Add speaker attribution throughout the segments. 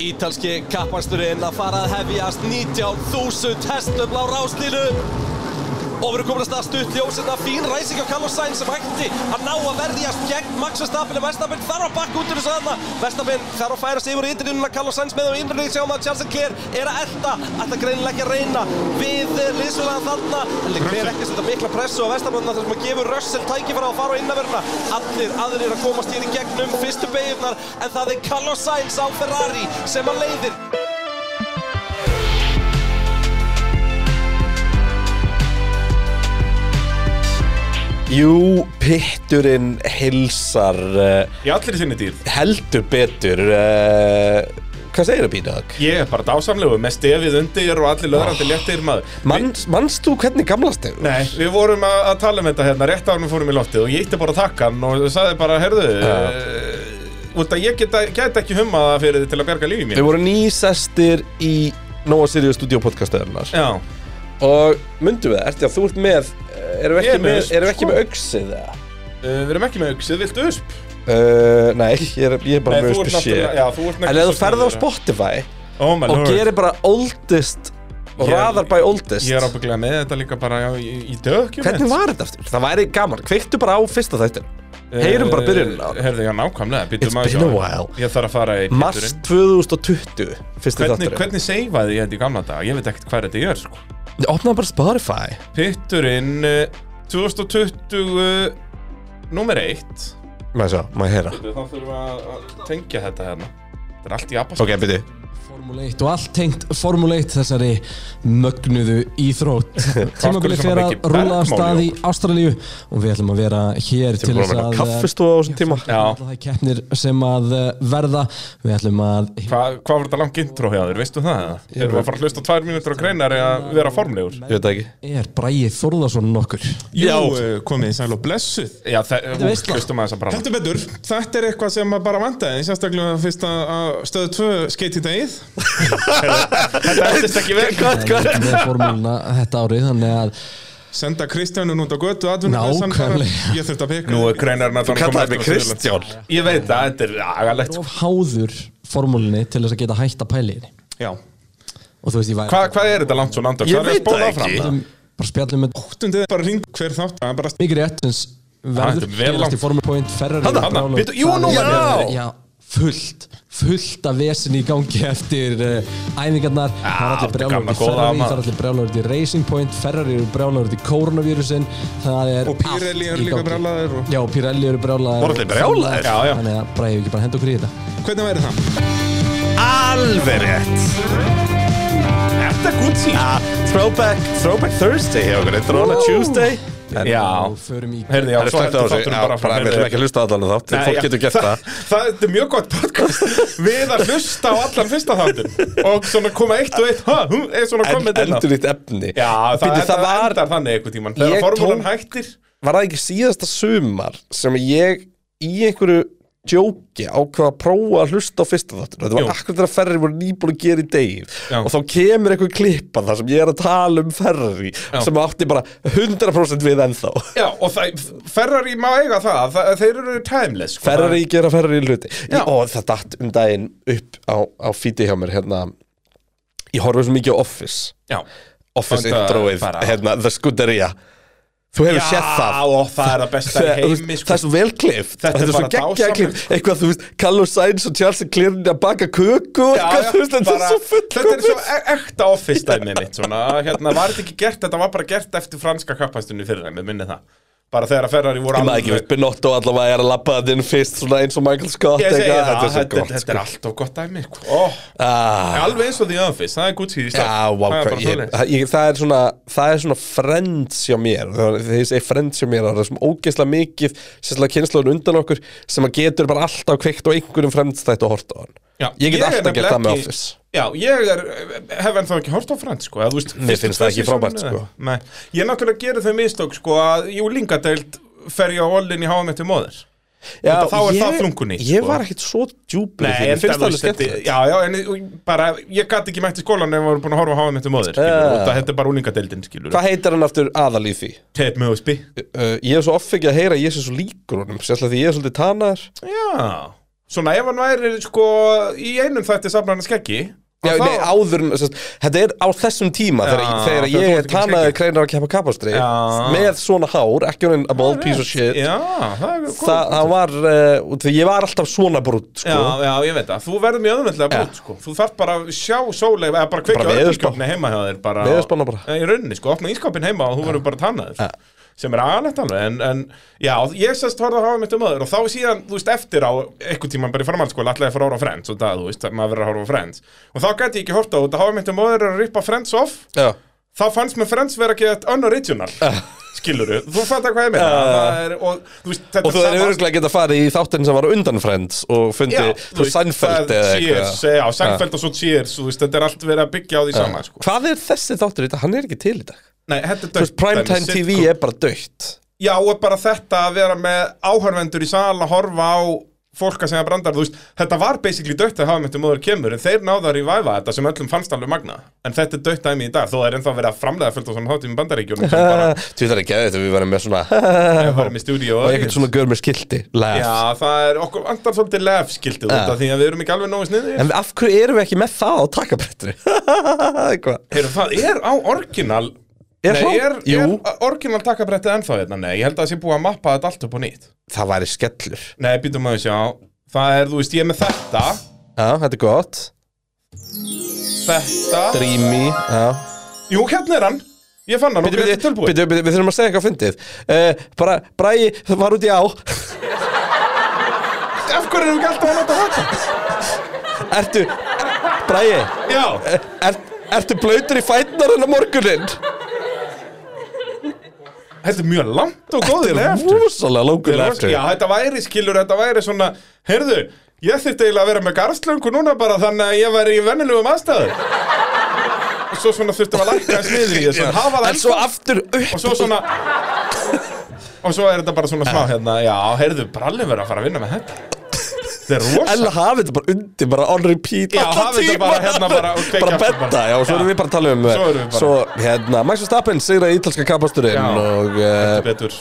Speaker 1: Ítalski kapparsturinn að fara að hefjast 19.000 hestum á ráslínu. Og við erum komin að stað stutt ljósinn af fín ræsing á Carlos Sainz sem hætti að ná að verðjast gegn Max Verstappen en Verstappen þarf að bakka út úr þessu þarna. Verstappen þarf að færa sig yfir yndrinununa Carlos Sainz með á yndrinunni sjáum að Charles Leclerc er að elda. Þetta greinilega ekki að reyna við liðsfélaga þarna. En Leclerc ekki að setja mikla pressu á Verstappen þarna þar sem að gefur Russell tækifæra að fara á innanverðina. Allir aðrir að komast hér í gegnum fyrstu beigurnar en það er Carlos Sainz á Ferrari sem að leiðir.
Speaker 2: Jú, pitturinn hilsar uh,
Speaker 3: Í allir sinni dýr.
Speaker 2: heldur betur uh, Hvað segir það, Pínag?
Speaker 3: Ég er bara dásamlegu með stefið undir og allir löðrandi
Speaker 2: Ah.
Speaker 3: léttir maður.
Speaker 2: Manns, manst þú hvernig gamlast þau?
Speaker 3: Nei, við vorum að, að tala um þetta hérna rétt árum við fórum í loftið og ég ítti bara takkan og sagði bara, heyrðu,
Speaker 2: Ah.
Speaker 3: uh, út að ég geta, geta ekki hummaða fyrir þið til að berga
Speaker 2: Þau
Speaker 3: lífið mér.
Speaker 2: voru nýsestir í Nóa Sirius Studio podcastöðunar
Speaker 3: Já,
Speaker 2: Og mundu við, ertu að þú ert með eh, Erum við
Speaker 3: Ég er
Speaker 2: ekki með,
Speaker 3: með,
Speaker 2: með, erum við
Speaker 3: sko.
Speaker 2: ekki með auksið? eða?
Speaker 3: uh, við erum ekki með auksið, viltu usp?
Speaker 2: Uh, nei, ég er, ég er bara
Speaker 3: Nei,
Speaker 2: með
Speaker 3: þú ert
Speaker 2: auksið sé
Speaker 3: náttúrulega- já, þú ert
Speaker 2: En
Speaker 3: náttúrulega
Speaker 2: ef þú
Speaker 3: svo
Speaker 2: ferð á
Speaker 3: sniður.
Speaker 2: Spotify
Speaker 3: Oh my
Speaker 2: Og
Speaker 3: lord.
Speaker 2: gerir bara oldest Og
Speaker 3: Ég-
Speaker 2: raðar bara í oldest
Speaker 3: Ég er ábygglega með þetta líka bara já, í, í dökjum
Speaker 2: Hvernig var þetta aftur? Það væri gaman, kveiktu bara á fyrsta þættin Heyrum bara byrjunina á.
Speaker 3: Eh, Heyrðu, já, nákvæmlega býttu
Speaker 2: It's
Speaker 3: maður
Speaker 2: been
Speaker 3: sjá.
Speaker 2: a while.
Speaker 3: Ég þarf að fara í
Speaker 2: Mars
Speaker 3: pitturinn.
Speaker 2: 2020 Fyrsti
Speaker 3: Hvernig,
Speaker 2: þátturinn
Speaker 3: hvernig seifaði ég þetta í gamla dag? Ég veit ekkert hvað þetta er, sko
Speaker 2: Ég opnaði bara Spotify
Speaker 3: Pitturinn eh, 2020 Númer 1
Speaker 2: Má ég sjá, má ég heyra
Speaker 3: Þá þurfum við að- að tengja þetta hérna Þetta er allt í abba
Speaker 2: Ok, byrju
Speaker 4: Formule 1 og allt tengt Formule 1 þessari mögnuðu íþrótt tímabilið
Speaker 3: svona
Speaker 4: fyrir
Speaker 3: mikið
Speaker 4: að rúla af
Speaker 3: bergmál í
Speaker 4: stað í
Speaker 3: okkur?
Speaker 4: Ástralíu og við ætlum að vera hér til
Speaker 2: Búin að
Speaker 4: þess
Speaker 2: vera
Speaker 4: að eh,
Speaker 2: kaffistóð á þessum tíma
Speaker 3: Já.
Speaker 4: Alla það keppnir sem að eh, verða við ætlum að
Speaker 3: Hva, Hvað var þetta langt intro hjá þér, veistu það?
Speaker 2: Ég-
Speaker 3: Erum við að fara að hlusta tvær mínútur á greinar eða vera formlegur?
Speaker 2: Ég veit það ekki
Speaker 4: er Bræi Þórðarsson nokkur
Speaker 5: Já,
Speaker 2: Já.
Speaker 5: eh, komið í sæl og blessuð
Speaker 3: Já, það,
Speaker 4: Þetta er veisla.
Speaker 3: hlustum aðeins að branda
Speaker 5: Heldur betur, þetta er eitthvað sem maður bara vantaði Sérstaklega fyrst að að stöðu tvö skeit í dagið
Speaker 3: Þetta endist ekki vel
Speaker 4: með formúluna þetta árið þannig að
Speaker 5: Senda Kristjánun út á götu atvinnum
Speaker 4: Nákvæmlega.
Speaker 5: Ég þurfti að peka
Speaker 3: Nú er greinar
Speaker 2: Þú kallaði mig Kristján
Speaker 3: Ég veit það, þetta er agalegt sko.
Speaker 4: of háður formúlunni til þess að geta hægt að pæli henni
Speaker 5: Já
Speaker 4: og þú veist ég væri
Speaker 3: Hva, Hvað er þetta langt svo landur?
Speaker 2: Ég veit það ekki.
Speaker 4: um, bara spjallum með
Speaker 5: Óttundið er bara hring hver þátt Það er bara
Speaker 4: mikið rétt eins
Speaker 3: þetta
Speaker 4: verður
Speaker 3: er vel
Speaker 4: gerast
Speaker 3: langt.
Speaker 4: í Formule Point Ferrari
Speaker 3: Þarna,
Speaker 4: og
Speaker 3: þarna,
Speaker 4: brjálæði.
Speaker 3: bíddu, jú,
Speaker 4: Það
Speaker 3: nú
Speaker 4: er-
Speaker 3: var ég.
Speaker 4: já, fullt fullt af vesin í gangi eftir uh, æfingarnar það er allir
Speaker 3: þetta er gamla
Speaker 4: brjálur til
Speaker 3: góða
Speaker 4: Ferrari
Speaker 3: amma.
Speaker 4: það er allir brjálur til Racing Point Ferrari eru brjálur til Coronavirusin það er
Speaker 5: Og Pirelli
Speaker 4: allt
Speaker 5: eru
Speaker 4: í
Speaker 5: líka
Speaker 4: gangi.
Speaker 5: brjálaðir og-
Speaker 4: já, Pirelli eru brjálaðir
Speaker 2: Voru allir brjálaðir?
Speaker 3: Já, já.
Speaker 4: þannig að bræði ekki bara henda okkur í þetta
Speaker 5: Hvernig væri það?
Speaker 2: Alveg rétt
Speaker 3: Þetta er Gucci
Speaker 2: ah, Throwback, throwback Thursday hjá okkur Þetta er alveg Tuesday En
Speaker 3: Já
Speaker 4: og förum í
Speaker 3: Heyrði, já,
Speaker 2: Það er
Speaker 3: svo
Speaker 2: slögt á
Speaker 3: heldur
Speaker 2: þessu,
Speaker 3: þátturinn
Speaker 2: já, bara við ætlum
Speaker 3: fram
Speaker 2: ekki að hlusta á allan þátt,
Speaker 3: Nei,
Speaker 2: fólk
Speaker 3: já,
Speaker 2: getur gett það
Speaker 3: Það þetta er mjög gott podcast Við að hlusta á allan fyrsta þáttin Og svona koma eitt og eitt ha, hú, eða Svona
Speaker 2: En,
Speaker 3: komið inn á
Speaker 2: Endur nýtt efni
Speaker 3: Já, það,
Speaker 2: Býtu,
Speaker 3: Býtu,
Speaker 2: það var,
Speaker 3: endar þannig einhvern tímann Þegar
Speaker 2: Ég
Speaker 3: formúlan
Speaker 2: tók-
Speaker 3: hættir
Speaker 2: var það ekki síðasta sumar sem ég í einhverju djóki ákvað að prófa að hlusta á fyrsta þáttur þetta var
Speaker 3: Jú.
Speaker 2: akkur þegar ferri voru nýbúin að gera í degið
Speaker 3: Já.
Speaker 2: og þá kemur einhver klippa þar sem ég er að tala um ferri sem átti bara 100% við ennþá
Speaker 3: Já, og það, Ferrari má eiga það, það Þeir eru timeless sko.
Speaker 2: ferri gera ferri hluti
Speaker 3: Já.
Speaker 2: ég, og það datt um daginn upp á, á fíti hjá mér hérna ég horfði svo mikið á Office
Speaker 3: Já
Speaker 2: Office
Speaker 3: Enda
Speaker 2: introið,
Speaker 3: bara-
Speaker 2: hérna, The Scuderia þú hefur séð það
Speaker 3: Já, og það er að besta í
Speaker 2: Þegar, þú
Speaker 3: heimi
Speaker 2: veist,
Speaker 3: sko.
Speaker 2: Það er svo vel klift
Speaker 3: Þetta
Speaker 2: Þetta
Speaker 3: er
Speaker 2: er svo
Speaker 3: bara
Speaker 2: geggjað
Speaker 3: dásamlegt.
Speaker 2: klift Eitthvað, þú veist, Carlos Sainz og Charles Clearney að baka köku og
Speaker 3: Já,
Speaker 2: eitthvað,
Speaker 3: já,
Speaker 2: þú veist, Þetta er
Speaker 3: bara-
Speaker 2: svo
Speaker 3: Þetta er
Speaker 2: fullkomið
Speaker 3: svo e- ekta office dæmið mitt svona, hérna, Var þetta ekki gert, þetta var bara gert eftir franska kappastunni fyrir þeim, ég minni það Bara þegar að Ferrari voru
Speaker 2: Ég maður ekki, veist, Benotto allavega er að labba þetta inn fyrst Svona eins og Michael Scott
Speaker 3: Ég segi
Speaker 2: eitthvað,
Speaker 3: það,
Speaker 2: Þetta er svo
Speaker 3: þetta,
Speaker 2: gott
Speaker 3: þetta, er allt of gott dæmi sko. oh,
Speaker 2: Ah,
Speaker 3: Alveg eins og The Office, það er gutt síð í stað
Speaker 2: Já, wow,
Speaker 3: Það er bara
Speaker 2: ég,
Speaker 3: svoleiðis.
Speaker 2: ég, það, er svona, það er svona friends hjá mér Þegar ég segi friends hjá mér Það er svona ógeðslega mikið Sérslega kynnslóðun undan okkur Sem að getur bara alltaf kveikt á einhverjum fremdstætt og hort á hann
Speaker 3: Já,
Speaker 2: Ég get
Speaker 3: er
Speaker 2: alltaf gert
Speaker 3: nefnilega
Speaker 2: það með
Speaker 3: ekki-
Speaker 2: Office
Speaker 3: Já, ég er, hef ennþá ekki hort á frend sko, eða þú veist, fyrstu
Speaker 2: finnst það ekki
Speaker 3: seasoninu
Speaker 2: frábært,
Speaker 3: eða-
Speaker 2: sko.
Speaker 3: Nei, ég náttúrulega gerir þau mistök sko að júlingadeild fer ég á allin í háa mitt um móður
Speaker 2: Já,
Speaker 3: Þetta- þá er það
Speaker 2: ég-
Speaker 3: þrungunni,
Speaker 2: Ég
Speaker 3: sko.
Speaker 2: var ekkit svo djúpur í
Speaker 3: Nei,
Speaker 2: því,
Speaker 3: en
Speaker 2: mér finnst það alveg
Speaker 3: þetta-
Speaker 2: skemmtilegt
Speaker 3: Já, já, en og bara, ég gæti ekki mætt í skólan ef við vorum búin að horfa á háa mitt um móður
Speaker 2: Já.
Speaker 3: skilur, uh. Þetta er bara úlingadeildin, skilur
Speaker 2: Eh. Hvað heitir hann aftur aðal í því?
Speaker 3: Ted Mosby
Speaker 2: Uh, ég er svo offengið að heyra að ég sé svo líkur honum Sérslega því ég er svolítið tanaðar
Speaker 3: Já Svona ef hann væri sko í einum þætti safnar hann skeggi
Speaker 2: Já,
Speaker 3: að
Speaker 2: nei,
Speaker 3: þá-
Speaker 2: áður, en- sest, þetta er á þessum tíma
Speaker 3: Já,
Speaker 2: þegar, þegar
Speaker 3: þegar þú
Speaker 2: ég
Speaker 3: ert ekki
Speaker 2: tanaði
Speaker 3: skeggið.
Speaker 2: kreinar að keppa kapastri
Speaker 3: Já.
Speaker 2: með svona hár, ekki honin a bald piece of shit
Speaker 3: Já, það er
Speaker 2: Þa, það var, uh, því ég var alltaf svona brútt sko.
Speaker 3: Já, já, ég veit það, þú verður mjög öðvöldlega brútt sko. Þú þarf bara að sjá sóleif eða bara kveikja
Speaker 2: Bara veðurspá.
Speaker 3: öllískapni heima hjá þér bara,
Speaker 2: Veðurspána bara.
Speaker 3: Nei, Í rauninni, sko, opna ískapin heima og þú verður bara tannaður sko. sem er aðalegt alveg en, en já, ég sérst horfði að hafa mitt um öður og þá síðan, þú veist, eftir á einhvern tímann bara í framhaldsskóla, alltaf að fara að horfa á Friends og það, þú veist, maður verður að horfa á Friends og þá gæti ég ekki horft á þetta, hafa mitt um öður að ripa Friends off
Speaker 2: Já.
Speaker 3: þá fannst mér Friends vera ekki þetta unoriginal skilur þú, þú fattar hvað ég meina Það er- og þú veist, þetta
Speaker 2: Og þú er
Speaker 3: sama-
Speaker 2: örgulega geta farið í þáttin sem var á undan Friends og fundið, þú
Speaker 3: veist,
Speaker 2: Seinfeld
Speaker 3: það-
Speaker 2: eða
Speaker 3: Cheers,
Speaker 2: eitthvað
Speaker 3: já, Seinfeld og svo Cheers þú veist, þetta er allt verið að byggja á því sama sko.
Speaker 2: Hvað er þessi þáttur í dag? Hann er ekki til í dag
Speaker 3: Nei, þetta
Speaker 2: Þú
Speaker 3: er
Speaker 2: veist,
Speaker 3: dautt
Speaker 2: Primetime
Speaker 3: dæmi,
Speaker 2: TV
Speaker 3: sitcom.
Speaker 2: er bara dögt
Speaker 3: Já, og bara þetta að vera með áhörvendur í sal að horfa á fólk að segja brandar, þú veist, þetta var basically dött að hafa með þetta móður kemur, en þeir náðu að reviva þetta sem öllum fannst alveg magna, en þetta er dött dæmi í dag, þó er ennþá verið að framlega fullt á svona hátum í bandaríkjunum sem bara
Speaker 2: Þú veist það er ekki að þetta við verðum með svona Og
Speaker 3: var með stúdíu og
Speaker 2: eitthvað svona gör með skilti Laugh.
Speaker 3: Já, það er okkur andar svolítið lef skildið þetta, því að við erum ekki alveg nógu sniðir
Speaker 2: En af hverju erum við ekki með það á takkabrettri? Eitthvað
Speaker 3: Heyrðu, það er á orginal
Speaker 2: Er
Speaker 3: Nei,
Speaker 2: það?
Speaker 3: er,
Speaker 2: Jú.
Speaker 3: er orginal takkabrettið ennþá hérna? Nei, ég held að það sé búið að mappa þetta allt upp á nýtt
Speaker 2: Það væri skellur
Speaker 3: Nei, býtum að sjá Það er, þú veist, ég er með þetta
Speaker 2: Já, þetta er gott
Speaker 3: Þetta
Speaker 2: Dreamy Já
Speaker 3: Jú, hérna er hann Ég fann hann
Speaker 2: Bíddu,
Speaker 3: okkur eftir
Speaker 2: bíddu,
Speaker 3: tilbúið
Speaker 2: bíddu, bíddu, Við þurfum að segja eitthvað fyndið uh, Bara, Bræi, það var út í á
Speaker 3: Af hverju erum við ekki alltaf að nota WhatsApp?
Speaker 2: Ertu, Bræi
Speaker 3: Já,
Speaker 2: er, er, Ertu blöytur í fætnar en á morgunin?
Speaker 3: þetta er mjög langt og
Speaker 2: Þetta
Speaker 3: góður
Speaker 2: er
Speaker 3: left
Speaker 2: rosalega langur eftir
Speaker 3: Já, þetta væri skilur, þetta væri svona Heyrðu, ég þyrfti eiginlega að vera með garðslöngu núna bara Þannig að ég væri í vennilegum aðstæður Og svo svona þurftum að lækka þess niður í þessu en hafa það
Speaker 2: En svo
Speaker 3: ennþá.
Speaker 2: aftur upp
Speaker 3: og svo svona og svo er þetta bara svona smá hérna já, heyrðu, brallin verður að fara að vinna með þetta þetta er
Speaker 2: Ella
Speaker 3: rosa
Speaker 2: hafið þetta bara undir, bara on repeat
Speaker 3: Já,
Speaker 2: allan
Speaker 3: hafið þetta
Speaker 2: tímann.
Speaker 3: bara hérna bara og kveikja
Speaker 2: Bara
Speaker 3: aftur
Speaker 2: betta,
Speaker 3: bara.
Speaker 2: já, og svo erum við bara að tala um
Speaker 3: Svo erum við bara.
Speaker 2: Svo, hérna, Max Verstappen sigra ítalska kapasturinn
Speaker 3: Já.
Speaker 2: og uh,
Speaker 3: betur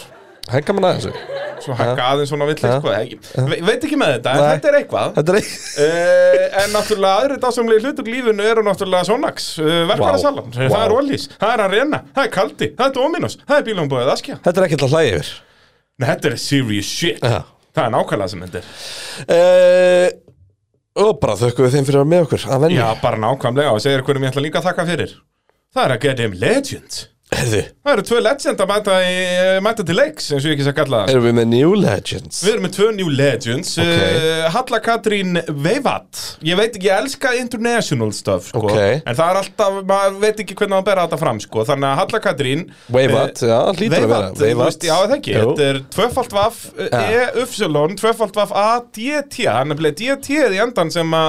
Speaker 2: hengar mann aðeins við.
Speaker 3: svo hakka aðeins svona vill
Speaker 2: Já.
Speaker 3: sko, ekki, ve veit ekki með þetta, en
Speaker 2: Nei.
Speaker 3: þetta er eitthvað
Speaker 2: Þetta er ekki
Speaker 3: Uh, en náttúrulega aðri dásumlega hlutur í lífinu eru náttúrulega Sonax, uh, verkvarasalan,
Speaker 2: Vá.
Speaker 3: það er
Speaker 2: Vá.
Speaker 3: Ollís, það er Arena, það er Kaldi, það er Dominos, það er Bílumbóðið Askja.
Speaker 2: Þetta er ekki alltaf hlæði yfir
Speaker 3: Nei, þetta er serious shit.
Speaker 2: Já.
Speaker 3: Það er nákvæmlega sem þetta er.
Speaker 2: uh, Og bara þökkum við þeim fyrir að vera með okkur að venni
Speaker 3: Já, bara nákvæmlega og segir hverjum ég ætla líka að þakka fyrir. Það er að geta um legend.
Speaker 2: Herðu,
Speaker 3: Það eru tvö legend að mæta, í, eh, mæta til leiks, eins og ég ekki sé að kalla það.
Speaker 2: erum við með New Legends
Speaker 3: Við erum með tvö new legends.
Speaker 2: Ok.
Speaker 3: Uh, Halla Katrín Veivat. Ég veit ekki, ég elska international stuff, sko.
Speaker 2: Ok.
Speaker 3: En það er alltaf, maður veit ekki hvernig maður bera þetta fram, sko. Þannig að Halla Katrín... eh,
Speaker 2: Veivat, já, hlýtur að vera
Speaker 3: Veivat, þú veist, já það ekki,
Speaker 2: Jú.
Speaker 3: þetta er tvöfalt vaff E-Upsilon, tvöfalt vaff A-D-T, hann er bleið D-T í endan sem, a,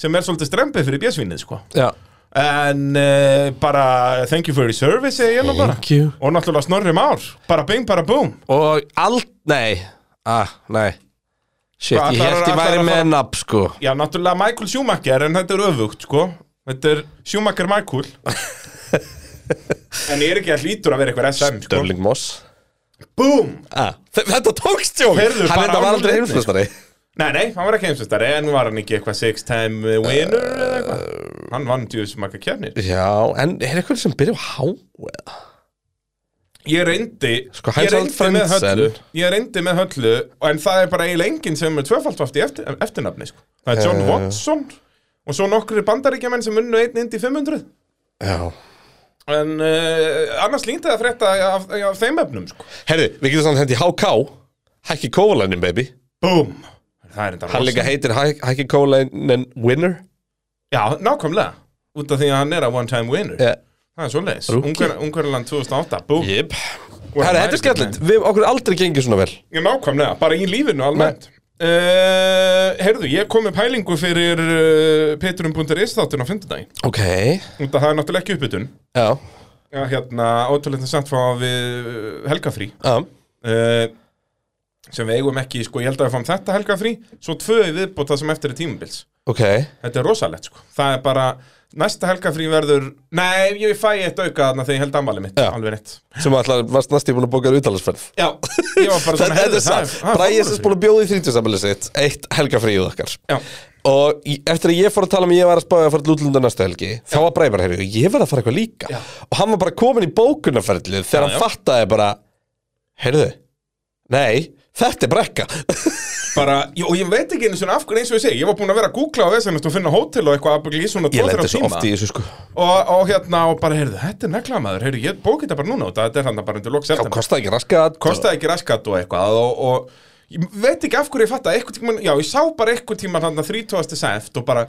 Speaker 3: sem er svolítið strempið fyrir bjössvinnið sko.
Speaker 2: Já,
Speaker 3: En uh, bara thank you for your service segi ég nú bara
Speaker 2: Thank you.
Speaker 3: Og náttúrulega snorri már Bara bing, bara boom
Speaker 2: og allt, nei Ah, nei Shit,
Speaker 3: Hvað,
Speaker 2: ég
Speaker 3: ætlar-
Speaker 2: held ég
Speaker 3: ætlar
Speaker 2: væri
Speaker 3: að
Speaker 2: með
Speaker 3: fara-
Speaker 2: nab, sko
Speaker 3: Já, náttúrulega Michael Schumacher En þetta er öfugt, sko Þetta er Schumacher Michael En ég er ekki að hlýtur að vera eitthvað SM, sko
Speaker 2: Dörling Moss
Speaker 3: Boom
Speaker 2: ah. þe- Þetta tókst jók
Speaker 3: Heyrðu,
Speaker 2: Hann
Speaker 3: bara
Speaker 2: enda var
Speaker 3: án
Speaker 2: aldrei
Speaker 3: vitnis.
Speaker 2: heimsmestari
Speaker 3: Nei, nei, hann var ekki heimsveistari En var hann ekki eitthvað six time eh, winner eða eitthvað Hann vann djúðis marga kjarnir
Speaker 2: Já, en er eitthvað sem byrja á há eða?
Speaker 3: Ég reyndi
Speaker 2: Sko,
Speaker 3: Ég
Speaker 2: Heinz Harald
Speaker 3: reyndi með
Speaker 2: Frentzen.
Speaker 3: höllu Ég reyndi með höllu En það er bara eiginlega enginn sem er tvöfaldvaft í eftir, eftirnafni sko. Það er John
Speaker 2: Eh.
Speaker 3: Watson Og svo nokkri bandaríkjamenn sem unnu einn indi 500
Speaker 2: Já
Speaker 3: En uh, annars líndi það að frétta af, af þeim efnum sko.
Speaker 2: Herðu, við getum samt hendi HK Hækki Kóvalanin, baby
Speaker 3: Búm Það er enda
Speaker 2: Hann líka heitir Hæ- Hækki Kóvalanin Winner
Speaker 3: Já, nákvæmlega Út af því að hann er að one time winner
Speaker 2: Já.
Speaker 3: Það er svoleiðis
Speaker 2: Eh. Rookie.
Speaker 3: Ungver, Ungverland 2008 Búm
Speaker 2: Jip Herðu, þetta er skemmtilegt Við okkur aldrei gengið svona vel
Speaker 3: Já, nákvæmlega Bara í lífinu almennt Uh, heyrðu, ég kom með pælingu fyrir uh, petrum.is þáttun á fimmtudaginn
Speaker 2: Ok
Speaker 3: Út af það er náttúrulega ekki uppbytun
Speaker 2: Já
Speaker 3: Já, hérna, ótrúlega samt frá við uh, helgafrí
Speaker 2: Já
Speaker 3: uh, sem við eigum ekki, sko, ég held að við fáum þetta helgafrí svo tvö í viðbót það sem eftir er tímabils
Speaker 2: Ok
Speaker 3: Þetta er rosalegt sko Það er bara Næsta helgafrí verður Nei, ég fæ eitt auka þarna þegar ég held ammali mitt
Speaker 2: Já.
Speaker 3: Alveg rétt
Speaker 2: sem alltaf varst næst tíma að bóka utalansferð
Speaker 3: Já, ég var bara svona
Speaker 2: Þetta er
Speaker 3: heyrðu,
Speaker 2: satt,
Speaker 3: það er- það er
Speaker 2: Bræði sem
Speaker 3: framúrskarið.
Speaker 2: spúin að bjóða í 30 samfélagi sitt Eitt helgafríð okkar
Speaker 3: Já.
Speaker 2: Og í- eftir að ég fór að tala um að ég var að spája að fara til útlunda næsta helgi Þá var Bræði bara, heyrðu, ég verð að fara eitthvað líka Og hann var bara komin í bókunarferðlið Þegar
Speaker 3: já.
Speaker 2: hann fattaði bara Heyrðu, nei, þetta er brekka
Speaker 3: bara, ég, og ég veit ekki einu svona af hverju eins og ég segi, ég var búin að vera að googla á þess og finna hótel og eitthvað aðbyggli í svona
Speaker 2: Ég
Speaker 3: 2-3
Speaker 2: lendi svo
Speaker 3: tíma.
Speaker 2: oft í þessu sko
Speaker 3: og, og hérna, og bara, heyrðu, þetta er neglamaður heyrðu, ég bók þetta bara núna og þetta er hann bara undir lok
Speaker 2: Já,
Speaker 3: september,
Speaker 2: kostaði ekki raskat
Speaker 3: kostaði ekki raskat og eitthvað og, og ég veit ekki af hverju ég fatt að eitthvað tíma, já, ég sá bara eitthvað tíma hann að 30. seft og bara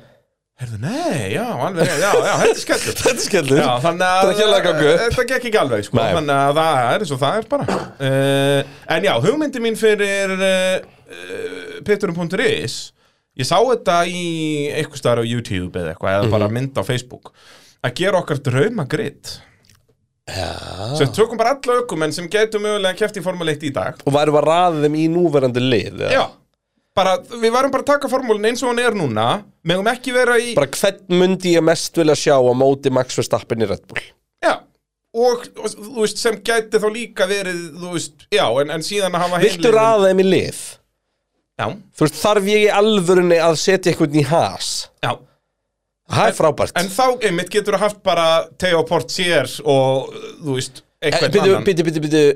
Speaker 3: heyrðu, nei, já, alveg, rétt, já, já, þetta er skellur
Speaker 2: Þetta er skellur
Speaker 3: Já, þannig að
Speaker 2: Þetta er ekki alveg að ganga upp
Speaker 3: Þetta gekk ekki alveg, sko
Speaker 2: Nei.
Speaker 3: Þannig að það er eins og það er bara uh, En já, hugmyndi mín fyrir uh, Peturum.is Ég sá þetta í einhvers staðar á YouTube eða eitthvað Eða
Speaker 2: Mhm.
Speaker 3: bara mynd á Facebook Að gera okkar draumagrid Já Svo tökum bara alla ökumenn sem getum mögulega keft í Formule 1 í dag
Speaker 2: Og væru að raða þeim í núverandi lið eða?
Speaker 3: Já Bara, við varum bara að taka formúlin eins og hann er núna Megum ekki vera í
Speaker 2: Bara hvern mundi ég mest vilja sjá á móti Max Verstappen í Red Bull
Speaker 3: Já, og, og þú veist, sem gæti þá líka verið, þú veist, já, en, en síðan að hafa
Speaker 2: Viltu
Speaker 3: heimliðin-
Speaker 2: raða þeim í lið?
Speaker 3: Já,
Speaker 2: Þú veist, þarf ég í alvörunni að setja eitthvað í has
Speaker 3: já.
Speaker 2: Það er frábært
Speaker 3: En þá, einmitt, getur þú haft bara Teo Portier og, þú veist,
Speaker 2: En
Speaker 3: eitthvað
Speaker 2: Býtu,
Speaker 3: annan.
Speaker 2: býtu, býtu, býtu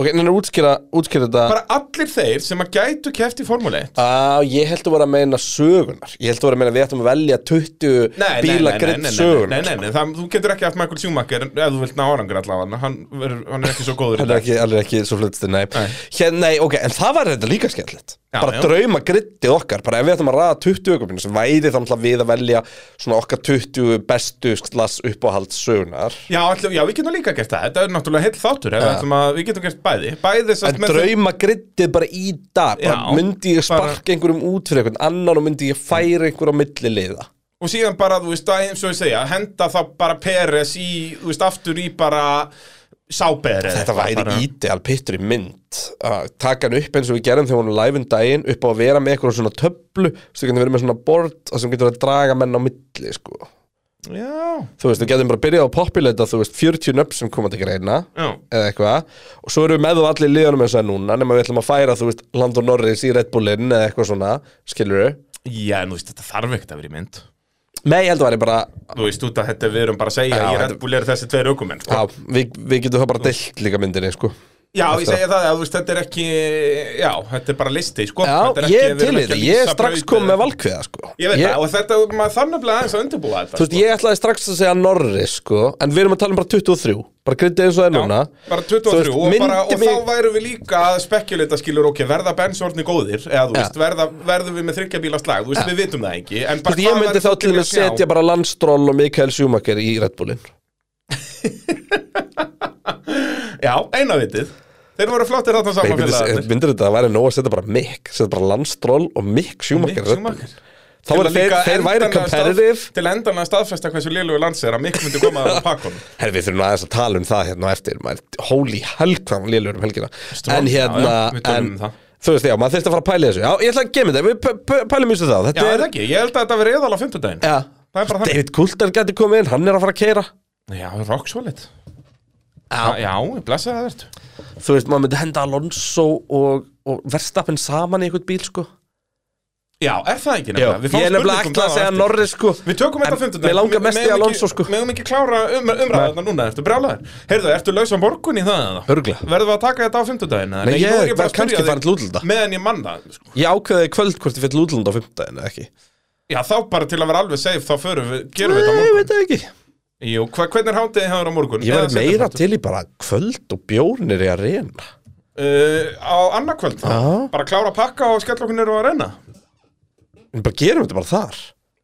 Speaker 2: Ok, en er útskýra, útskýra þetta
Speaker 3: Bara allir þeir sem að gætu keft í Formule 1.
Speaker 2: Á, ég held að vera að meina sögunar Ég held að vera að meina að við ættum að velja 20
Speaker 3: Nei, nei, nei, nei, nei,
Speaker 2: bílagritt
Speaker 3: nei, nei,
Speaker 2: sögunar
Speaker 3: nei, nei, það, þú getur ekki haft Michael Schumacher ef þú vilt ná árangur allavega, hann, verður- hann er ekki svo góður í
Speaker 2: Hann er
Speaker 3: dag.
Speaker 2: ekki, hann er ekki svo flutist nei. Hér, nei, ok, en það var þetta líka skemmtilegt
Speaker 3: Já,
Speaker 2: Bara
Speaker 3: já.
Speaker 2: drauma grittið okkar Bara ef við ættum að raða 20 ökuminu sem væri þá náttúrulega við að velja svona okkar 20 bestu slass uppáhalds sögunar
Speaker 3: Já, allir, já, við getum líka gert það, þetta er náttúrulega heill þáttur, ef við ætlum að, við getum gert bæði, bæði sem
Speaker 2: En drauma grittið bara í dag bara
Speaker 3: Já,
Speaker 2: myndi ég
Speaker 3: bara-
Speaker 2: sparka einhverjum út fyrir einhvern annan og myndi ég færa einhverjum á milli liða
Speaker 3: og síðan bara, þú veist, að eins og ég segja henda þá bara Peres í, þú veist, aftur í bara sáber eða
Speaker 2: Þetta
Speaker 3: eitthvað,
Speaker 2: væri
Speaker 3: bara.
Speaker 2: ídeal pittur í mynd að taka hann upp eins og við gerum þegar hún er live um daginn upp á að vera með einhverjum svona töflu sem getur verið með svona bord sem getur að draga menn á milli sko.
Speaker 3: já,
Speaker 2: Þú veist, við getum bara að byrja á að populata þú veist, 40 nöpp sem koma til greina
Speaker 3: já,
Speaker 2: eða eitthvað og svo erum við með þú allir í liðanum eins og er núna nema við ætlum að færa, þú veist, Landon Norris í Red Bullin eða eitthvað svona, skilur
Speaker 3: já, en þú veist, þetta þarf ekkert að vera í mynd
Speaker 2: Nei, ég held að væri bara
Speaker 3: þú veist, út að þetta við erum bara að segja
Speaker 2: Já,
Speaker 3: ég er
Speaker 2: þetta-
Speaker 3: búin að þessi tveir aukumenn sko.
Speaker 2: Já, við, við getum það bara deilt líka myndinni, sko
Speaker 3: já, ég segja það, að, þú veist, þetta er ekki já, þetta er bara listi, sko
Speaker 2: Já,
Speaker 3: Þetta er ekki-
Speaker 2: ég er
Speaker 3: við
Speaker 2: til
Speaker 3: erum
Speaker 2: í
Speaker 3: ekki
Speaker 2: þetta,
Speaker 3: að
Speaker 2: ég er
Speaker 3: lýsa
Speaker 2: strax
Speaker 3: braut
Speaker 2: kom
Speaker 3: eða-
Speaker 2: með valkviða, sko
Speaker 3: ég veit það, og þetta, maður þarf nefnilega aðeins að undirbúa þetta
Speaker 2: Þú veist, ég ætlaði strax að segja Norris, sko En við erum að tala um bara 23 Bara kryddið eins og það er núna
Speaker 3: bara 23
Speaker 2: Þú
Speaker 3: og, bara, og
Speaker 2: myndi mig-
Speaker 3: þá værum við líka að spekulita skilur ok, verða bensórni góðir eða þú
Speaker 2: Já.
Speaker 3: veist, verða, verðum við með þryggja bíla slag þú veist, við vitum það ekki en
Speaker 2: Þú
Speaker 3: bara
Speaker 2: veist, ég
Speaker 3: hvað
Speaker 2: myndi
Speaker 3: verður
Speaker 2: þá
Speaker 3: fólk
Speaker 2: til
Speaker 3: vilja
Speaker 2: að setja
Speaker 3: sjá?
Speaker 2: bara Landstról og Mikael Schumacher í Red Bullin
Speaker 3: já, eina vitið þeir voru flottir þarna
Speaker 2: Nei,
Speaker 3: saman
Speaker 2: myndir,
Speaker 3: félagarnir.
Speaker 2: myndir þetta að væri nóg að setja bara Mik Setja bara Landstról og Mik Schumacher í
Speaker 3: Mick
Speaker 2: Red Bull.
Speaker 3: Schumacher.
Speaker 2: Þá
Speaker 3: Til
Speaker 2: verður
Speaker 3: að
Speaker 2: þeir,
Speaker 3: líka
Speaker 2: þeir væri
Speaker 3: endanlega
Speaker 2: competitive
Speaker 3: stað- til endanlega staðfesta hversu lélugu lands er að miklu myndi koma að pakkum
Speaker 2: Herri, við þurfum nú aðeins að tala um það hérna á eftir maður, Holy hell, hvað hann lélur um helgina En hérna
Speaker 3: já, við tölum
Speaker 2: en,
Speaker 3: um það.
Speaker 2: Þú veist, já, maður þurfti að fara að pæla í þessu Já, ég ætla að gema þetta, við p- p- pælum í þessu þá
Speaker 3: já,
Speaker 2: Þetta
Speaker 3: er
Speaker 2: er,
Speaker 3: það ekki, ég held að þetta verið eðal á fimmtudaginn
Speaker 2: já,
Speaker 3: það er bara það,
Speaker 2: David Coulter gæti komið inn, hann er að fara að keira
Speaker 3: já, rock solid já, já blessa það verður
Speaker 2: Þú veist, maður myndi henda Alonso og, og Verstappen saman í einhvern bíl, sko
Speaker 3: já, er það ekki
Speaker 2: Já,
Speaker 3: nefnilega
Speaker 2: Ég
Speaker 3: Við fáum
Speaker 2: er nefnilega
Speaker 3: spurningu um
Speaker 2: ætla
Speaker 3: það á
Speaker 2: að segja
Speaker 3: eftir.
Speaker 2: Norris, sko
Speaker 3: Við tökum þetta
Speaker 2: En
Speaker 3: fymtudag
Speaker 2: mig langar mest í Alonso, sko.
Speaker 3: Megum ekki klára um, umræðarna núna, ertu brjálaður Heyrðu, ertu laus á morgun í það eða?
Speaker 2: Örugglega.
Speaker 3: Verðum við að taka þetta á fymtudaginn eða?
Speaker 2: Nei,
Speaker 3: nú er
Speaker 2: ég
Speaker 3: bara
Speaker 2: var
Speaker 3: að spyrja
Speaker 2: kannski
Speaker 3: þig
Speaker 2: farin til útlunda
Speaker 3: Meðan ég manna sko.
Speaker 2: Ég ákveði í kvöld hvort ég fyrir útlunda á fimmtudaginn eða ekki
Speaker 3: Já, þá bara til að vera alveg safe, þá förum við, gerum við
Speaker 2: Nei, ég
Speaker 3: þetta á morgun
Speaker 2: veit það ekki
Speaker 3: Jú, hva, hvernig er hátíðið hefur á morgun?
Speaker 2: Ég
Speaker 3: Eða
Speaker 2: var
Speaker 3: seinna
Speaker 2: meira
Speaker 3: þáttur?
Speaker 2: til í bara kvöld og bjórnir í að reyna
Speaker 3: Uh, Á annarkvöld þá
Speaker 2: Já.
Speaker 3: Bara klára að pakka og skella okkur nýru að reyna
Speaker 2: En bara gerum þetta bara þar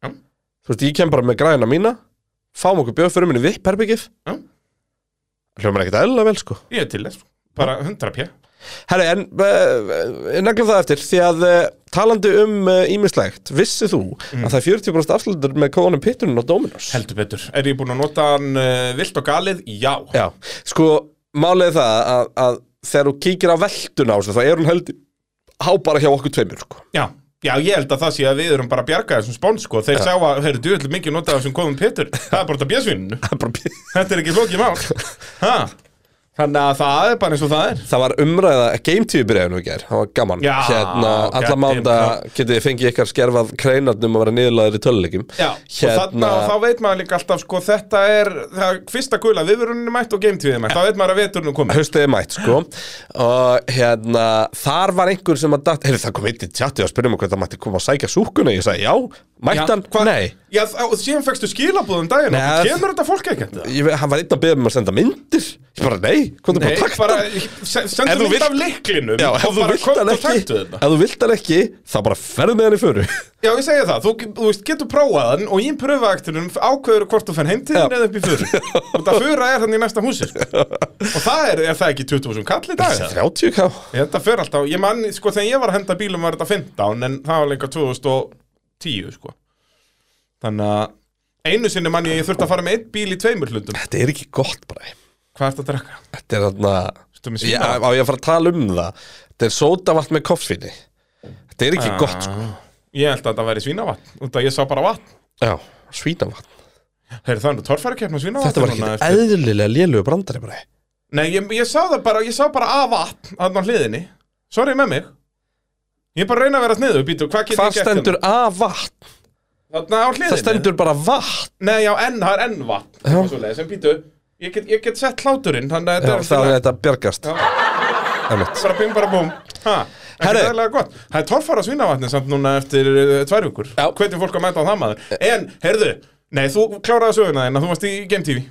Speaker 3: Já.
Speaker 2: Þú veist, ég kem bara með græna mína Fáum okkur bjóð fyrir minni vipp herbyggið
Speaker 3: Já.
Speaker 2: Hljómar ekkert eðla vel, sko
Speaker 3: Ég er til þess, bara 100 pjö
Speaker 2: Herri, en uh, neglum það eftir Því að uh, talandi um ímislegt uh, Vissið þú
Speaker 3: Mm.
Speaker 2: að það er 40% afslutur með kóðanum pitturinn á Dominos
Speaker 3: Heldur betur Er ég búin að nota hann uh, vilt og galið? Já
Speaker 2: Já, sko, málið er það að, að þegar þú kíkir á veltuna á þessu, þá er hún heldur há bara hjá okkur tveimur, sko
Speaker 3: Já Já, ég held að það sé að við erum bara að bjarga þessum spón, sko. Þeir sá að, heyrðu, þú ætlum mikið notað af þessum komum Pétur. Það er bara þetta bjöðsvinninu.
Speaker 2: Það er bara bí-
Speaker 3: Þetta er ekki flókið mál. Ha? Þannig að það er bara eins og það er.
Speaker 2: Það var umræða, game TV byrjaði nú í gær, það var gaman
Speaker 3: Já,
Speaker 2: Hérna, alla
Speaker 3: goddamn,
Speaker 2: mánda getið þið fengið ykkar skerfað kreinarnum að vera niðurlaður í töluleikum
Speaker 3: Já,
Speaker 2: Hérna.
Speaker 3: og þarna og þá veit maður líka alltaf, sko, þetta er, það er fyrsta gula viðvöruninu mætt og gametíðið mætt. Þá veit maður að veturinn er komið.
Speaker 2: haustið er mætt sko og hérna þar var einhver sem að datt, heyrðu það kom eitt í tjatti og spurði mig hvernig það mætti koma að sækja súkuna ég sagði já, mætti hann,
Speaker 3: Hva-
Speaker 2: nei
Speaker 3: Já, þ- og síðan fegstu skilabúðum daginn
Speaker 2: Nei,
Speaker 3: og
Speaker 2: það-
Speaker 3: kemur þetta fólk ekkert það?
Speaker 2: ég, ve- hann var einn að beða um að senda myndir ég bara nei, hvernig bara
Speaker 3: Nei,
Speaker 2: takt
Speaker 3: bara,
Speaker 2: hann
Speaker 3: se-
Speaker 2: Ef
Speaker 3: sendu
Speaker 2: þú
Speaker 3: mynd
Speaker 2: vilt-
Speaker 3: af leiklinum
Speaker 2: já, ef
Speaker 3: og
Speaker 2: þú
Speaker 3: bara
Speaker 2: vilt hann
Speaker 3: komdu og
Speaker 2: ekki
Speaker 3: taktu þetta
Speaker 2: ef þú vilt hann ekki, þá bara ferð með hann í föru
Speaker 3: Já, ég segja það, þú, þú veist, getur prófað hann og ég pröfa aktunum ákveður hvort þú fann heimtíðin
Speaker 2: Já.
Speaker 3: eða upp í fyrir og það fyrir er hann í næsta húsi sko. og það er, er það ekki 20.000 kall í dag eða?
Speaker 2: 30 ká
Speaker 3: Ég, Þetta fyrir alltaf, ég mann, sko, þegar ég var að henda bílum var þetta 15 en það var lengur 2010 sko. þannig að einu sinni mann ég, að ég þurfti að fara með einn bíl í tveimur hlutum
Speaker 2: þetta er ekki gott bara
Speaker 3: Hvað ertu að drekka?
Speaker 2: þetta er þarna
Speaker 3: Ertu með
Speaker 2: já,
Speaker 3: síma?
Speaker 2: á ég að fara að tala um það þetta er sódavatn með koffíni þetta er ekki gott sko
Speaker 3: Ég held að þetta væri svínavatn, út að ég sá bara vatn
Speaker 2: já, svínavatn
Speaker 3: Heyrðu það er nú torfærakeppna svínavatn
Speaker 2: þetta var ekki eðlilega lélugu brandari bara
Speaker 3: Nei, ég, ég sá það bara, ég sá bara að vatn þarna á hliðinni Sorry með mig Ég er bara að reyna að vera sniðu, býtu, hvað getur
Speaker 2: Hvað stendur að vatn?
Speaker 3: hérna? Þarna á hliðinni
Speaker 2: Það stendur bara vatn
Speaker 3: Nei, já, enn, það er enn vatn
Speaker 2: Já.
Speaker 3: eitthvað svoleiðis, En býtu, ég get, ég get sett hláturinn Þannig að
Speaker 2: Já,
Speaker 3: þetta
Speaker 2: þá er
Speaker 3: er alltaf
Speaker 2: þetta bjargast Einmitt.
Speaker 3: Bara bing, bara búm Ha, ekki
Speaker 2: Herru.
Speaker 3: dæðilega gott Það er torfara svínavatni samt núna eftir uh, tvær vikur
Speaker 2: Já. Eh.
Speaker 3: Hvernig fólk að mæta á það maður En, heyrðu, nei, þú kláraði söguna þín Þú varst í Game TV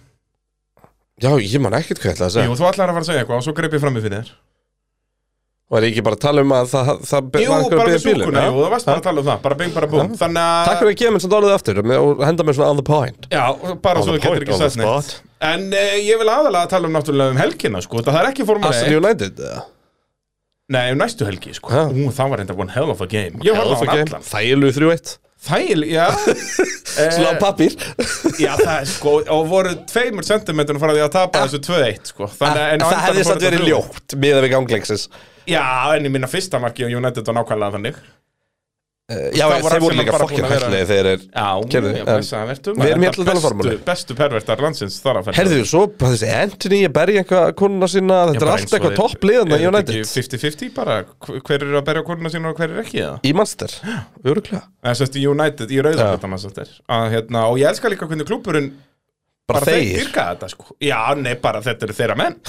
Speaker 2: Já, ég man ekkert hvað ég ætla að segja
Speaker 3: Jú, þú ætlar að fara að segja eitthvað og svo greip ég fram í fyrir þér
Speaker 2: Var ég ekki bara að tala um að það, það
Speaker 3: Jú,
Speaker 2: var einhver að
Speaker 3: bara með
Speaker 2: biðja bílinn?
Speaker 3: súkuna,
Speaker 2: Já.
Speaker 3: jú, það varst bara að tala um það Bara bing, bara búm Þannig að
Speaker 2: Takk fyrir að gefa mér svo dálítið aftur og- og henda mér svona on the point
Speaker 3: Já, bara
Speaker 2: On
Speaker 3: svo
Speaker 2: the
Speaker 3: þú getur
Speaker 2: point,
Speaker 3: ekki
Speaker 2: on
Speaker 3: sagt
Speaker 2: the
Speaker 3: neitt
Speaker 2: spot.
Speaker 3: En uh, ég vil aðalega tala um náttúrulega um helgina sko, Það er ekki formule
Speaker 2: Aston
Speaker 3: 1
Speaker 2: United eða?
Speaker 3: Nei, um næstu helgi sko.
Speaker 2: Ha.
Speaker 3: Ú, það var enda one hell of a game Ég
Speaker 2: Hell
Speaker 3: horfði á
Speaker 2: of a
Speaker 3: hann
Speaker 2: game.
Speaker 3: allan
Speaker 2: Þægilegur 3-1
Speaker 3: Þæl, já
Speaker 2: Svona á
Speaker 3: Eh,
Speaker 2: pappír
Speaker 3: Já, það er sko Og voru tveimur sentimentur frá því að tapa þessu 2-1 sko. Þannig að- en á
Speaker 2: Ah. Það
Speaker 3: endanum
Speaker 2: hefði
Speaker 3: fór
Speaker 2: satt
Speaker 3: þetta
Speaker 2: verið
Speaker 3: 3-1.
Speaker 2: ljótt miðað við ganglegsins
Speaker 3: Já, en í minna fyrsta marki á United var nákvæmlega þannig
Speaker 2: Já,
Speaker 3: Það voru
Speaker 2: þeir voru
Speaker 3: allir
Speaker 2: líka
Speaker 3: bara búin
Speaker 2: fokkin
Speaker 3: að vera-
Speaker 2: hættilega þegar er
Speaker 3: Já,
Speaker 2: Gerðu,
Speaker 3: já,
Speaker 2: en-
Speaker 3: blessa, vertu
Speaker 2: Við erum
Speaker 3: Enda
Speaker 2: hér til að tala formúlu.
Speaker 3: bestu- Bestu pervertar landsins þar að ferð
Speaker 2: Herðu, svo bara þessi Anthony að berja eitthvað konuna sína Þetta er allt eitthvað toppliðan í United
Speaker 3: 50-50 bara, hver hver eru að berja konuna sína og hver eru ekki það
Speaker 2: Í Manchester, öruglega
Speaker 3: Það sést í United, í
Speaker 2: Já.
Speaker 3: rauðarbetan ja. að hérna, og ég elska líka hvernig klúburinn
Speaker 2: Bara
Speaker 3: þeir
Speaker 2: þeir
Speaker 3: dyrka þetta sko Já, nei, bara þetta eru þeirra menn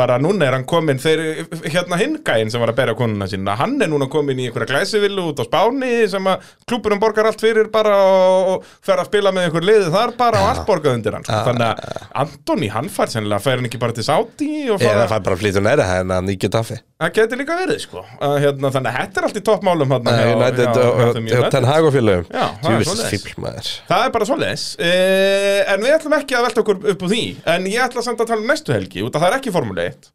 Speaker 3: bara núna er hann kominn, þeir, hérna hingæinn sem var að berja konuna sína, hann er núna kominn í einhverja glæsivillu út á Spáni sem að klúburinn borgar allt fyrir bara og, og fer að spila með einhver liði þar bara og allt borgað undir hann sko. þannig að Antoni, hann fær sennilega, fær hann ekki bara til Sáti
Speaker 2: Eða
Speaker 3: og fara
Speaker 2: það er bara að flytja um næra henni að nýja taffi
Speaker 3: Það getur líka verið, sko. Að, hérna, þannig að þetta er allt í toppmálum hérna. hjá-
Speaker 2: Eh, United
Speaker 3: hjá- hjá
Speaker 2: og
Speaker 3: þeim
Speaker 2: og Ten
Speaker 3: United.
Speaker 2: Hag og félögum
Speaker 3: Já, það er
Speaker 2: Djúvist
Speaker 3: svoleiðis.
Speaker 2: fíbl maður
Speaker 3: Það er bara svoleiðis. Uh, en við ætlum ekki að velta okkur upp úr því. En ég ætla samt að tala um næstu helgi, út að það er ekki Formule 1.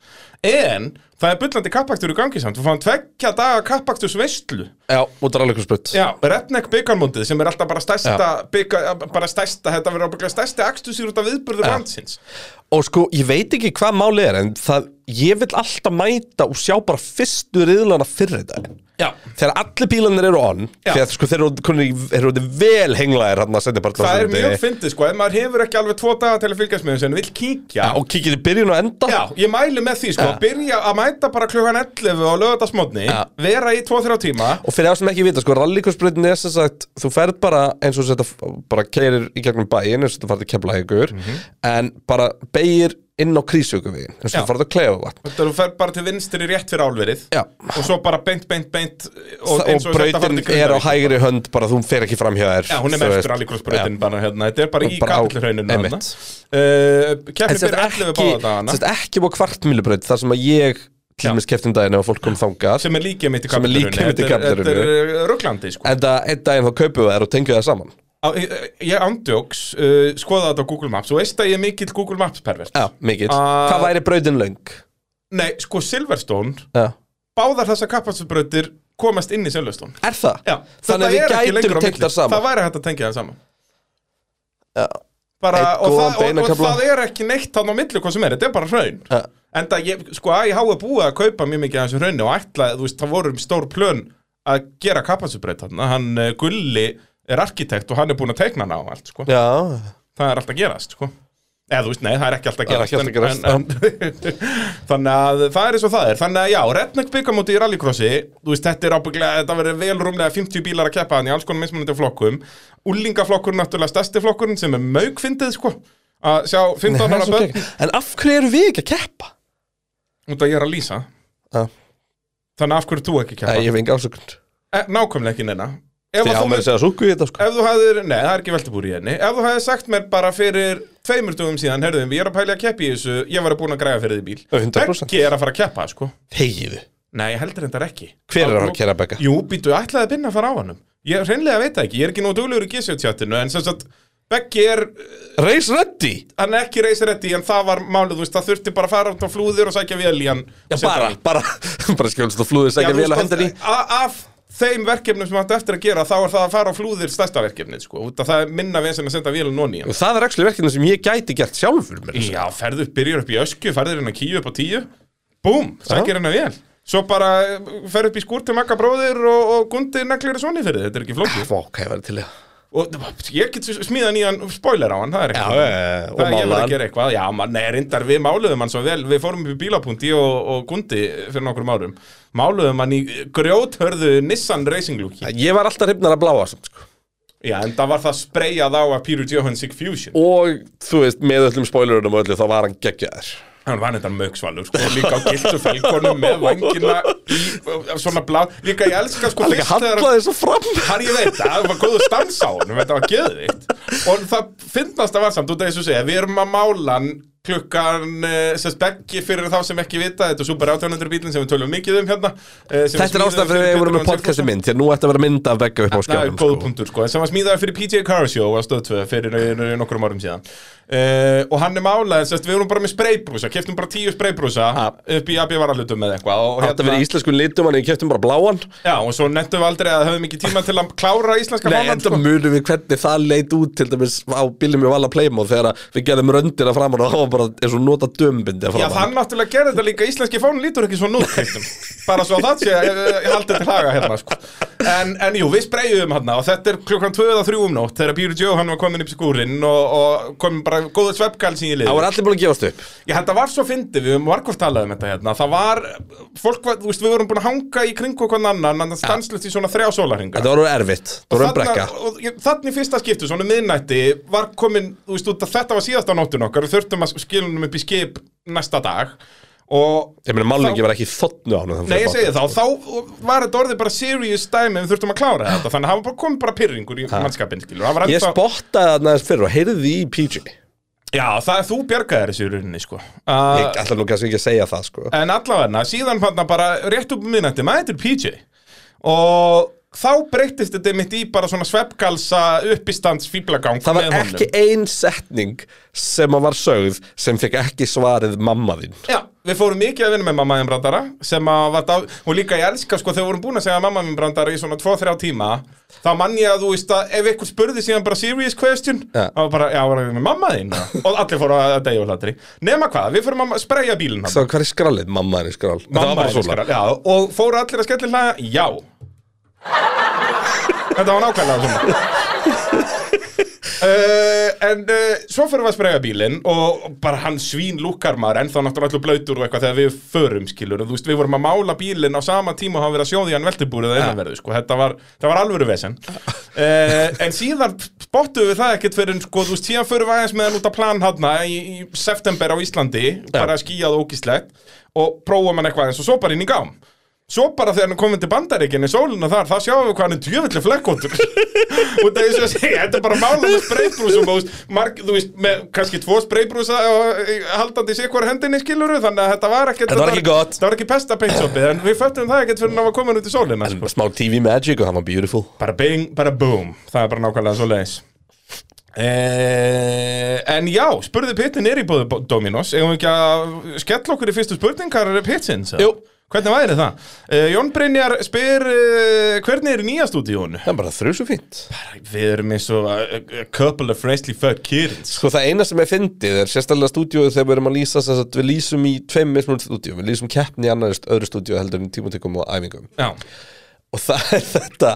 Speaker 3: En það er bullandi kappakstur í gangi samt. Við fáum tveggja daga kappakstus veistlu.
Speaker 2: Já, út af rannleikur sputt
Speaker 3: Já, Redneck byggarmóndið sem er alltaf bara stærsta,
Speaker 2: Já.
Speaker 3: byggar, bara stærsta, þetta verður ábygglega stærsti akstusir út af viðburður landsins.
Speaker 2: Og sko, ég veit ekki hvað máli er En það, ég vil alltaf mæta og sjá bara fyrstu riðlana fyrir þetta
Speaker 3: Já.
Speaker 2: Þegar allir bílanir eru on
Speaker 3: Já.
Speaker 2: Þegar sko, þeir eru kunni- eru orðið vel henglaðir hann að senda bara
Speaker 3: Það er mjög fyndið sko, ef maður hefur ekki alveg tvo daga til að fylgjast með þessu en vill kíkja
Speaker 2: Og kikið í byrjun og enda
Speaker 3: Já, ég mæli með því sko, byrja að mæta bara klukkan 11 á lögadagsmótni,
Speaker 2: Já.
Speaker 3: vera í 2-3 tíma
Speaker 2: Og fyrir það sem ekki vita, sko, rallíkursbreytin er sem sagt, þú ferð bara eins og þetta bara keirir í gegnum bæin eins og þetta farið kemla ykkur,
Speaker 3: Mhm.
Speaker 2: en bara beigir inn á krísjökuvegin eins og
Speaker 3: Já.
Speaker 2: þetta farið að klefa vatn.
Speaker 3: Þetta er þú fer bara til vinstri rétt fyrir álverið
Speaker 2: Já.
Speaker 3: og svo bara beint, beint, beint
Speaker 2: Og,
Speaker 3: eins
Speaker 2: og
Speaker 3: þetta farið
Speaker 2: breytin
Speaker 3: til
Speaker 2: er á
Speaker 3: Grindavík.
Speaker 2: hægri hönd, bara þú fer ekki fram hjá þér.
Speaker 3: Já, hún
Speaker 2: þú
Speaker 3: er með
Speaker 2: veist.
Speaker 3: eftir alíkrossbreytin bara hérna, þetta er bara í Eh,
Speaker 2: Bara á-
Speaker 3: kapillhrauninu
Speaker 2: einmitt. En
Speaker 3: Kjæftin
Speaker 2: sem
Speaker 3: byrja
Speaker 2: sagt
Speaker 3: 11
Speaker 2: ekki,
Speaker 3: báða dagana
Speaker 2: sem sagt ekki búið kvartmýlubreyt þar sem að ég
Speaker 3: Já.
Speaker 2: til mér skeftin daginn ef fólk kom þangað.
Speaker 3: sem er líka mitt í
Speaker 2: Sem er
Speaker 3: kapillhrauninu
Speaker 2: líka mitt í Kapellhrauninni.
Speaker 3: Þetta er rugglandi sko
Speaker 2: En það einn daginn þá kaupum við þær og tengjum það saman.
Speaker 3: Á- ég- Ég andjóks, uh, skoða þetta á Google Maps og veist að ég er mikill Google Maps pervert
Speaker 2: Já, mikill.
Speaker 3: Ah.
Speaker 2: Hvað væri breytin löng?
Speaker 3: Nei, sko Silverstone
Speaker 2: Já.
Speaker 3: báðar þessar kappakstusbrautir komast inn í Silverstone
Speaker 2: Er það?
Speaker 3: Já,
Speaker 2: Þannig að við
Speaker 3: þetta er ekki
Speaker 2: gætum
Speaker 3: lengur á
Speaker 2: tengt
Speaker 3: milli.
Speaker 2: þær saman.
Speaker 3: Það væri hægt að tengja það saman
Speaker 2: Já.
Speaker 3: bara,
Speaker 2: Einn
Speaker 3: og,
Speaker 2: góðan
Speaker 3: það, og, og
Speaker 2: beinakafla.
Speaker 3: það er ekki neitt þannig á milli hvað sem er, þetta er bara hraun
Speaker 2: Ja.
Speaker 3: en það, ég, sko, að ég hái búið að kaupa mjög mikið af þessu hraunni og ætla, þú veist, það voru um stór plön að gera kapasitbreyt þarna hann eh, Gulli er arkitekt og hann er búin að teikna hana á allt sko.
Speaker 2: Já,
Speaker 3: það er alltaf gerast sko. eða þú veist, nei, það er ekki
Speaker 2: Það
Speaker 3: alltaf
Speaker 2: er
Speaker 3: gerast,
Speaker 2: ekki alltaf
Speaker 3: en, en, þannig að það er eins og það er þannig að já, Redneck byggamóti í rallycrossi þú veist, þetta er ábygglega, þetta verður vel rúmlega 50 bílar að keppa hann í alls konum mismunandi flokkum úlingaflokkur, náttúrulega stærsti flokkurinn sem er maukfyndið, sko að sjá 15
Speaker 2: það er
Speaker 3: ára
Speaker 2: svo
Speaker 3: börn
Speaker 2: gegn En af hverju eru við ekki að keppa?
Speaker 3: út að ég er að lýsa
Speaker 2: Já.
Speaker 3: þannig að af hverju þú ekki
Speaker 2: Nei,
Speaker 3: keppa
Speaker 2: ég hef enga ásökund
Speaker 3: Eh, nákvæmlega ekki neina ef
Speaker 2: Ég
Speaker 3: að
Speaker 2: á
Speaker 3: þú
Speaker 2: með að segja súku í þetta sko
Speaker 3: ef þú hafðir, nei það er ekki veltebúr í henni ef þú hafðir sagt mér bara fyrir tveimur dögum síðan, herðum, ég er að pæla að keppa í þessu ég var búin að græða fyrir því bíl
Speaker 2: 100%.
Speaker 3: Beggi er að fara að keppa, sko
Speaker 2: Hegiðu
Speaker 3: nei, ég heldur þetta ekki
Speaker 2: Hver er að kera begga?
Speaker 3: jú, býtu, ætlaði að binna að fara á hannum ég reynlega veit það ekki, ég er ekki nú duglegur í G7-tjáttinu en sem sagt, Beggi er
Speaker 2: Race ready
Speaker 3: hann er ekki reysiretti, en það var málið, þú veist, það þurfti bara að fara út á flúðir og sækja vel í hann
Speaker 2: Já,
Speaker 3: og setja
Speaker 2: bara,
Speaker 3: hann í.
Speaker 2: bara Bara skjólst og flúðið
Speaker 3: Já,
Speaker 2: segja
Speaker 3: þú
Speaker 2: vel að
Speaker 3: veist,
Speaker 2: hendur í
Speaker 3: a- af þeim verkefnum sem átti eftir að gera þá er það að fara á flúðir stærsta verkefnið sko, út af það er minna vesen að senda vélum nonni
Speaker 2: Og það er ekki verkefni sem ég gæti gert sjálfur mér
Speaker 3: Já, ferðu, byrjur upp í ösku, ferður hérna kíu upp á tíu Búm, sækir hérna vel Svo bara eh, fer upp í skúr til makka bróðir og, og gundi neglir svona fyrir þig, þetta er ekki flókið
Speaker 2: Vá, hvað ég væri til í það
Speaker 3: Og ég get smíða nýjan spoiler á hann, það er
Speaker 2: Já,
Speaker 3: ekki
Speaker 2: eh, og
Speaker 3: Það ég verið
Speaker 2: mála
Speaker 3: að
Speaker 2: hann.
Speaker 3: gera eitthvað, já, man, nei, reyndar við máluðum hann svo vel, við fórum upp í bílapunkti og, og gundi fyrir nokkrum árum Máluðum hann í grjóthörðu Nissan Racing Looki
Speaker 2: Ég var alltaf hrifnar að bláa samt sko
Speaker 3: Já, en það var það spreyjað á að Pyrrhu Johansson Fusion
Speaker 2: Og, þú veist, með öllum spoilerunum og öllu þá var hann geggjaður
Speaker 3: Hann var þetta mögsvalur, sko, líka á gildu felkonum með vangina í, eh, svona blá, líka ég elska sko
Speaker 2: Hann líka handlaði svo fram
Speaker 3: Hann ég veit það, það var góðu stans á honum, þetta var geðvikt Og það finnast að var samt, út af þessu segja, við erum að mála hann klukkan, eh, sem beggi fyrir þá sem ekki vita, þetta er Super 800 bílinn sem við tölum mikið um hérna eh, sem
Speaker 2: Þetta er
Speaker 3: smíðaður
Speaker 2: ástæðan fyrir að við
Speaker 3: Pétur
Speaker 2: vorum með
Speaker 3: Jóhann
Speaker 2: podcasti
Speaker 3: Sigfússon.
Speaker 2: mynd Því að nú ætti að vera mynd af begga upp á
Speaker 3: Það er
Speaker 2: skjáðum
Speaker 3: góð
Speaker 2: sko.
Speaker 3: punktur sko, en sem var smíðaður fyrir PJ Car Show á stöðtvöð fyrir eh, nokkrum árum síðan uh, og hann er málaðið, sérst, við vorum bara með spraybrúsa, keftum bara tíu spraybrúsa
Speaker 2: Ha.
Speaker 3: upp í AB varahlutum með eitthvað og, hérna-
Speaker 2: Þetta verið íslenskun litum, hann ég keftum bara bláan
Speaker 3: já, og svo nettum við aldrei að höfum ekki tíma til að klára íslenska
Speaker 2: Nei,
Speaker 3: málan
Speaker 2: enda
Speaker 3: sko.
Speaker 2: munum við hvernig það leit út til dæmis á bílum í Valla Playmóð þegar að við gerðum röndina framan og það var bara eins og nota dömbindi
Speaker 3: Já,
Speaker 2: framan
Speaker 3: hann náttúrulega gerði þetta líka, íslenski fón lítur ekki svona út, Kristján Bara svo að það sé, ég, ég haldi þetta haga hérna, sko En, en jú, við spreyjum hann og þetta er klukkan 2 eða 3 um nótt þegar Píru Joe hann var komin upp í skúrin og, og komin bara góða sveppkalsin í lið
Speaker 2: Það var allir búin að gefast upp
Speaker 3: Já, þetta var svo fyndið, við höfum varkvort talað um þetta hérna Það var, fólk var, þú veist, við vorum búin að hanga í kringu okkur annan En það stanslust í svona þrjá sólarhinga
Speaker 2: Þetta var orðið erfitt, það var um brekka
Speaker 3: og ég- þarna í fyrsta skiptu, svona um miðnætti Var komin, þú veist, út að þetta var síðasta nóttun okkar Við þurftum að skilunum upp í skip næsta dag Og
Speaker 2: Ég meina, málningi var ekki í þotnu ánum
Speaker 3: Nei, ég segi þá, þá var þetta orðið bara serious dæmi Við þurftum að klára þetta, þannig að hafa bara komið bara pyrringur í mannskapin, skilur Það var
Speaker 2: Ég
Speaker 3: ennþá-
Speaker 2: spottaði það næðast fyrir og heyrði í PG Ég
Speaker 3: Já, það er þú bjargaðir þessu í rauninni, sko uh,
Speaker 2: ætla nú kannski ekki að segja það sko
Speaker 3: En allavegna, síðan fann það bara rétt upp um minnætti, maður PJ Og þá breyttist þetta mitt í bara svona sveppgalsa uppistands fíblagang
Speaker 2: Það var ekki ein setning sem að var sögð sem fekk ekki svarið mamma þín
Speaker 3: Já, við fórum mikið að vinna með mamma þeim brandara sem að var dál... og líka ég elska sko þegar við vorum búin að segja mamma þeim brandara í svona 2-3 tíma þá mann ég að þú veist að ef einhver spurði síðan bara serious question
Speaker 2: Já.
Speaker 3: þá var bara, já, var það með mamma þín og allir fóru að degja og hlatri Nema hvað, við fórum að spreyja bílinn hann
Speaker 2: Svo hvað er skrallið? Mamma þín er skrall Þetta var
Speaker 3: Mamma
Speaker 2: bara
Speaker 3: þín
Speaker 2: svona
Speaker 3: skar- já, og fóru allir að skellir hlæja, já Þetta var nákvæmlega svona Uh, en uh, svo fyrir við að sprega bílinn og bara hann svín lúkar maður en þá náttúrulega allur blöytur og eitthvað þegar við förum skilur og þú veist við vorum að mála bílinn á sama tíma og hann verið að sjóði hann veltibúrið eða innanverðu sko þetta var, það var alvöru vesen uh, en síðan spottuðum við það ekkert fyrir sko þú veist síðan fyrir við aðeins með hann út að plan hann í, í september á Íslandi bara skýjað og ógíslegt og prófum hann eitthvað eins og svo bara inn í gám Svo bara þegar hann er komin til bandaríkinni, sóluna þar, þá sjáum við hvað hann er djöfellir flekkóttur. og það er svo að segja, þetta er bara mála með spreybrúsum og þú veist, marg, þú veist, með kannski tvo spreybrúsa og e, haldandi sér hvar hendinni skiluru, þannig að þetta var ekkert...
Speaker 2: Þetta var ekki gott.
Speaker 3: Þetta var ekki pesta peintshopið, en við föttum það ekkert fyrir hann var komin út í sólina. sko.
Speaker 2: Smá TV magic og það var beautiful
Speaker 3: Bara bing, bara boom, það er bara nákvæmlega svo leiðis. Eh, en já, spurði pittin er í bóðu Bo- Dominos Eigum við ekki að skella okkur í fyrstu spurningar pittins? eða?
Speaker 2: Jú.
Speaker 3: Hvernig væri það? Uh, Jón Brynjar spyr uh, hvernig er í nýja stúdíónu?
Speaker 2: Það er bara þrjus og fínt
Speaker 3: Við erum eins og a, a couple of freshly fucked kids
Speaker 2: Sko það eina sem ég fyndið er sérstaklega stúdíóið þegar við erum að lýsa þess að við lýsum í tveim mismunum stúdíóum, við lýsum keppni í annarist öðru stúdíói heldur en tímatökum og æfingum
Speaker 3: Já,
Speaker 2: og það er þetta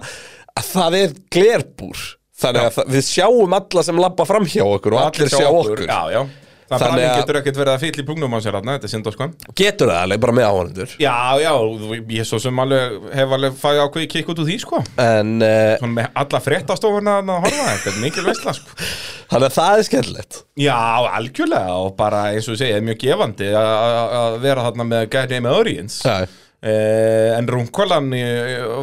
Speaker 2: að það er glerbúr þannig að það, við sjáum alla sem labba fram hjá okkur og allir, sjá okkur,
Speaker 3: Já, já Það
Speaker 2: Þannig
Speaker 3: Þannig
Speaker 2: að-
Speaker 3: getur ekkert verið að fylla í pungnum á sér hérna, þetta er sindoskvæm
Speaker 2: getur það alveg bara með áhörnendur
Speaker 3: Já, já, þú- ég svo sem alveg hef alveg fæði ákveði kikk út úr því, sko
Speaker 2: en uh,
Speaker 3: Svona með alla fréttastofuna að horfa, þetta er mikil veistla, sko
Speaker 2: þannig að það er skemmtilegt
Speaker 3: Já, algjörlega og bara eins og ég segi, er mjög gefandi að- að að vera þarna með Guy Name Audience
Speaker 2: Já.
Speaker 3: Eh, en rungkolan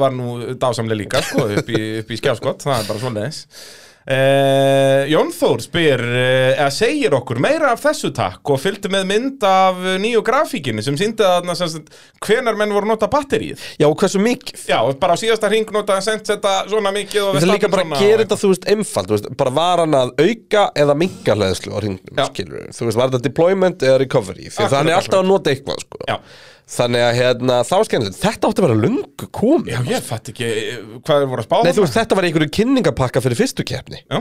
Speaker 3: var nú dásamlega líka sko, upp í, upp í skjáskott, það er bara svoleiðis eh, Jón Þór spyr eh, eða segir okkur meira af þessu takk og fylgdi með mynd af eh, nýju grafíkinni sem síndi að hvenar menn voru að nota batterið
Speaker 2: já og hversu mikið
Speaker 3: Já, bara á síðasta hring notaði sent þetta svona mikið og
Speaker 2: Við
Speaker 3: við
Speaker 2: þurfum líka
Speaker 3: statum
Speaker 2: bara
Speaker 3: svona
Speaker 2: að gera
Speaker 3: og
Speaker 2: þetta, þú veist, einfalt, þú veist, bara var hann að auka eða minka hleðslu á hringnum,
Speaker 3: Já.
Speaker 2: skilur við, þú veist, var þetta deployment eða recovery, því
Speaker 3: Akkurat,
Speaker 2: að hann er alltaf að nota eitthvað, sko.
Speaker 3: Já.
Speaker 2: Þannig að, hérna, þá skemmtilegt, þetta átti að vera lungu komið.
Speaker 3: eitthvað. Já, ég fatt ekki eh, hvað þeir voru að spá
Speaker 2: Nei, þú
Speaker 3: þarna.
Speaker 2: veist, þetta var einhverju kynningapakka fyrir fyrstu keppni
Speaker 3: Já.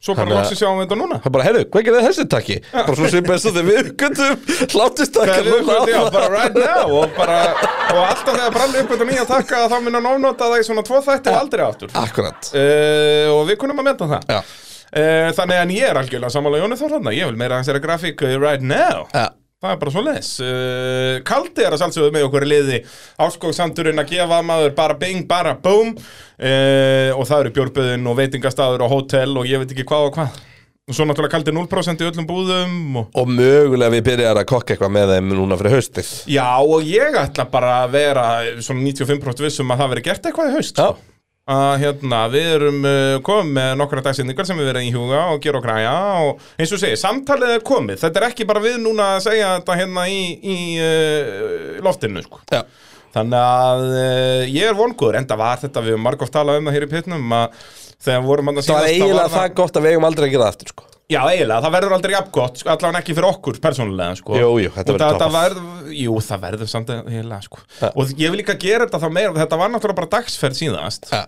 Speaker 3: Svo bara
Speaker 2: Þannig að-
Speaker 3: loksins sjáum við þetta núna
Speaker 2: Það er bara, heyrðu, hvað gerði þessi takki? Bara svona svipað eins og þegar við göndum hlátistakka
Speaker 3: Það er uppgötu, já, bara right now og, bara, og alltaf þegar bralli uppgötu nýja takka þá mun hann ofnota það í svona tvo þætti og aldrei aftur
Speaker 2: Akkurat
Speaker 3: uh, og við kunum að menta það
Speaker 2: Ah. Já.
Speaker 3: uh, þannig að ég er algjörlega sammála Jónu Þorðarna ég vil meira hans þeirra grafík eh, right now
Speaker 2: Já.
Speaker 3: Það er bara svo les uh, Kaldi er að sálsögðu með okkur í liði Áskóksandurinn að gefa maður bara bing, bara boom uh, Og það eru bjórböðin og veitingastadur og hótel og ég veit ekki hvað og hvað Og svo náttúrulega kaldi 0% í öllum búðum og
Speaker 2: Og mögulega við byrjar að kokka eitthvað með þeim núna fyrir haustið
Speaker 3: Já, og ég ætla bara að vera svona 95% vissum um að það veri gert eitthvað í haust sko. að hérna, við erum uh, komið með nokkra dagsendingar sem við verðum í huga og gera og græja og eins og segja, samtalið er komið þetta er ekki bara við núna að segja þetta hérna í, í uh, loftinu sko.
Speaker 2: Já.
Speaker 3: Þannig að uh, ég er vongur, enda var þetta við margóft talað um það hér í pitnum að þegar vorum að
Speaker 2: Það var eiginlega það gott að við eigum aldrei að gera það aftur sko.
Speaker 3: Já, eiginlega, það verður aldrei jafn gott, sko, allavega ekki fyrir okkur persónulega, sko.
Speaker 2: Jú, jú, þetta
Speaker 3: Og
Speaker 2: verður
Speaker 3: það- það
Speaker 2: toppað.
Speaker 3: verð- Jú, það verður samt eiginlega, sko. Og ég vil líka gera þetta þá meira, þetta var náttúrulega bara dagsferð síðast.
Speaker 2: Ja.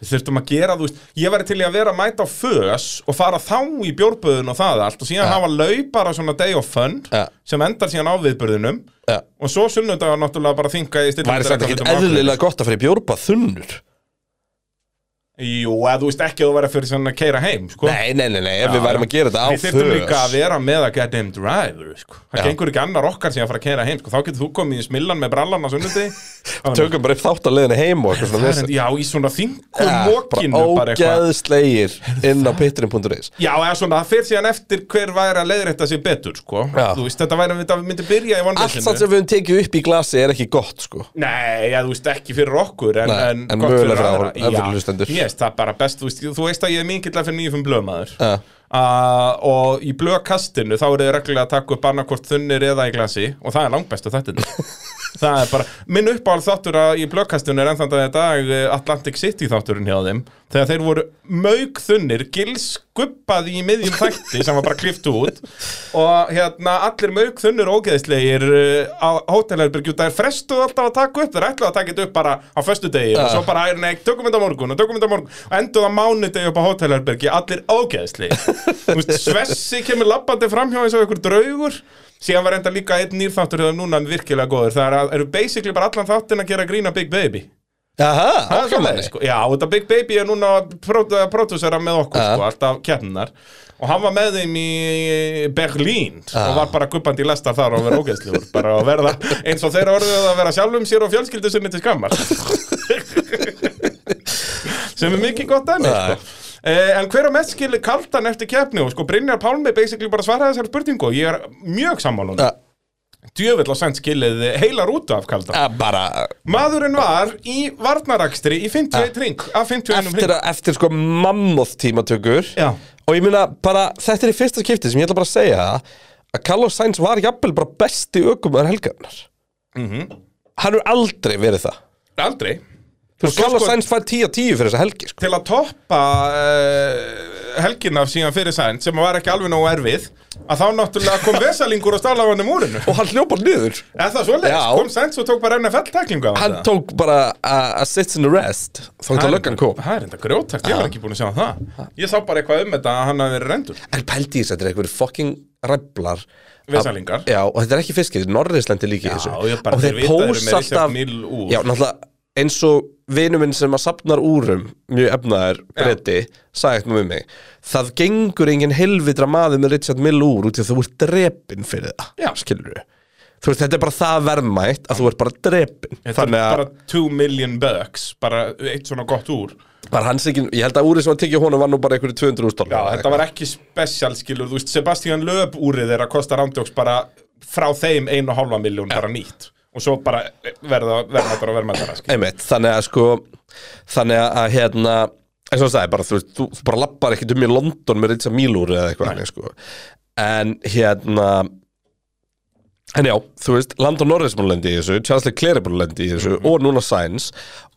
Speaker 3: Við þurftum að gera, þú veist, ég væri til í að vera að mæta á fös og fara þá í bjórböðun og það allt og síðan hafa laup bara svona day of fun
Speaker 2: Ja.
Speaker 3: sem endar síðan á viðbörðunum.
Speaker 2: Ja.
Speaker 3: Og svo sunnudagar náttúrulega bara þinga í stilla
Speaker 2: Væri þetta ekkit eðlilega gott að fyrir bjórpa þunnur
Speaker 3: Jú, eða þú veist ekki að þú verið fyrir svona að keira heim, sko.
Speaker 2: Nei, nei, nei, nei, ef við værum að gera þetta á
Speaker 3: Við þyrftum líka að
Speaker 2: þau
Speaker 3: vera með að get them driver sko. Það
Speaker 2: Já.
Speaker 3: gengur ekki annar okkar sem að fara að kera heim sko. Þá getur þú komið í smillan með brallan á sunnundi
Speaker 2: Tökum bara upp þátt að leiðinu heim og eitthvað svona vesen.
Speaker 3: Já, í svona þingum
Speaker 2: Já,
Speaker 3: mókinu bara eitthvað
Speaker 2: Ógeðslegir inn á pitturinn.is
Speaker 3: Já, eða svona, það fyrir síðan eftir hver væri að leiðrétta sér betur, sko
Speaker 2: Já.
Speaker 3: Þú veist, þetta væri að við myndum byrja í
Speaker 2: Allt samt sem
Speaker 3: vonleysinu
Speaker 2: við höfum tekið upp í glasi er ekki gott sko
Speaker 3: Nei, já, þú veist, ekki fyrir okkur En,
Speaker 2: Nei,
Speaker 3: en,
Speaker 2: en
Speaker 3: gott
Speaker 2: mögulega fyrir áhor-
Speaker 3: aðra.
Speaker 2: fyrir hlustendur.
Speaker 3: Já, yes, það er bara best, þú veist, þú veist að ég er mingill fyrir nýjum blöðmaður
Speaker 2: Já.
Speaker 3: Uh, og í blöðkastinu þá eru þið reglulega að taka upp annarkvort þunnir eða í glasi og það er langbestu þættinni það er bara, minn uppáhald þáttur að í blöðkastinu er ennþann dag í dag eh, Atlantic City þátturinn hjá þeim þegar þeir voru mög þunnir gils guppaði í miðjum þætti sem var bara klift út og hérna allir mög þunnir og ógeðislegir eh, á hótelherbergju það er frestuð alltaf að taka upp, þeir ætluðu að taka þetta upp bara á föstudegi og svo bara, nei, tökum þetta á morgun og tökum þetta á morgun og endur það mánudegi upp á hótelherbergi, allir ógeðsli Svessi kemur labbandi framhjá eins og einhver draugur síðan var enda líka einn nýrþáttur hefur núna virkilega góður, það er að, eru basically bara allan þáttinn að gera grína Big Baby
Speaker 2: Jaha,
Speaker 3: Það er
Speaker 2: ákvæmni
Speaker 3: svoleiðis, sko. Já, og þetta Big Baby er núna að pródú- að pródúsera með okkur,
Speaker 2: Ja.
Speaker 3: sko, alltaf keppnar og hann var með þeim í Berlín og var bara guppandi í lestar þar og verið ógeðslegur, bara að verða eins og þeirra orðið að vera sjálfum sér og fjölskyldu sinni til skammar sem er mikið gott dæmi,
Speaker 2: Ja.
Speaker 3: sko Eh, en hver að mest skili kaldan eftir keppni og sko Brynjar Pálmi basically bara svaraði þessari spurningu og ég er mjög sammálun ja.
Speaker 2: Ja.
Speaker 3: djöfull á sent skilið heilar út af kaldan
Speaker 2: Ja, bara
Speaker 3: Maðurinn var í varnarakstri í 51 ring af 51
Speaker 2: eftir,
Speaker 3: ring
Speaker 2: að, eftir sko mammoth tímatökur
Speaker 3: Já.
Speaker 2: og ég meina bara þetta er í fyrsta skipti sem ég ætla bara að segja það að Carlos Sainz var jafnvel bara besti ökumöður helgarnar hann er aldrei verið það
Speaker 3: Aldrei
Speaker 2: Þú
Speaker 3: Og
Speaker 2: veist,
Speaker 3: svo
Speaker 2: Carlos
Speaker 3: sko-
Speaker 2: Sainz fær 10 af 10 fyrir þessa helgi sko.
Speaker 3: Til að toppa uh, helgina síðan fyrir sænt sem var ekki alveg nógu erfið að þá náttúrulega kom vesalingur og stála á hann um úrinu
Speaker 2: og hann hljópa niður
Speaker 3: Er það svoleiðis?
Speaker 2: Já.
Speaker 3: Kom sænt og tók bara NFL-tæklingu á
Speaker 2: hann
Speaker 3: það.
Speaker 2: tók bara a, a sit in the rest þá hann til að löggan kom
Speaker 3: Það er enda grjótakt, ég var ekki búin að sjá um það Ég sá bara eitthvað um þetta að hann hafi verið rendur
Speaker 2: en pældi í þess að þetta er einhver fucking ræflar
Speaker 3: Vesalingar.
Speaker 2: já, og þetta er ekki fiskir, Norrislandi líka í þessu
Speaker 3: ég bara,
Speaker 2: og þeir
Speaker 3: þeir vita þeir eru með
Speaker 2: pósa
Speaker 3: Richard
Speaker 2: alltaf
Speaker 3: Mille úr.
Speaker 2: já, náttúrulega eins og vinur minn sem að safnar úrum mjög efnaðar bretti sagði eitthvað með mig það gengur engin helvitra maður með Richard Mill úr út í að þú ert drepin fyrir það
Speaker 3: Já.
Speaker 2: skilur við þú veist þetta er bara það verðmætt að þú ert bara drepin
Speaker 3: Þetta
Speaker 2: þannig
Speaker 3: er
Speaker 2: að
Speaker 3: bara 2 million bucks bara eitt svona gott úr
Speaker 2: bara hans ekki ég held að úrið sem að tekja honum var nú bara einhverju 200 úrstól
Speaker 3: Já, þetta var ekki special skilur þú veist, Sebastian Lööp úrið er að kosta rándjóks bara frá þeim 1,5 miljón bara nýtt og svo bara verða verðmættara og verðmættara skilur.
Speaker 2: Einmitt, þannig að sko þannig að hérna eins og það sagði bara, þú, veist, þú, þú bara lappar ekkert um í London með Richard Milur eða eitthvað þannig, sko. en hérna en já, þú veist Landon Norris múl lendi í þessu, Charles Leclerc múl lendi í
Speaker 3: Mhm.
Speaker 2: þessu og núna Sainz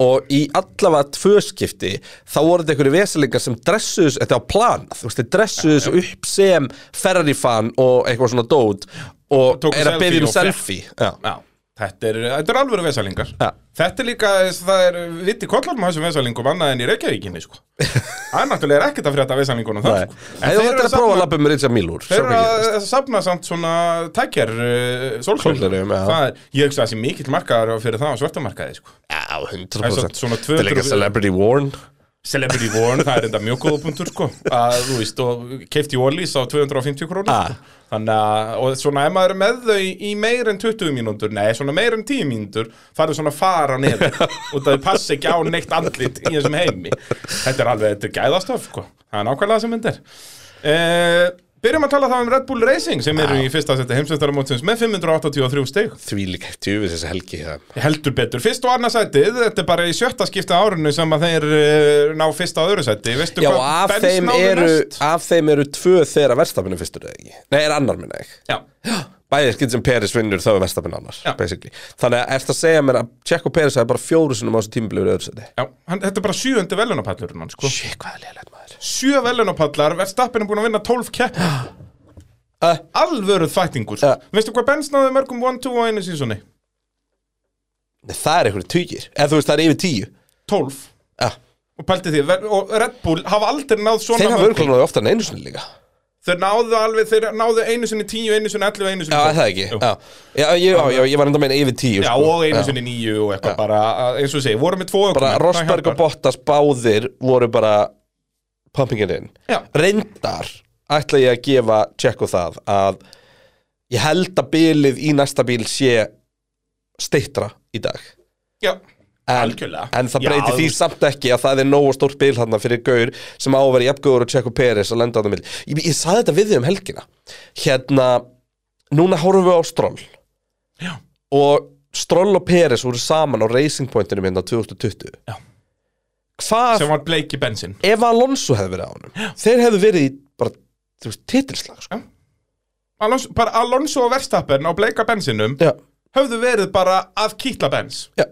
Speaker 2: og í allavega tvö skipti þá voru þetta einhverju veselingar sem dressuðu þessu- þetta á plan, þú veist, þeir dressuðu þessu upp sem Ferrari-fan og eitthvað svona dót
Speaker 3: Og
Speaker 2: og
Speaker 3: tóku
Speaker 2: er að
Speaker 3: selfie
Speaker 2: beðið um
Speaker 3: og fékk.
Speaker 2: selfie já,
Speaker 3: Já, þetta er, þetta er alvöru vesalingar
Speaker 2: Já.
Speaker 3: Þetta er líka, það er viti kollar með þessum vesalingum annað en í Reykjavíkinni sko. Það er náttúrulega ekkert að frétta vesalingunum það
Speaker 2: nei,
Speaker 3: sko. En
Speaker 2: það
Speaker 3: þeir
Speaker 2: er
Speaker 3: eru
Speaker 2: að prófa
Speaker 3: safna-
Speaker 2: að lappa með Richard Milur
Speaker 3: Þeir eru að að safna samt svona tækjar uh, sólsvöldum
Speaker 2: Sólgleraugun, já.
Speaker 3: Ég hugsa að það sé mikill markaðar fyrir það á svartamarkaði sko.
Speaker 2: Já, 100%
Speaker 3: Það er samt svona
Speaker 2: Þetta er líka
Speaker 3: 200
Speaker 2: Celebrity Warn
Speaker 3: Celebrity Warn, það er enda mjög góða punktur sko. að, þú veist, og keifti Ólís á 250
Speaker 2: Ah.
Speaker 3: krónur sko. þannig að, og svona ef maður er með þau í, í meir en 20 mínútur, nei, svona meir en 10 mínútur farðu svona að fara neður og það passa ekki á neitt andlit í þessum heimi þetta er alveg, þetta er gæðastöf sko. það er nákvæmlega það sem þetta er uh, Byrjum að tala þá um Red Bull Racing sem eru í fyrsta seti heimsveistaramótsins með 583 stig
Speaker 2: Því líka tjúfið þessi helgi það.
Speaker 3: Heldur betur, fyrst og annarsætið Þetta er bara í sjötta skipta árinu sem að þeir uh, ná fyrsta og öðru sæti Veistu
Speaker 2: Já, og
Speaker 3: hvað
Speaker 2: af
Speaker 3: Benz
Speaker 2: þeim,
Speaker 3: náði
Speaker 2: eru,
Speaker 3: næst?
Speaker 2: af þeim eru tvö þeirra verstafinu fyrstur eða ekki Nei, er annar minna ekki
Speaker 3: Já,
Speaker 2: Bæðið skilt sem Peris vinnur þá er verstafinu annars
Speaker 3: Já.
Speaker 2: basically. Þannig að ertu að segja mér að Tjekko Peris hafi bara fjóru sinum á þessu tími blöður öðru seti
Speaker 3: já hann, þetta er bara sjöundi velunapallurinn hans sko.
Speaker 2: Shit, hvað er leiðilegt maður
Speaker 3: Sjö velunapallar, verðstappin er búin að vinna 12 kepp
Speaker 2: Eh.
Speaker 3: Alvöruð fætingur sko.
Speaker 2: Eh.
Speaker 3: Veistu hvað Benz náði mörgum 1-2 á einu sísoni?
Speaker 2: Nei, það er einhverju tugir Ef þú veist, það er yfir tíu
Speaker 3: 12
Speaker 2: ah.
Speaker 3: Og pælti því, ver- og Red Bull hafa aldrei náð svona
Speaker 2: Þeir hafa
Speaker 3: mörgum.
Speaker 2: örglanóði ofta en einu sinni líka
Speaker 3: Þeir náðu alveg, þeir náðu einu sinni 10, einu sinni 11, einu sinni
Speaker 2: Já,
Speaker 3: 12.
Speaker 2: er það ekki
Speaker 3: Jú.
Speaker 2: Já, já, ég, já, já ég var enda að meina yfir tíu
Speaker 3: Já,
Speaker 2: sko.
Speaker 3: og einu sinni nýju og eitthvað bara, að- eins og ég segi, voru með tvo
Speaker 2: bara
Speaker 3: ökumenn, það
Speaker 2: Rosberg
Speaker 3: hjálpar.
Speaker 2: og Bottas báðir voru bara pumping it in
Speaker 3: Já.
Speaker 2: reyndar ætla ég að gefa tjekku það að ég held að bilið í næsta bíl sé steittra í dag
Speaker 3: Já,
Speaker 2: en,
Speaker 3: algjörlega
Speaker 2: en það
Speaker 3: Já,
Speaker 2: breyti því
Speaker 3: þú-
Speaker 2: samt ekki að það er nógu stórt bíl hann fyrir Gaur sem á að vera jafngöður og tjekku Peris að lenda á það mill ég, ég saði þetta við þig um helgina hérna, núna horfum við á Stroll
Speaker 3: Já.
Speaker 2: og Stroll og Peris voru saman á Racing Pointinu hérna minna 2020
Speaker 3: Já.
Speaker 2: hvað
Speaker 3: sem var bleiki bensin
Speaker 2: ef Alonso hefði verið á honum þeir hefðu verið í bara, þú veist, titilslag sko.
Speaker 3: Alonso, bara Alonso og Verstappen á bleika bensinum
Speaker 2: já,
Speaker 3: höfðu verið bara að kýtla bens
Speaker 2: já,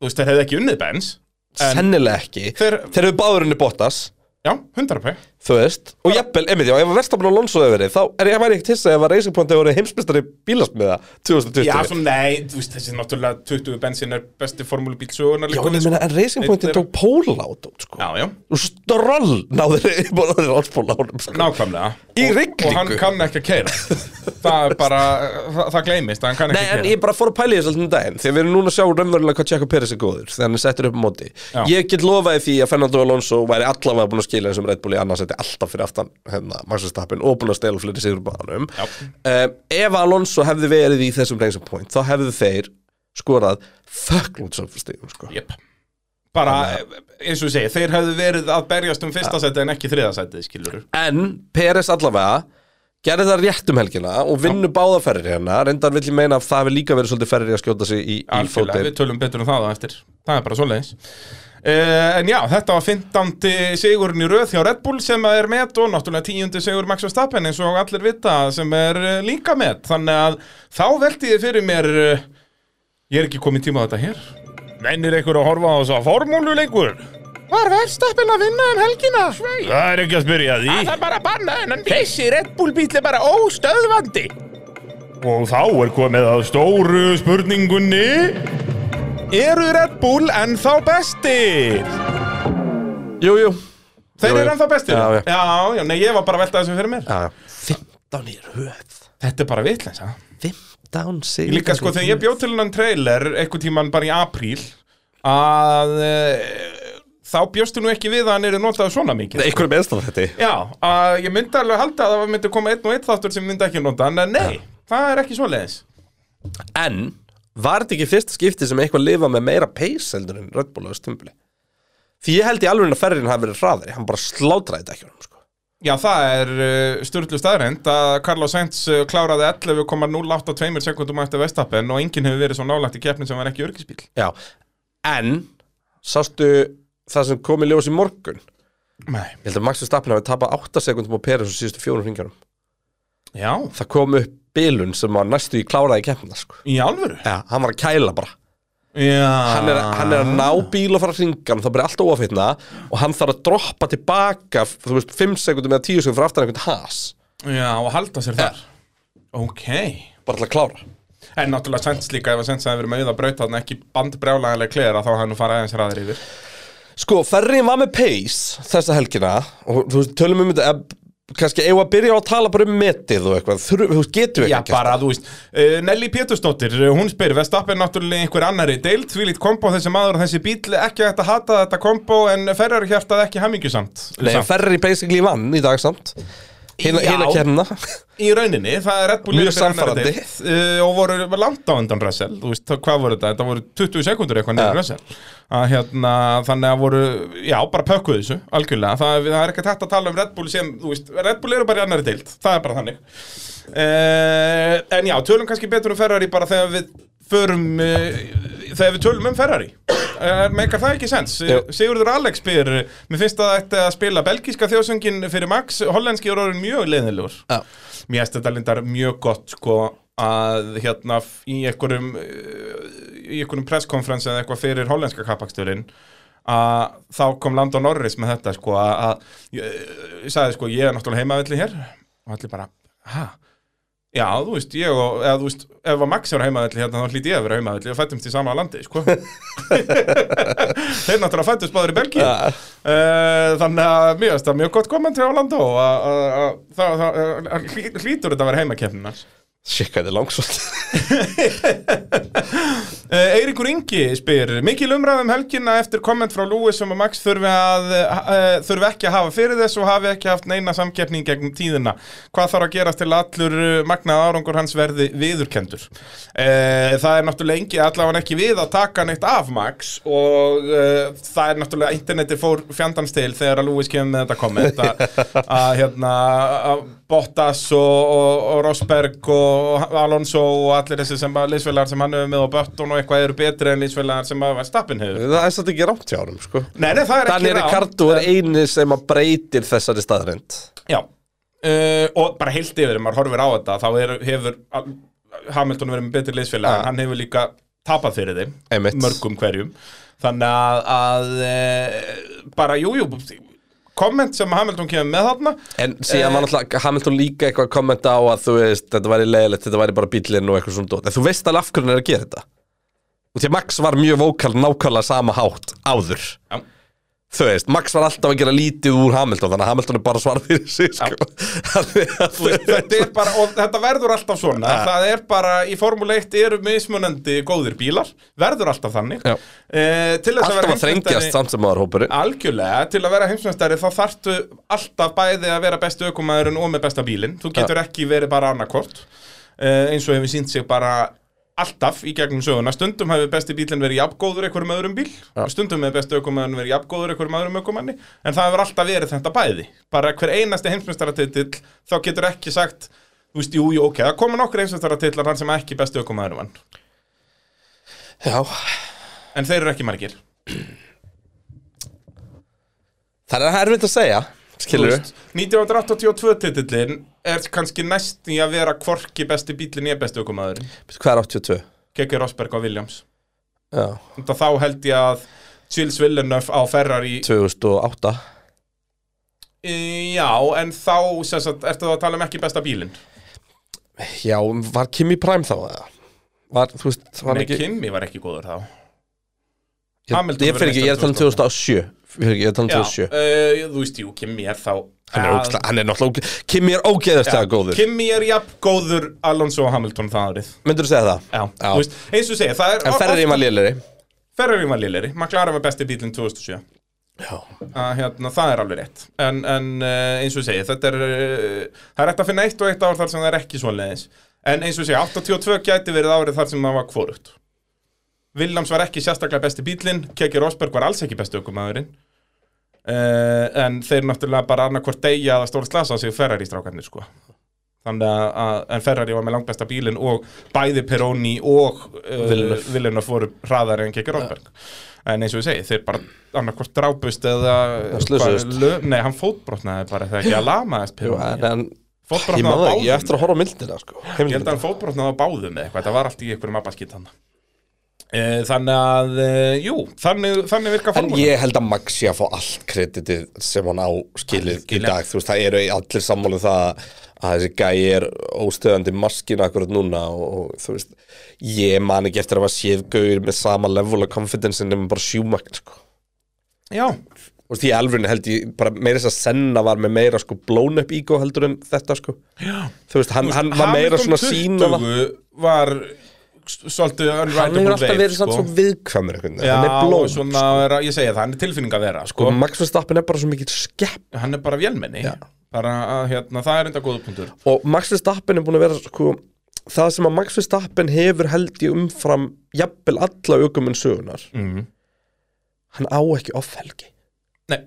Speaker 3: þú veist, þeir hefðu ekki unnið bens En-
Speaker 2: sennilega ekki
Speaker 3: þeir,
Speaker 2: þeir hefðu báður henni Bottas,
Speaker 3: já, 100p
Speaker 2: þú veist og jafnvel, einmitt, já, ef Verstappen og Alonso hefði verið þá er ég væri ekki til að ef að Racing Point hefur verið heimsmyndstari bílasmiða 2020
Speaker 3: já, svo nei, þú veist, þessi náttúrulega 20 bensin er besti formúlubíl sögunar
Speaker 2: Já, en ég meina, en Racing Pointin tók póla át út, sko.
Speaker 3: já, já,
Speaker 2: Og stroll náður bara þeir áspóla ánum, sko.
Speaker 3: nákvæmlega
Speaker 2: Í
Speaker 3: Og-
Speaker 2: rigningu.
Speaker 3: og hann kann ekki að keira það er bara, það, það gleymist að hann
Speaker 2: Nei,
Speaker 3: kann ekki
Speaker 2: en
Speaker 3: að keira
Speaker 2: ég bara fór að pæla í þessu alltaf um daginn Þegar við erum núna að sjá raunverulega hvað Tjekko Peres er góður Þegar hann er settur upp á móti
Speaker 3: Já.
Speaker 2: Ég get lofaði því að Fernando Alonso væri allavega búin að skila þessum Red Bulli annars þetta alltaf fyrir aftan hérna, Maxestappin og búin að stela fleiri sigur bánum
Speaker 3: Já.
Speaker 2: um, Ef Alonso hefði verið í þessum reynsum point þá hefðu þeir skorað þögglúnt sófastíðum sko.
Speaker 3: Jep. bara, eins og ég segi, þeir hefðu verið að berjast um fyrsta seti en ekki þriða seti, skilur
Speaker 2: En Peres allavega gerði það rétt um helgina og vinnu báða ferri hérna reyndar vill ég meina að það hefur líka verið svolítið ferri að skjóta sig í, í
Speaker 3: Algjörlega,
Speaker 2: fótið
Speaker 3: við tölum betur um það á eftir Það er bara svoleiðis uh, En já, þetta var 15. sigurinn í röð hjá Red Bull sem að er met og náttúrulega 10. sigur Max Verstappen eins og allir vita sem er eh, líka met Þannig að þá velti ég fyrir mér eh, Ég er ekki komin tíma á þetta hér Mennir ykkur að horfa á þess að formúluleikur Var Verstappen að vinna um helgina? Svei
Speaker 6: Það er ekki að spyrja að því
Speaker 3: Það er bara að banna þennan bíl Þessi Red Bull bíl er bara óstöðvandi
Speaker 6: Og þá er komið að stóru spurningunni
Speaker 3: Eru Red Bull ennþá bestir?
Speaker 2: Jú, jú Jú,
Speaker 3: Þeir
Speaker 2: jú.
Speaker 3: eru ennþá bestir?
Speaker 2: Já, já.
Speaker 3: já, já, nei, ég var bara að velta þessu fyrir mér
Speaker 2: Já, já. 15 Ah, í röð
Speaker 3: Þetta er bara vitlens, ha?
Speaker 2: 15 sigur sko,
Speaker 3: Líka sko, þegar ég bjóð til hennan trailer einhvern tíman bara í apríl að e, þá bjóstu nú ekki við að hann eru notað svona mikið
Speaker 2: Einhverjum meðstaf þetta
Speaker 3: Já, að ég myndi alveg halda að það myndi koma einn og einn þáttur sem myndi ekki nota en nei, það er ekki svoleiðis
Speaker 2: En var þetta ekki fyrsta skipti sem eitthvað lifa með meira pace heldur en Red Bull á þessu tímabili? Því ég held í alveg að ferðin hafi verið hraðari Hann bara slátraði þetta ekki honum sko.
Speaker 3: Já, það er uh, styrlu staðrend að Carlos Sainz uh, kláraði 11,082 sekundum eftir Vestapen og enginn hefur verið svo nálægt í keppnin sem var ekki örgisbíl
Speaker 2: Já, en Sástu það sem kom í ljós í morgun Ég
Speaker 3: Nei
Speaker 2: held að Max Verstappen hafi tapað 8 sekundum á Peres og síðustu fjórum hringjarum
Speaker 3: Já,
Speaker 2: Það kom upp bilun sem var næstu í kláraði keppna sko.
Speaker 3: í alvöru
Speaker 2: Já, hann var að kæla bara
Speaker 3: Já
Speaker 2: hann er, hann er að ná bíl og fara að ringa hann, það byrja alltaf ofitna og hann þarf að droppa tilbaka þú veist, 5 sekundum eða 10 sekundum fyrir aftan einhvern has
Speaker 3: Já, og halda sér þar Ok
Speaker 2: bara til að klára
Speaker 3: En náttúrulega Sainz líka ef að Sainz hefur verið með að brauta þannig ekki bandbrjálaganlega klera þá hann nú fara aðeins ræðir yfir
Speaker 2: sko, ferriðin var með pace þessa helgina og þú veist, tölum um þetta eb- kannski eigum við að byrja á að tala bara um metið og eitthvað, Þurru, þú veist, getum við
Speaker 3: Já,
Speaker 2: ekki sko.
Speaker 3: bara, þú veist, uh, Nelly Pétursdóttir, uh, hún spyr, Vestappen náttúrulega í einhver annari deild, því lít kombo þessi maður og þessi bíl, ekki hægt að hata þetta kombo, en ferrar hjartað ekki hamingjusamt.
Speaker 2: Nei,
Speaker 3: Samt.
Speaker 2: ferrið basically vann í dag samt hina,
Speaker 3: Já.
Speaker 2: hina kemna
Speaker 3: Í rauninni, það er Red Bull
Speaker 2: Mjög
Speaker 3: yfir annarri
Speaker 2: sannfærandi.
Speaker 3: deild, uh, og voru langt á undan Russell, þú veist, hvað voru þetta? Þetta voru 20 sekundur eitthvað nefnir Russell. Að, hérna, þannig að voru, já, bara pökkuðu þessu, algjörlega. Það, það er ekki hægt að tala um Red Bull sem, þú veist, Red Bull eru bara í annari deild, það er bara þannig. Uh, en já, tölum kannski betur um Ferrari bara þegar við förum uh, þegar við tölum um Ferrari uh, meikar það ekki sens
Speaker 2: Jú.
Speaker 3: Sigurður Alex spyr uh, mér finnst að þetta að spila belgíska þjóðsöngin fyrir Max, hollenski er orðin mjög leiðilegur
Speaker 2: Já.
Speaker 3: mér finnst þetta lindar mjög gott sko að hérna f- í einhverjum uh, í einhverjum presskonferens eða eitthvað fyrir hollenska kappaksturinn að þá kom Landon Norris með þetta sko að, að ég, ég sagði sko ég er náttúrulega heimavelli hér og allir bara, hæ? Já, þú veist, ég og, eða þú veist, ef að Max er heimaðalli hérna, þá hlýt ég að vera heimaðalli og fættumst í sama landi, sko. Þeir náttúrulega fættust báður í Belgíu.
Speaker 2: Ja.
Speaker 3: Uh, þannig að mjög, það er mjög gott komandi á land og að- að- að- það það- að hlý- hlýtur þetta að vera heimakefninar.
Speaker 2: shit, hvað þetta er langsótt
Speaker 3: Uh, Eiríkur Ingi spyr Mikil umræðum helgina eftir komment frá Lewis sem að Max þurfi, að, uh, þurfi ekki að hafa fyrir þess og hafi ekki haft neina samkeppning gegnum tíðina Hvað þarf að gerast til að allur uh, magnað árangur hans verði viðurkendur? Uh, það er náttúrulega engi, allavega ekki við að taka neitt af Max og uh, það er náttúrulega interneti fór fjandans til þegar að Lewis kemur með þetta komment að- að hérna, að Bottas og, og, og Rosberg og Alonso og allir þessi sem að liðsfélagar sem hann hefur með og Bötton og eitthvað eru betri en liðsfélagar sem að Verstappen hefur
Speaker 2: það er satt ekki rámt hjá honum sko
Speaker 3: Nei, nei, það er ekki
Speaker 2: Daniel
Speaker 3: rangt.
Speaker 2: Ricardo er eini sem að breytir þessari staðrind
Speaker 3: Já, uh, og bara heilt yfir ef maður horfir á þetta, þá er, hefur al- Hamilton verið með betri liðsfélag
Speaker 2: Ja.
Speaker 3: en hann hefur líka tapað fyrir þeim
Speaker 2: Einmitt.
Speaker 3: mörgum hverjum þannig að, að uh, bara jújú jú, komment sem Hamilton kemur með þarna
Speaker 2: En síðan
Speaker 3: Eh.
Speaker 2: var náttúrulega Hamilton líka eitthvað að kommenta á að þú veist, þetta væri leiðilegt, þetta væri bara bílinn og eitthvað svona dót. En þú veist alveg af hvernig hann er að gera þetta. Og því að Max var mjög vókal nákvæmlega sama hátt áður.
Speaker 3: Já.
Speaker 2: Þú veist, Max var alltaf að gera lítið úr Hamilton, þannig að Hamilton er bara að svara fyrir sig, sko. Þannig að
Speaker 3: Þú veist, þetta er bara, og þetta verður alltaf svona það er bara, í Formule 1 eru mismunandi góðir bílar, verður alltaf þannig
Speaker 2: Já.
Speaker 3: uh, til þess að
Speaker 2: alltaf um
Speaker 3: vera
Speaker 2: að þrengjast samt sem maður hópurinn.
Speaker 3: Algjörlega, til að vera heimsmeistari þá þarftu alltaf bæði að vera bestu ökumæðurinn og með besta bílinn. Þú getur ekki verið bara annarkort uh, eins og hefur sínt sig bara alltaf í gegnum söguna. Stundum hefur besti bílinn verið jafngóður einhverjum öðrum bíl og stundum hefur besti ökumæðurinn verið jafngóður einhverjum öðrum ökumanni en það hefur alltaf verið þetta bæði. Bara hver einasti heimsmeistaratitill þá getur ekki sagt Þú veist, jú, jú, ok, það koma nokkur heimsmeistaratillar hann sem ekki besti ökumæðurinn vann
Speaker 2: Já.
Speaker 3: en þeir eru ekki margir
Speaker 2: Það er erfitt að segja, skilur
Speaker 3: Þú veist, 1982 titillin er kannski næst í að vera hvorki besti bílinn ég besti ökumæðurinn
Speaker 2: Hvað er 82?
Speaker 3: Kekki Rosberg og Williams
Speaker 2: Já,
Speaker 3: Þetta þá held ég að Gilles Villeneuve á Ferrari
Speaker 2: 2008.
Speaker 3: e, Já, en þá sem sagt, ertu þá að tala um ekki besta bílinn
Speaker 2: Já, var Kimi Prime þá eða? Var, þú veist, var
Speaker 3: Nei,
Speaker 2: ekki...
Speaker 3: Kimi var ekki góður þá
Speaker 2: Ég,
Speaker 3: Hamilton
Speaker 2: ég fyrir ekki, ég er að tala um 2007 Fyrir ekki, ég er að tala um
Speaker 3: Já,
Speaker 2: 2007
Speaker 3: e, þú veist, jú, Kimi er þá
Speaker 2: Hann er,
Speaker 3: Ja,
Speaker 2: ógeðslega- hann er náttúrulega, óge- Kimi er ógeðastega
Speaker 3: ja,
Speaker 2: góður
Speaker 3: Kimi er jafn góður Alonso og Hamilton það árið
Speaker 2: Myndirðu segja það?
Speaker 3: Já, þú veist, eins og segja, það er
Speaker 2: En ferðir ég maður léleri
Speaker 3: Ferrari var léleri, McLaren var besti bílinn 2007 að hérna, það er alveg rétt en, en eh, eins og ég segi, þetta er eh, það er rétt að finna eitt og eitt ár þar sem það er ekki svoleiðis, en eins og ég segi 82 gæti verið árið þar sem það var kvorugt Williams var ekki sérstaklega besti bílinn, Kekir Rosberg var alls ekki besti aukumæðurinn uh, en þeir náttúrulega bara annarkvort deyja að stóra slasa á sig Ferrari strákarnir sko Þannig að, að, en Ferrari var með langbesta bílinn og bæði Peroni og uh,
Speaker 2: Villeneuve.
Speaker 3: Villeneuve voru hraðari en Kekir Rosberg En eins og ég segi, þeir bara annarkvort drápust eða
Speaker 2: slösuðust.
Speaker 3: bara lö- Nei, hann fótbrotnaði bara þegar ekki að lamaðist
Speaker 2: Jú,
Speaker 3: Pironi.
Speaker 2: en, en ég maður
Speaker 3: Fótbrotnaði á
Speaker 2: það
Speaker 3: báðum
Speaker 2: ekki, ég á eftir að horfa á myndina sko.
Speaker 3: Ég held að hann fótbrotnaði á báðum eða eitthvað, það var allt í einhverjum abbaskýt hann Þannig að, e, jú, þannig, þannig virka
Speaker 2: En
Speaker 3: formúlan
Speaker 2: ég held að Max sé að fá allt kreditið sem hann á skilið í dag, þú veist, það eru allir sammálu það að þessi gæi er óstöðandi maskina akkurat núna og, og þú veist, ég man ekki eftir að maður séð gauður með sama level of confidence nema bara sjúmakn, sko
Speaker 3: Já,
Speaker 2: Þú veist, í alvörinni held ég, bara meira þess að senna var með meira sko blown up ego heldur um þetta, sko Já Þú veist, hann, hann var meira svona sína það-
Speaker 3: 20 var s- svolítið
Speaker 2: Hann
Speaker 3: unrideable
Speaker 2: hefur alltaf verið samt svo viðkvæmur einhvern
Speaker 3: sko. Já,
Speaker 2: veginn, hann er
Speaker 3: og
Speaker 2: blóð
Speaker 3: svona, er, að- ég segi það, hann er tilfinning að vera sko.
Speaker 2: sko, Max Verstappen er bara svo mikill skepp
Speaker 3: Hann er bara vélmenni bara, að, hérna, Það er enda góða punktur
Speaker 2: og Max Verstappen er búin að vera sko, það sem að Max Verstappen hefur held í umfram jafnvel alla aukumenn sögunar
Speaker 3: Mhm.
Speaker 2: hann á ekki ofhelgi
Speaker 3: Nei.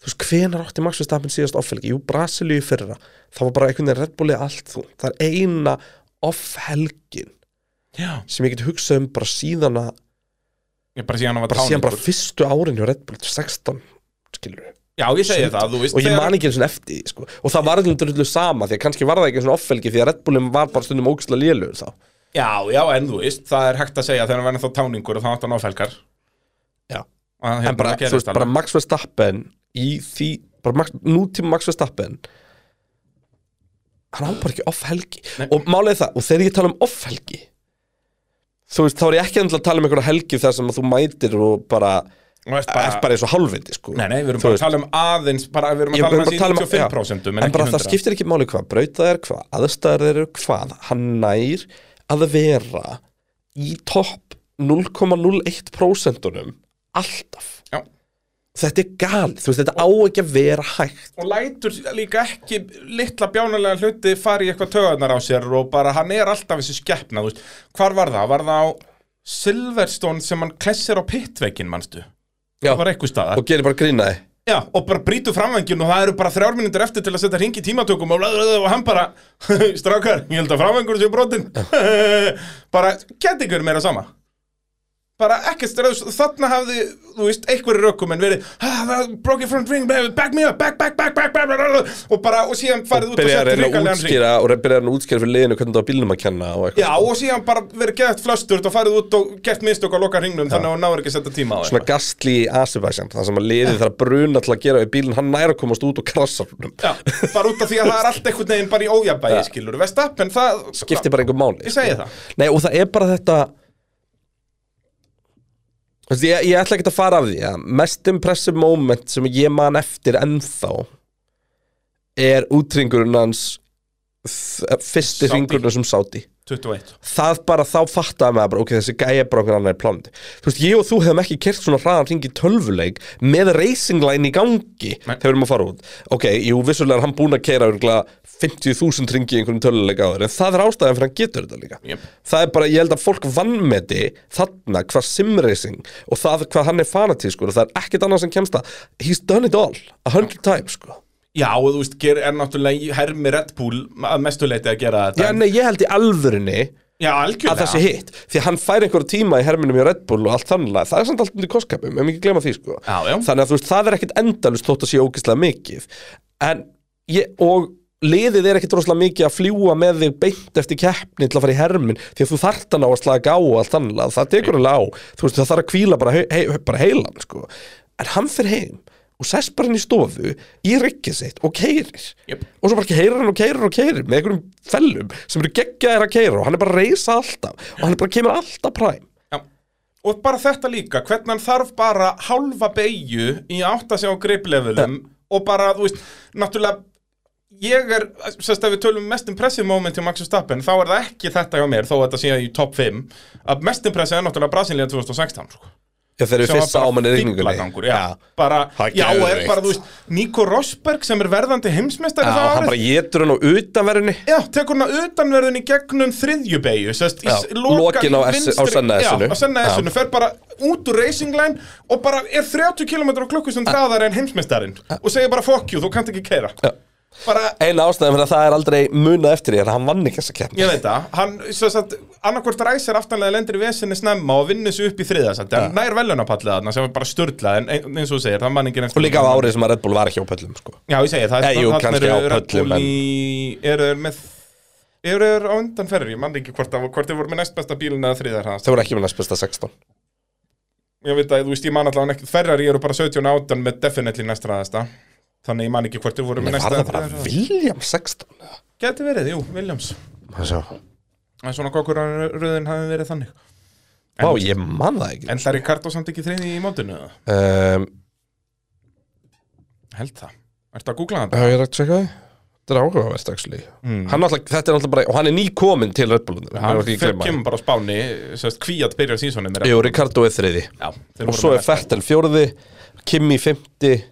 Speaker 2: þú veist, hvenar átti Max Verstappen síðast ofhelgi? Jú, Brasilíu í fyrra það var bara einhvern veginn Red Bullið allt þú það er eina ofhelgin
Speaker 3: Já.
Speaker 2: sem ég get hugsað um bara síðan að
Speaker 3: Ég bara síðan hann var
Speaker 2: bara síðan bara
Speaker 3: táningur
Speaker 2: fyrstu árin hjá Red Bull 16 skilur við
Speaker 3: Já, ég segi það, þú veist
Speaker 2: og ég
Speaker 3: þegar-
Speaker 2: man ekki eins og eftir því, sko. og það var allir drullu sama því að kannski var það ekki eins og offelgi því að Red Bullum var bara stundum ógislega lélugur þá
Speaker 3: Já, já, en þú veist, það er hægt að segja þegar hann verður þá táningur og þá átt hann áfelgar
Speaker 2: Já.
Speaker 3: að, hérna,
Speaker 2: en bara,
Speaker 3: það
Speaker 2: þú
Speaker 3: gerist
Speaker 2: veist, bara
Speaker 3: alveg.
Speaker 2: Max Verstappen í því, bara Max, nútíma Max Verstappen hann á bara ekki off-helgi og málið er það, og þegar ég tala um off-helgi þú veist, þá er ég ekki endilega að tala um einhverja helgi þar sem að þú mætir og bara,
Speaker 3: Þú veist,
Speaker 2: bara er bara eins og hálfviti, sko
Speaker 3: Nei, nei, við erum
Speaker 2: Þú
Speaker 3: bara að
Speaker 2: veist,
Speaker 3: tala um aðeins bara, við erum að
Speaker 2: ég-
Speaker 3: tala um
Speaker 2: við erum bara
Speaker 3: hans í
Speaker 2: að tala um-
Speaker 3: 95%
Speaker 2: já, en bara það skiptir ekki máli hvað brautað er hvað, aðstæður eru hvað hann nær að vera í topp 0,01% alltaf
Speaker 3: Já.
Speaker 2: þetta er galið, þú veist, þetta á ekki að vera hægt
Speaker 3: og lætur líka ekki litla bjánulega hluti fara í eitthvað töðunar á sér og bara hann er alltaf þessi skeppna þú veist. hvar var það? Var það á Silverstone sem hann klessir á pittveikin manstu?
Speaker 2: Já.
Speaker 3: Það var eitthvað staðar
Speaker 2: og gerir bara grínaði
Speaker 3: Já, og bara brýtu framvængin og það eru bara þrjár mínútur eftir til að setja hring í tímatökum og, og hann bara, strákar, ég held að framvængur séu brotin bara, get ykkur meira sama bara ekkert ströðs, þarna hafði þú veist, einhverju rökum en verið "Ah, það er broken front ring, back me up back, back, back, back, back, back, back og bara, og síðan farið út og
Speaker 2: byrjar að
Speaker 3: setja
Speaker 2: reyna að
Speaker 3: hringarlegan ring
Speaker 2: útskýra og byrjar að útskýra fyrir liðinu hvernig það var bílnum að kenna og eitthvað
Speaker 3: Já, og síðan bara verið geðt flöstur og farið út og gert mistök og loka hringnum þannig að hún náður ekki að setja tíma á
Speaker 2: svona
Speaker 3: það
Speaker 2: gastli í Asibæsjan það sem að liðið þarf að bruna til að gera við bílinn hann nær að komast út og krassa húnum
Speaker 3: Já, bara út af því að það er allt einhvern veginn bara í ójabæði skilur, Vestappen, það
Speaker 2: skiptir bara einhver máli
Speaker 3: Ég
Speaker 2: sko.
Speaker 3: segi það.
Speaker 2: Nei, og það er bara þetta Þú veist, ég, ég ætla ekki að fara af því að mest impressive moment sem ég man eftir ennþá er útringurinn hans þ- fyrsti
Speaker 3: Saudi.
Speaker 2: ringurinn sem sáti
Speaker 3: 21
Speaker 2: það bara þá fattaði maður bara, ok, þessi gæja er bara okkur annar plándi þú veist, ég og þú hefum ekki kert svona hraðan hring í tölvuleik með racing line í gangi þegar við erum að fara út ok, jú, vissulega er hann búin að keira 50.000 hringi í einhverjum tölvuleik áður en það er ástæðan fyrir hann getur þetta líka
Speaker 3: Jep.
Speaker 2: það er bara, ég held að fólk vannmeti þarna hvað simracing og það hvað hann er fanatískur og það er ekkert annað sem kemst það he's done it all, a hundred times sko.
Speaker 3: Já, og þú veist, ger, er náttúrulega í hermi Red Bull að mestuleiti að gera þetta
Speaker 2: já, nei, ég held í alvörinni
Speaker 3: Já,
Speaker 2: að
Speaker 3: algjörlega
Speaker 2: það sé hitt því að hann fær einhverja tíma í herminum í Red Bull og allt þannig það er samt allt undir kostkapum, ef ekki glemma því sko.
Speaker 3: Já, já.
Speaker 2: þannig að þú veist, það er ekkit endalust þótt að sé ógeðslega mikið en ég, og liðið er ekkit rosalega mikið að fljúa með þig beint eftir keppni til að fara í hermin því að þú þart að ná að slaka á og allt þannig að það tekur alveg á, þú veist, það þarf að kvíla bara, hei, hei, bara heilan sko. en hann fer heim og sess bara hann í stofu í rikkið sitt og keirir
Speaker 3: Jöp.
Speaker 2: og svo bara keirir hann og keirir og keirir með einhverjum fellum sem eru geggjaðir að keira og hann er bara að reysa alltaf og hann er bara kemur alltaf præm
Speaker 3: Já. Og bara þetta líka, hvernig hann þarf bara hálfa beigju í að átta sig á greiplevelum og bara, þú veist, náttúrulega ég er, sérst að við tölum um mest impressive moment hjá Max Verstappen, þá er það ekki þetta hjá mér, þó að þetta sé í top 5 að mest impressive er náttúrulega Brasilia 2016 sko.
Speaker 2: Já, þegar við
Speaker 3: sem var
Speaker 2: fyrsta
Speaker 3: bara
Speaker 2: ámann í rigningunni.
Speaker 3: fíflagangur, já,
Speaker 2: Já.
Speaker 3: bara,
Speaker 2: Það er
Speaker 3: já, og er
Speaker 2: geðveikt.
Speaker 3: bara, þú veist, Nico Rosberg sem er verðandi heimsmeistari það
Speaker 2: hann
Speaker 3: árið.
Speaker 2: bara getur hann á utanverðinni
Speaker 3: Já, tekur hana utanverðin í gegnum þriðjubegju sest, í
Speaker 2: Já,
Speaker 3: s- loka-
Speaker 2: lokin á S- á
Speaker 3: vinstri-
Speaker 2: Senna S-unu.
Speaker 3: Já, á senna
Speaker 2: Já.
Speaker 3: S-unu, fer bara út úr racing line og bara er 30 km á
Speaker 2: Ah.
Speaker 3: klukkustund hraðar en heimsmeistarinn og segir bara fuck you, þú kannt ekki keira bara,
Speaker 2: eina ástæðan fyrir að það er aldrei munað eftir því er að hann vann ekki þessa keppni
Speaker 3: ég veit það hann, svo sagt, annarkvort ræsir aftanlega lendir í vesinni snemma og vinnur sig upp í þriða sagt,
Speaker 2: Ah.
Speaker 3: en nær velunapallið þarna sem er bara störla en ein- eins og þú segir, það er manningin eftir
Speaker 2: og líka á árið sem að Red Bull var ekki á pöllum sko.
Speaker 3: Já, ég segi, það
Speaker 2: Eh, jú,
Speaker 3: þarna
Speaker 2: kannski
Speaker 3: eru
Speaker 2: á
Speaker 3: Red
Speaker 2: pöllum,
Speaker 3: Bull í, eru þeir með eru þeir á undan ferri, ég man ekki hvort, það- hvort þeir voru með næst besta bílun eða þriðar hans
Speaker 2: þau voru ekki með næst besta 16
Speaker 3: ég veit að, þú veist, ég man allavega ekki Ferrari eru bara 17 og 18 með definitely næst ræðasta þannig ég man ekki hvort þeir voru
Speaker 2: Nei,
Speaker 3: með
Speaker 2: var
Speaker 3: næst
Speaker 2: það
Speaker 3: eða
Speaker 2: bara
Speaker 3: þriðja hraðasta.
Speaker 2: William 16
Speaker 3: gæti verið, jú, Williams
Speaker 2: Má sjá.
Speaker 3: en svona kokkur röðin hafi verið þannig
Speaker 2: Vá, ég man það ekki
Speaker 3: en það er Ricardo samt ekki þriði í mótinu eða?
Speaker 2: um,
Speaker 3: held það, ertu að googla það?
Speaker 2: Já, ég er að tjekka það Þetta er áhugavert, actually Hann náttúrulega, þetta er náttúrulega bara Og hann er nýkominn til Red Bull
Speaker 3: Mm. Hann fer-
Speaker 2: Jú,
Speaker 3: kemur bara á spáni, sérst, kvíat byrjar sísonum
Speaker 2: Ricardo er þriði
Speaker 3: Já, þeir
Speaker 2: Og
Speaker 3: voru
Speaker 2: svo
Speaker 3: með
Speaker 2: er Fettel fjórði Kimi fymti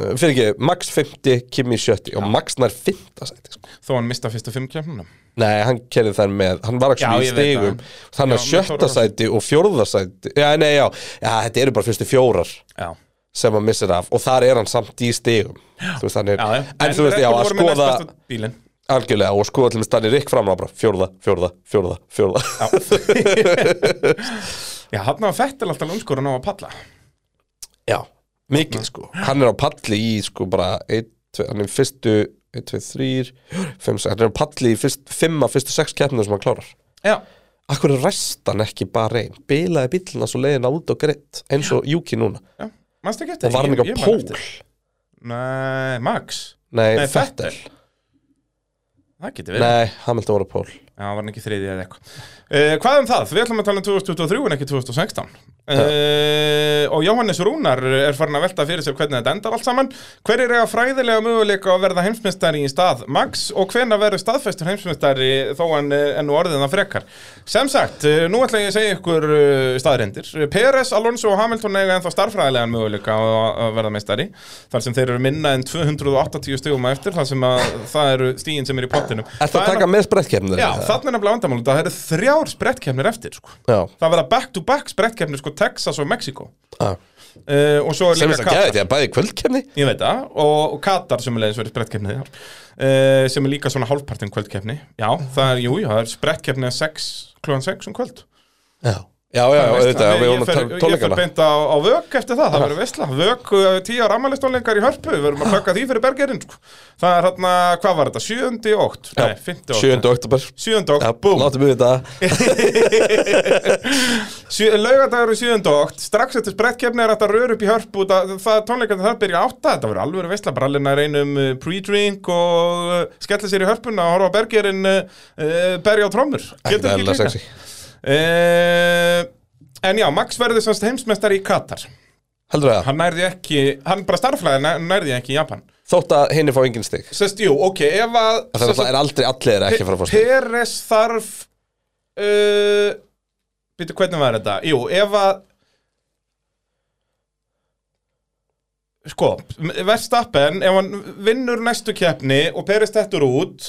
Speaker 2: uh, Fyrir ekki, Max fymti Kimi sjötti Og Max nær fymta sæti sko.
Speaker 3: þó hann mista fyrstu fimm kemnuna
Speaker 2: Nei, hann kerði þar með Hann var
Speaker 3: Já,
Speaker 2: actually í
Speaker 3: ég veit
Speaker 2: stigum Þannig
Speaker 3: það.
Speaker 2: að
Speaker 3: Já, með
Speaker 2: sjötta
Speaker 3: Þóra.
Speaker 2: sæti og fjórða sæti Já, nei, já, já, þetta eru bara fyrstu fjórar
Speaker 3: Já,
Speaker 2: sem að missir af og þar er hann samt í stigum þú veist, hann er,
Speaker 3: já, já.
Speaker 2: en, þú veist, já, að skoða
Speaker 3: bílinn
Speaker 2: Algjörlega, og skoða til með stannir Rick fram og bara fjórða, fjórða, fjórða, fjórða
Speaker 3: Já, hann var fettil alltaf umskorun á að palla
Speaker 2: Já, mikið sko Hann er á palli í sko bara ein, tve, hann er fyrstu, 1, 2, 3 5, 6, hann er á palli í fyrst, 5 af fyrstu 6 keppnum sem hann klárar
Speaker 3: Já,
Speaker 2: Akkur er restan ekki bara einn bilaði bílina svo leiðina út og greitt eins og Juki núna
Speaker 3: já, mannst ekki eftir
Speaker 2: og var hann
Speaker 3: Ég-
Speaker 2: ekki á
Speaker 3: ég man
Speaker 2: pól
Speaker 3: eftir. Nei, Max
Speaker 2: Nei,
Speaker 3: Nei,
Speaker 2: Fettel
Speaker 3: Vettel. Það getur verið
Speaker 2: Nei, Hamilton var á pól
Speaker 3: Já, var hann ekki þriðið eða eitthvað uh, Hvað um það? Við ætlum að tala um 2023 en ekki 2016 uh, Og Jóhannes Rúnar er farin að velta fyrir sér hvernig þetta endar allt saman Hver er eiga fræðilega möguleika að verða heimsmyndstari í stað Max og hvenær verður staðfestur heimsmyndstari þó hann eh, er nú orðin að frekar Sem sagt, eh, nú ætla ég að segja ykkur eh, staðreyndir Peres, Alonso og Hamilton eiga ennþá starffræðilegan möguleika á að að verða meistari Þar sem þeir eru minna en 280 stigum á eftir Þar sem að það eru stíin sem er í pottinum
Speaker 2: Ertu að taka með sprettkeppnir?
Speaker 3: Já, þarna er nefnilega vandamál Það eru þrjár sprettkeppnir eftir sko.
Speaker 2: Já,
Speaker 3: Það verða back-to-back sprettkeppnir sko, Texas og Mexico
Speaker 2: já
Speaker 3: uh, Og svo er
Speaker 2: Ah, sem þess að
Speaker 3: líka
Speaker 2: geða
Speaker 3: Katar
Speaker 2: þetta, bæði kvöldkefni
Speaker 3: Ég veit það, og, og Katar sem er leiðins verið sprettkeppni þar uh, Sem er líka svona hálfpartin kvöldkeppni Já, það er, jú, jú, það er sprettkeppni 6, klúan 6 um kvöld
Speaker 2: Já, já, já,
Speaker 3: Það er veisla.
Speaker 2: auðvitað,
Speaker 3: Ég-
Speaker 2: við
Speaker 3: ég
Speaker 2: vorum að
Speaker 3: fer-
Speaker 2: tala um
Speaker 3: Ég fer
Speaker 2: tónleikana
Speaker 3: beint á, á vök eftir það, það verður veistla Vök, uh, tíu ára ammælistónleikar í hörpu Við verum að plugga því fyrir bergerinn sko. Það er hérna, hvað var þetta, 7. og 8 Nei, 5. og
Speaker 2: 7. oktober
Speaker 3: 7. og
Speaker 2: Já,
Speaker 3: 8, búm
Speaker 2: Látum við þetta
Speaker 3: Laugadagur og 7. og 8 Strax eftir sprettkeppni er þetta rör upp í hörp út að það tónleikandi það byrja átta Þetta verður alveg veistla bara alveg að reynum eh, pre-drink og uh, skella sér í hörpuna og horfa á bergerinn uh, uh, berja á trommur
Speaker 2: Þetta er
Speaker 3: Getur ekki
Speaker 2: alveg
Speaker 3: líka
Speaker 2: sexy
Speaker 3: uh, En já, Max verður semst heimsmeistari í Katar
Speaker 2: Heldur það,
Speaker 3: Hann nærði ekki, hann bara starflæði nærði ekki í Japan
Speaker 2: þótt að henni fá engin stig
Speaker 3: Sest, jú, ok, ef að
Speaker 2: Það er alltaf- er aldrei allir ekki að fara að fá stig
Speaker 3: Peres þarf uh, Býtu, hvernig var þetta? Jú, ef að Sko, Verstappen ef hann vinnur næstu keppni og Peres tettur út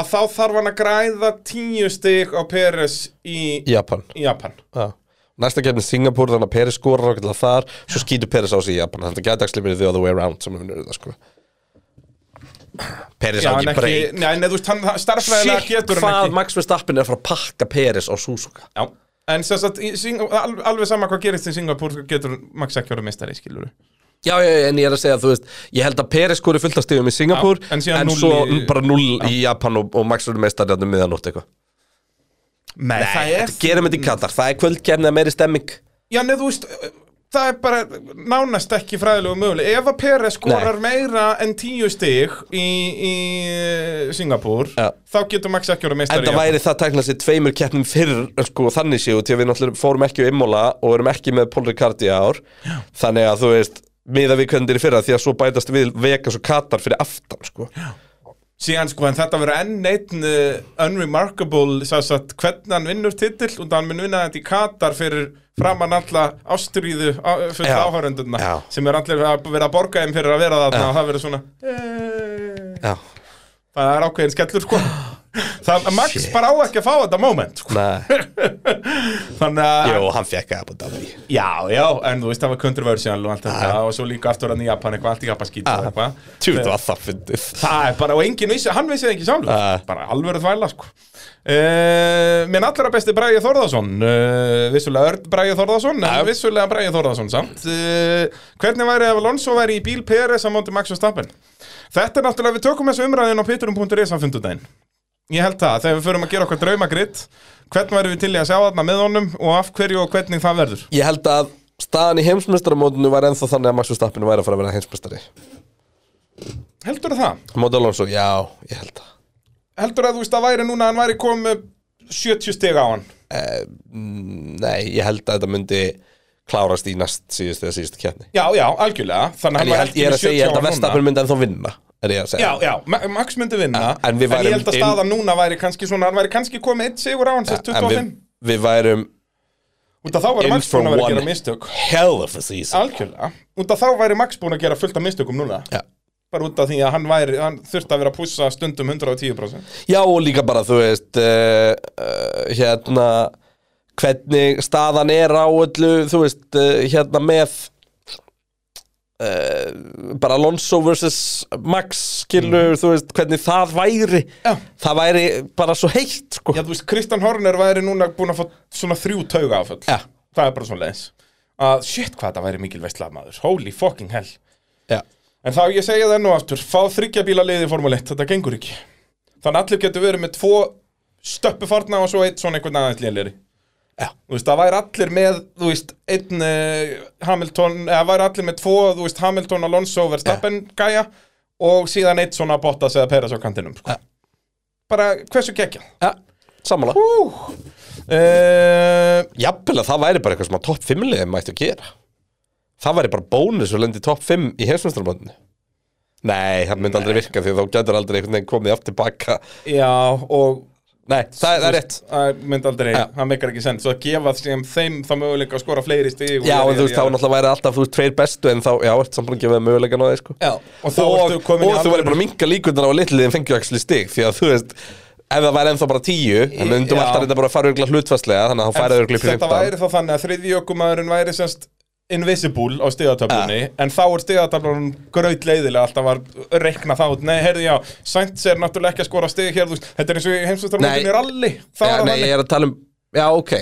Speaker 3: að þá þarf hann að græða tíu stig á Peres í,
Speaker 2: Í Japan
Speaker 3: í Japan
Speaker 2: Já. Næsta kefni Singapur, þannig að Peris skorar okkur til að þar Svo skýtur Peris á sig í Japan Þannig að gætaksli verið the other way around sem við vinnur þetta sko Peris á
Speaker 3: en
Speaker 2: ekki breyk
Speaker 3: Nei, nei, þú veist, hann starfræðilega
Speaker 2: Sitt
Speaker 3: getur hann
Speaker 2: hvað
Speaker 3: ekki
Speaker 2: Max Verstappen er að fara að pakka Peris á Suzuka
Speaker 3: Já, en sem sagt, í Sing- al- alveg sama hvað gerist í Singapur getur Max ekki orðið meistari, skilur
Speaker 2: Já, já, já, en ég er að segja, þú veist, ég held að Peres skori fullt af stigum í Singapur
Speaker 3: Já, en síðan núll
Speaker 2: svo
Speaker 3: í-
Speaker 2: bara null í Japan og, og Max verður meistari að miðanótt eitthvað
Speaker 3: Nei, það er
Speaker 2: Þetta gerum þetta í Katar, það er kvöldkefni að meiri stemming
Speaker 3: Já, neðu, þú veist, það er bara nánast ekki fræðilegu möguleg Ef að Peres skorar meira en tíu stig í, í Singapur
Speaker 2: Já.
Speaker 3: þá getur Max ekki orðið
Speaker 2: En
Speaker 3: meistari
Speaker 2: það væri það tæknað sér tveimur keppnum fyrr sko, þannig séu til að við náttúrulega fórum ekki um Imola og erum ekki með Paul Ricardi í ár Já. þannig að þú veist miða við hvernig þeir í fyrra því að svo bætast við Vegas og Katar fyrir aftan sko.
Speaker 3: síðan sko en þetta verður enn einn uh, unremarkable sagði, satt, hvernig hann vinnur titill og hann mun vinna þetta í Katar fyrir framann alla ástríðu á- fullt
Speaker 2: Já.
Speaker 3: áhörendurna
Speaker 2: Já.
Speaker 3: sem er allir að vera að borga þeim fyrir að vera þarna og það verður svona eh,
Speaker 2: Já,
Speaker 3: það er ákveðin skellur sko það, Max bara á ekki að fá þetta moment sko.
Speaker 2: nei,
Speaker 3: þannig að
Speaker 2: jú, hann fekk að búið að því
Speaker 3: Já, já, en þú veist það var controversial og allt þetta og svo líka aftur hann í Japan eitthvað, allt í Japanskít
Speaker 2: Ah.
Speaker 3: og eitthvað
Speaker 2: Tjúðu að það fyndið
Speaker 3: Það er bara, og enginn vissi, hann vissi það ekki sjálfur
Speaker 2: Ah.
Speaker 3: Bara alvöru þvæla, sko uh, Minn allra besti Bræði Þórðarsson uh, Vissulega Örn Bræði Þórðarsson En vissulega Bræði Þórðarsson samt uh, Hvernig væri ef Alonso væri í bíl PRS á móti Max Verstappen? Þetta er náttúrulega, við tökum þessu umræðin á piturum.is á fundudaginn Ég held það, þegar við förum að gera okkar draumagritt Hvern væri við til í að sjá þarna með honum og af hverju og hvernig það verður?
Speaker 2: Ég held að staðan í heimsmyndstaramótinu var ennþá þannig að Max Verstappen væri að fara að vera heimsmyndstari
Speaker 3: Heldur það?
Speaker 2: Móti Alonso, já, ég held að
Speaker 3: Heldur að þú veist að væri núna að hann væri komið 70 stig á hann?
Speaker 2: Nei, ég held að þetta myndi klárast í næst síðustu eða síðustu keppni
Speaker 3: Já, já, algjörlega Þannig
Speaker 2: En ég, held, ég er að segja, ég held að Verstappen myndi ennþá vinna Er ég að segja
Speaker 3: Já, já, Ma- Max myndi vinna
Speaker 2: En- en við værum
Speaker 3: ég held að
Speaker 2: inn-
Speaker 3: staðan núna væri kannski svona Hann væri kannski komið eitt sigur á hann sérst
Speaker 2: En við,
Speaker 3: 25
Speaker 2: við værum
Speaker 3: Út af þá væri
Speaker 2: in
Speaker 3: Max
Speaker 2: for
Speaker 3: búin að vera að
Speaker 2: one.
Speaker 3: gera mistök
Speaker 2: hell of a season
Speaker 3: Algjörlega Út af þá væri Max búin að gera fullt af mistökum núna
Speaker 2: Já.
Speaker 3: Bara út af því að hann, væri, hann þurfti að vera að pússa stundum 110%
Speaker 2: Já, og líka bara, þú veist uh, uh, Hérna Hvernig staðan er á öllu Þú veist, uh, hérna með uh, Bara Alonso versus Max Skilur, þú veist, hvernig það væri
Speaker 3: Mm. Já.
Speaker 2: Það væri bara svo heitt sko.
Speaker 3: Já, þú veist, Kristján Horner væri núna búin að fá svona þrjú tauga áföll
Speaker 2: Já.
Speaker 3: Það er bara svona leins að shit hvað þetta væri mikil veistlað maður holy fucking hell
Speaker 2: Já.
Speaker 3: En þá ég segja það nú aftur, fá þryggja bíla liði í Formule 1, þetta gengur ekki. Þannig að allir getur verið með tvo stöppufarna og svo eitt svona einhvern aðeins lélegri.
Speaker 2: Já.
Speaker 3: Þú veist, það væri allir með, þú veist, einn uh, Hamilton, eða væri allir með tvo, þú veist, Hamilton, Alonso, Verstappen gæja og síðan eitt svona Bottas eða Peres á kantinum. Sko.
Speaker 2: Já.
Speaker 3: Bara, hversu gekkja?
Speaker 2: Ja, sammála
Speaker 3: Uh,
Speaker 2: Jafnvel að það væri bara eitthvað sem að topp 5 liðið mættu að gera Það væri bara bónus að lendi topp 5 í heimsmyndstarmótinu Nei, það myndi aldrei virka því þá getur aldrei einhvern veginn komið aftur baka
Speaker 3: já, og
Speaker 2: Nei, það, það er rétt
Speaker 3: það myndi aldrei,
Speaker 2: Já.
Speaker 3: það meikar ekki sens. Svo að gefa sem þeim þá möguleika að skora fleiri stig. og
Speaker 2: Já,
Speaker 3: ég-
Speaker 2: en þú
Speaker 3: ég-
Speaker 2: veist, þá náttúrulega væri alltaf þú veist tveir bestu en þá, já, ert samt búin að gefa þeim möguleikann á þeir sko
Speaker 3: Já, og þá
Speaker 2: og,
Speaker 3: ertu komin í
Speaker 2: og þú
Speaker 3: alvöru-
Speaker 2: væri bara að minka líkundar á að litliðin fengju ekki stig því að þú veist, ef það væri ennþá bara 10 en við undum
Speaker 3: Já.
Speaker 2: alltaf reynda bara að fara örgla hlutfastlega þannig að þá færi örgla upp í
Speaker 3: þetta
Speaker 2: 15
Speaker 3: væri þá þannig að þriðji ökumæðurinn væri semst invisible á stigatöflunni en þá er stigatöflunum gröð leiðilega alltaf var reikna þá út. nei, heyrðu já, Sainz er náttúrulega ekki að skora stig hér, þú veist, þetta er eins og heimsvistarmótinu
Speaker 2: Nei.
Speaker 3: er alli, þá
Speaker 2: Já,
Speaker 3: er það
Speaker 2: nei,
Speaker 3: þannig
Speaker 2: ég er að tala um, já, ok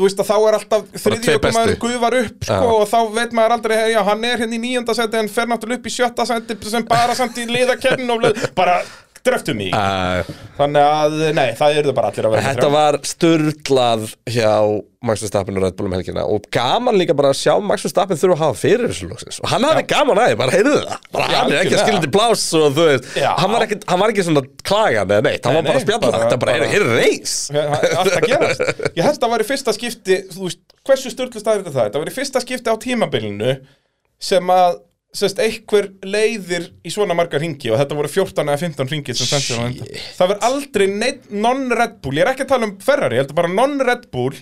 Speaker 3: þú veist að þá er alltaf þriðji
Speaker 2: tveir
Speaker 3: ökumæður
Speaker 2: bestu.
Speaker 3: guðvar upp sko,
Speaker 2: Já.
Speaker 3: og þá veit maður aldrei, heyrðu já, hann er hérna í nýjönda seti en fer náttúrulega upp í sjötta seti sem bara samt í liðakernin og blöð, bara dreftum í,
Speaker 2: uh,
Speaker 3: þannig að nei, það eru bara allir að vera með
Speaker 2: Þetta
Speaker 3: þrjá.
Speaker 2: var sturglað hjá Max Verstappen og Red Bull um helgina og gaman líka bara að sjá Max Verstappen þurfa að hafa fyrir þessu lóksins og hann hafði gaman að því, bara heyrðu það bara hann
Speaker 3: Já,
Speaker 2: er ekki að
Speaker 3: algjörlega.
Speaker 2: skilja til pláss og þú veist
Speaker 3: Já.
Speaker 2: hann var, ekki, hann var ekki svona klagan eða neitt, hann
Speaker 3: Nei,
Speaker 2: var bara
Speaker 3: nei,
Speaker 2: að spjalla
Speaker 3: bara-
Speaker 2: þetta bara,
Speaker 3: bara-
Speaker 2: heyrðu, heyrðu reis
Speaker 3: allt að gerast ég held að það væri fyrsta skipti þú veist, hversu störtlust að þetta það er? það væri fyrsta skipti á tímabilinu sem að sest, einhver leiðir í svona marga ringi og þetta voru 14 eða 15 ringi sem sendir á enda það verður aldrei neitt non-Red Bull ég er ekki að tala um Ferrari, ég held bara non-Red Bull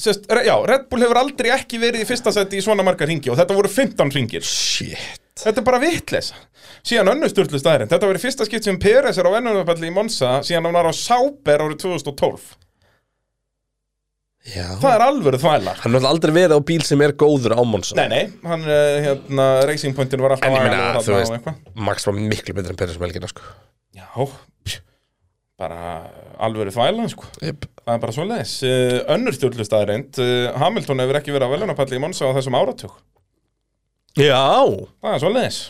Speaker 3: sest, re, já, Red Bull hefur aldrei ekki verið í fyrsta seti í svona marga ringi og þetta voru 15 ringir
Speaker 2: Shit
Speaker 3: Þetta er bara vitleysa Síðan önnur sturlu staðrind Þetta verið fyrsta skipt sem Peres er á ennumöfalli í Monsa Síðan hann var á Sáber árið 2012
Speaker 2: Já.
Speaker 3: Það er alvöru þvæla
Speaker 2: Hann hefði aldrei verið á bíl sem er góður á Monsa
Speaker 3: Nei, nei, hann, eh, hérna, Racing Pointin var alltaf
Speaker 2: En ég meina, þú
Speaker 3: agalegur þarna
Speaker 2: veist-
Speaker 3: og eitthvað.
Speaker 2: Max var miklu betur en Peres um helgina sko.
Speaker 3: Já, pjú, bara alvöru þvæla, sko
Speaker 2: yep.
Speaker 3: Það er bara svo leis Önnur sturlu staðrind Hamilton hefur ekki verið á veljónapalli í Monsa á þessum áratug
Speaker 2: Já
Speaker 3: Það er svo leis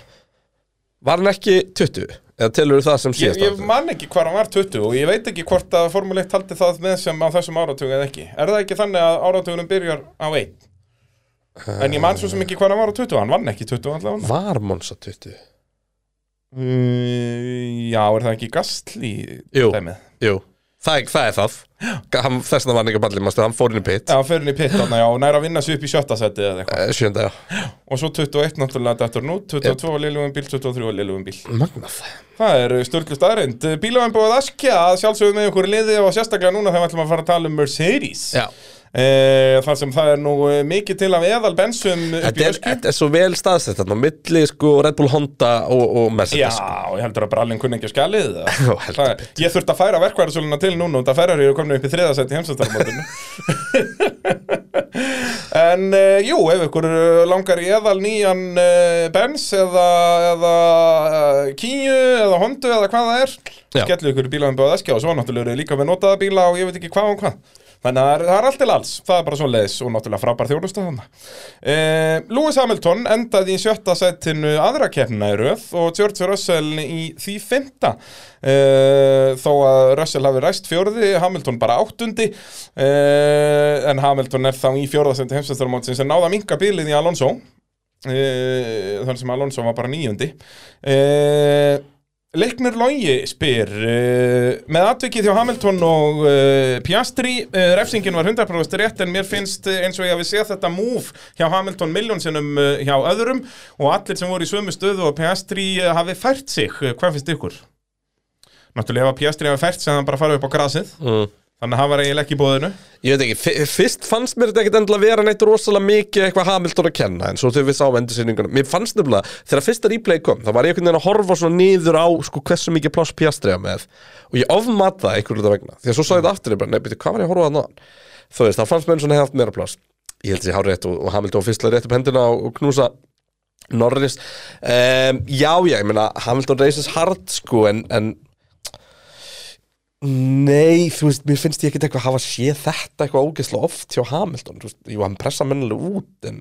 Speaker 2: Var hann ekki 20? Eða telur það sem
Speaker 3: Ég,
Speaker 2: síðast
Speaker 3: ég man ekki hvar hann var 20 og ég veit ekki hvort að Formule 1 haldi það með sem á þessum áratug eða ekki. Er það ekki þannig að áratugunum byrjar á 1? En ég man svo sem ekki hvar hann var á 20, hann vann ekki 20 allavega.
Speaker 2: Var Monsa 20? Uh.
Speaker 3: Mm, Eh, já, er það ekki gastli
Speaker 2: Jú.
Speaker 3: dæmið?
Speaker 2: Jú það, er- það er það hann, Þessna var hann ekki ballið, maður, hann fór inn í pitt
Speaker 3: Já, fyrir henni í pitt þarna, já, og næra að vinna sér upp í sjötta seti eða eitthvað.
Speaker 2: Eh, Sjönda, já
Speaker 3: Og svo 21 náttúrulega dættur nú, 22 yep. liðlugum bíl, 23 liðlugum bíl.
Speaker 2: Magnað
Speaker 3: Það er störtlu staðreind. Bílum búið að askja að sjálfsögum með okkur í liði og sérstaklega núna þegar við ætlum að fara að tala um Mercedes.
Speaker 2: Já.
Speaker 3: Eh, þar sem það er nú eh, mikið til af eðal bensum upp
Speaker 2: Þetta
Speaker 3: í
Speaker 2: er,
Speaker 3: ösku.
Speaker 2: þetta er svo vel staðsett þarna á milli sko, Red Bull Honda og, og
Speaker 3: Já,
Speaker 2: Mercedes sko.
Speaker 3: ég heldur að brallin kunni ekki að skalið
Speaker 2: Jó, heldur
Speaker 3: Ég þurfti að færa verkvæðarsöluna til núna og það ferðar eru komin upp í þriðasætt í heimsastarmótinu En uh, jú, ef ykkur eh, langar í eðal nýjan uh, Benz eða, eða uh, Kíu eða Hondu eða hvað það er
Speaker 2: Já.
Speaker 3: Skellu ykkur í bílaðum búið að eskja og svo náttúrulega eru líka með notaða bíla og ég veit ekki hvað og hvað Þannig að það er- það er allt til alls, það er bara svo leiðis og náttúrulega frábær þjónustu þannig. Eh, Lewis Hamilton endaði í sjötta setinu aðra keppnina í röð og George Russell í því fymta. Eh, þó að Russell hafi ræst fjórði, Hamilton bara áttundi, eh, en Hamilton er þá í fjórðasendi heimsveistarmótsins en náða minka bílið í Alonso, eh, þannig sem Alonso var bara nýjundi. Eh, Leiknir Lógi spyr uh, með atvikið hjá Hamilton og uh, Piastri, uh, refsingin var 100% rétt en mér finnst eh, eins og ég hafi séð þetta move hjá Hamilton milljónsinnum uh, hjá öðrum og allir sem voru í sömu stöðu og Piastri uh, hafi fært sig, uh, hvað finnst ykkur? Náttúrulega ef að Piastri hafi fært sig hann bara farið upp á grasið
Speaker 2: Mm.
Speaker 3: þannig að hann var eiginlega ekki í bóðinu
Speaker 2: Ég veit ekki, fi- fyrst fannst mér þetta ekkit endilega vera neitt rosalega mikið eitthvað Hamilton að kenna en svo þegar við sáum endursýningunum, mér fannst nefnilega þegar fyrsta replay kom, þá var ég einhvern veginn að horfa svona niður á sko hversu mikið pláss pjastriða með og ég ofmat það einhverju þetta vegna því að svo sá ég þetta aftur, ég bara, nei, beti, hvað var ég að horfa að náðan þú veist, þá fannst mér eins og hann hefði haft meira pláss ég held að ég hár rétt og, og Hamilton fyrstlega rétt upp hendina og, og knúsa Norris um, Já, já, ég meina Hamilton races hard sko en, en Nei, þú veist, mér finnst ég ekkert eitthvað að hafa séð þetta eitthvað ógeðslega oft hjá Hamilton þú veist, Jú, hann pressa mennilega út en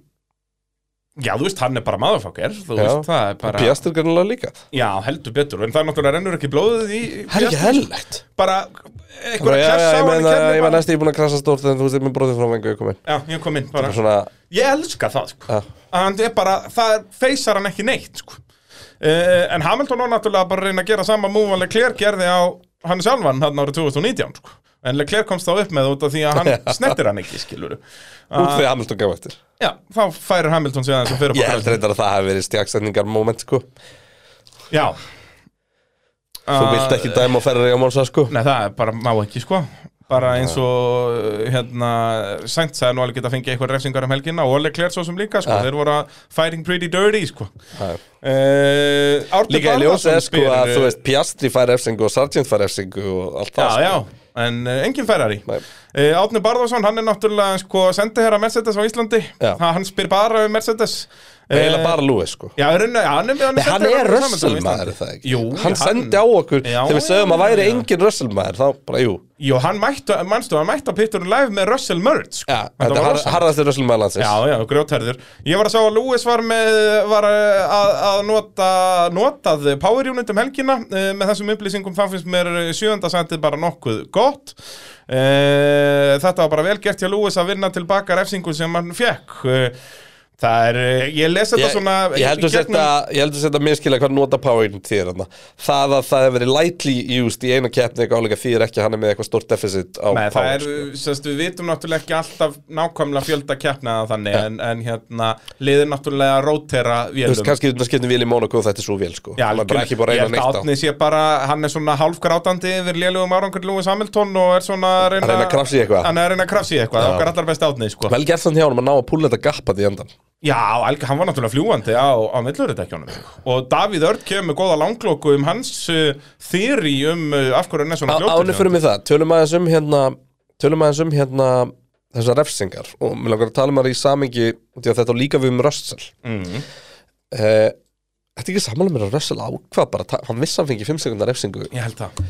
Speaker 3: Já, þú veist, hann er bara maðurfokkar þú
Speaker 2: Já.
Speaker 3: veist, það er bara
Speaker 2: Piastur grannlega líka
Speaker 3: Já, heldur betur, en það er náttúrulega rennur ekki blóðið í í
Speaker 2: Það er ekki
Speaker 3: Piastri.
Speaker 2: hellegt
Speaker 3: Bara,
Speaker 2: Já,
Speaker 3: einhverja
Speaker 2: já,
Speaker 3: klessa á
Speaker 2: ég
Speaker 3: hann í
Speaker 2: meina, ég meina
Speaker 3: kennum
Speaker 2: næst ég er búin að krasa stórt en þú veist, ég með bróðið frá vengu ég komin
Speaker 3: Já, ég kom inn bara
Speaker 2: Svona,
Speaker 3: Ég elska það sko.
Speaker 2: Já.
Speaker 3: að hann er bara, það er- feysar hann ekki neitt sko. uh, en Hamilton var náttúrulega bara að reyna að gera sama múf að Leclerc gerði á hann sjálfan hann árið 2019 sko. en Leclerc komst þá upp með út af því að hann snettir hann ekki skilur
Speaker 2: út því Hamilton gaf eftir
Speaker 3: já, þá færir Hamilton sig aðeins og fyrir upp á
Speaker 2: Ég held
Speaker 3: grasið.
Speaker 2: reyndar að það hafi verið stjagsendingar moment sko
Speaker 3: já
Speaker 2: Þú vilt ekki dæma og ferri á Mónsa sko
Speaker 3: Ah, eh. Nei, það er bara, má ekki sko bara eins og hérna, Sainz sagði nú alveg geta fengið eitthvað refsingar um helgina og Ole Claire svo sem líka
Speaker 2: Ah.
Speaker 3: sko, þeir voru að fighting pretty dirty sko
Speaker 2: Já.
Speaker 3: Uh,
Speaker 2: Líka í ljósið er sko að
Speaker 3: eh,
Speaker 2: þú veist Piastri fær efsingu og Sargent fær efsingu og allt það
Speaker 3: Já,
Speaker 2: sko.
Speaker 3: já, en uh, enginn Ferrari
Speaker 2: Nei.
Speaker 3: uh, Átni Barðarsson, hann er náttúrulega sko, sendi herra Mercedes á Íslandi
Speaker 2: Já.
Speaker 3: ha, Hann spyr bara um Mercedes
Speaker 2: Eiginlega
Speaker 3: Eh,
Speaker 2: bara Lewis sko
Speaker 3: Já, hann er, hann er,
Speaker 2: Nei, hann er
Speaker 3: sendiherra Mercedes á
Speaker 2: Russell
Speaker 3: Íslandi.
Speaker 2: maður er það ekki
Speaker 3: Jú,
Speaker 2: Hann sendi á okkur
Speaker 3: Já,
Speaker 2: þegar við sögum að
Speaker 3: já,
Speaker 2: væri
Speaker 3: já.
Speaker 2: engin Russell maður Þá bara, jú
Speaker 3: Jú, hann mættu, mannstu, hann mættu að pitturinn live með Russell Mertz sko.
Speaker 2: Já, þetta var harðastir Russell maður landsins
Speaker 3: Já, já, grjótherður. Ég var að sá að Lewis var, með, var eh, að, að nota, notað power unit um helgina eh, með þessum upplýsingum þá finnst mér sjöönda sendið bara nokkuð gott Eh, Þetta var bara vel gert hjá Lewis að vinna tilbaka refsingu sem hann fekk Eh, Það er, eh, ég les þetta
Speaker 2: Ég,
Speaker 3: svona
Speaker 2: ég heldur
Speaker 3: gegnum-
Speaker 2: þetta, ég heldur þetta minnskilja hvað nota powerin þér hann Það að það hefur verið lightly used í einu keppni eitthvað áleika því er ekki að hann er með eitthvað stórt deficit á
Speaker 3: Nei, það
Speaker 2: power
Speaker 3: er, sérst, við vitum náttúrulega ekki alltaf nákvæmlega fjölda keppnaða þannig en, en hérna, liðir náttúrulega að rótera
Speaker 2: Þú
Speaker 3: vélum
Speaker 2: veist, kannski þetta skiptum vél í Monaco og þetta er svo vél sko
Speaker 3: Já,
Speaker 2: Maður bara ekki búin að
Speaker 3: ég
Speaker 2: reyna
Speaker 3: held
Speaker 2: neitt á
Speaker 3: að Átni sé bara, hann er svona hálfgrátandi yfir lélugum árangur Lewis Hamilton og er svona að reyna,
Speaker 2: Að reyna að krafsa í eitthvað.
Speaker 3: Hann er að reyna að krafsa í eitthvað, það okkar allar best Átni sko.
Speaker 2: Vel gert þannig hjá hann að ná að púla þetta gappað í endan
Speaker 3: Já, alg, hann var náttúrulega fljúandi á, á milluritekjónum og Davíð Örd kemur með góða langloku um hans uh, þýri um uh, af hverju hann er svona
Speaker 2: Ánum
Speaker 3: fljótur
Speaker 2: fyrir mig það, tölum aðeins um hérna tölum aðeins um hérna þessar refsingar og mér langar að tala um það í samingi því að þetta á líka við um Russell mm. Þetta er ekki samanlega mér að Russell ákvað bara, að ta- hann vissi að hann fengi 5 sekundar refsingu
Speaker 3: Ég held það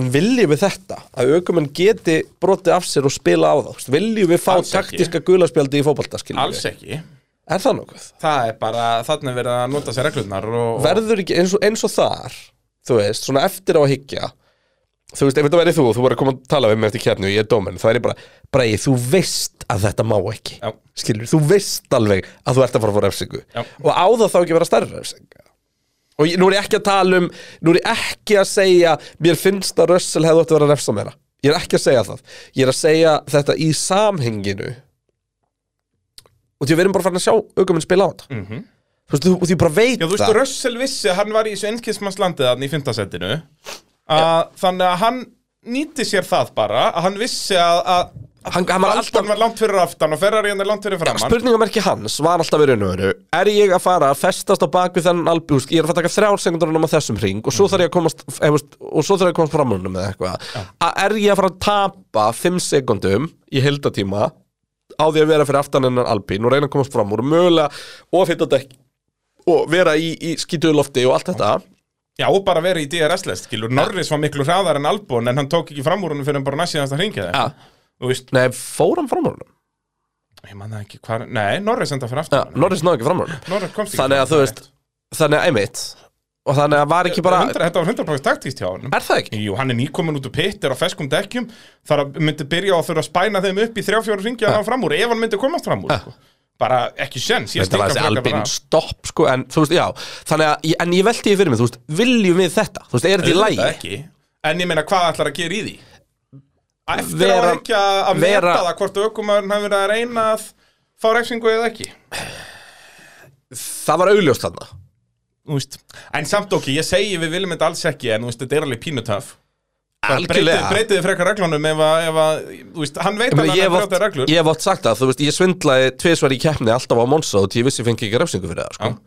Speaker 2: en viljum við þetta að aukumenn geti brotið af sér og spila á það viljum við fá
Speaker 3: Alls ekki.
Speaker 2: taktiska gulaspjaldi í fótbolta skiljum
Speaker 3: Alls
Speaker 2: við,
Speaker 3: ekki
Speaker 2: er það nokkuð?
Speaker 3: Það er bara, þarna er verið að nota sér reglurnar og, og
Speaker 2: verður ekki eins og, eins og þar þú veist, svona eftir á að higgja þú veist, ef þetta væri þú, þú voru að koma að tala við mig eftir kefni og ég er dóminn, þá er ég bara Bragi, þú veist að þetta má ekki
Speaker 3: Já.
Speaker 2: skilur, þú veist alveg að þú ert að fara að fá refsingu
Speaker 3: Já.
Speaker 2: og á það þá ekki að vera stærri refsinga og ég, nú er ég ekki að tala um nú er ég ekki að segja mér finnst að Russell hefði ótt að vera að refsa meira Ég er ekki að segja það Ég er að segja þetta í samhenginu Og því við erum bara farin að sjá aukuminn spila á þetta mm -hmm. Þú veist, þú- og því ég bara veit
Speaker 3: Mhm. Já, þú veist,
Speaker 2: það
Speaker 3: Russell vissi að hann var í þessu einskismannslandið þannig í fintasettinu þannig að hann nýtti sér það bara að hann vissi að, að
Speaker 2: Hann- hann var
Speaker 3: Albon
Speaker 2: alltaf-
Speaker 3: var langt fyrir aftan og Ferrari hann er langt fyrir framann
Speaker 2: Spurningamerki hans var alltaf í raun og veru Er ég að fara að festast á bak við þennan albjúst Ég er að fara að taka þrjár sekundurinn á þessum hring Og svo þarf ég að komast hefust, Og svo þarf ég að komast framrunum með eitthvað Að Er ég að fara að tapa fimm sekundum Í hildatíma Á því að vera fyrir aftan enn albín Og reyna að komast fram úr Mögulega og fyrta dekk Og vera í, í skítuðu lofti og allt þetta
Speaker 3: Já, og bara verið í DRS-lest, skilur Norris var miklu hraðar en Albon en hann tók ekki fram úr hann fyrir hann bara næst síðanst að hringja þeim
Speaker 2: ja.
Speaker 3: Þú veist,
Speaker 2: Nei, fór hann framrunum
Speaker 3: ég manna ekki hvað Nei, Norris enda
Speaker 2: ja,
Speaker 3: fyrir aftan
Speaker 2: Norris náði ekki framrunum
Speaker 3: Norris komst ekki
Speaker 2: Þannig að þú veist Þannig að einmitt Og þannig að var ekki bara
Speaker 3: 100, Þetta var 100% taktíst hjá hann
Speaker 2: Er það ekki?
Speaker 3: Jú, hann er nýkominn út úr pittir á feskum dekkjum þar að myndi byrja á að þurfa að spæna þeim upp í þrjá-fjóra ringja að ná fram úr ef hann myndi komast fram úr sko. bara ekki sjens ég
Speaker 2: Þetta var
Speaker 3: stinga
Speaker 2: þessi
Speaker 3: frekar bara
Speaker 2: albín
Speaker 3: af.
Speaker 2: stopp sko En þú veist, já Þannig að, ég- en ég velti því fyrir mig Þú veist, viljum við þetta? Þú veist, er þetta í
Speaker 3: Auðvitað
Speaker 2: lægi?
Speaker 3: ekki. en ég meina hvað ætlar að gera í því eftir vera, á
Speaker 2: Vera-
Speaker 3: ekki að vera,
Speaker 2: vera-
Speaker 3: meta það hvort aukumæðurinn hafi verið að reyna að fá refsingu eða ekki
Speaker 2: Það var augljóst þarna
Speaker 3: Þú veist. en samt okki, ég segi við viljum þetta alls ekki en þú veist, þetta er alveg pínutöf
Speaker 2: Algjörlega
Speaker 3: breytið þið frekar reglunum ef að, ef að þú veist, hann veit
Speaker 2: Ég meina,
Speaker 3: að hann
Speaker 2: Ég
Speaker 3: er
Speaker 2: hef
Speaker 3: að
Speaker 2: oft-
Speaker 3: brjóta reglur
Speaker 2: ég hef oft sagt það, þú veist, ég svindlaði tvisvar í keppni alltaf á Monsa og því ég vissi ég fengi ekki refsingu fyrir það, sko.
Speaker 3: Já.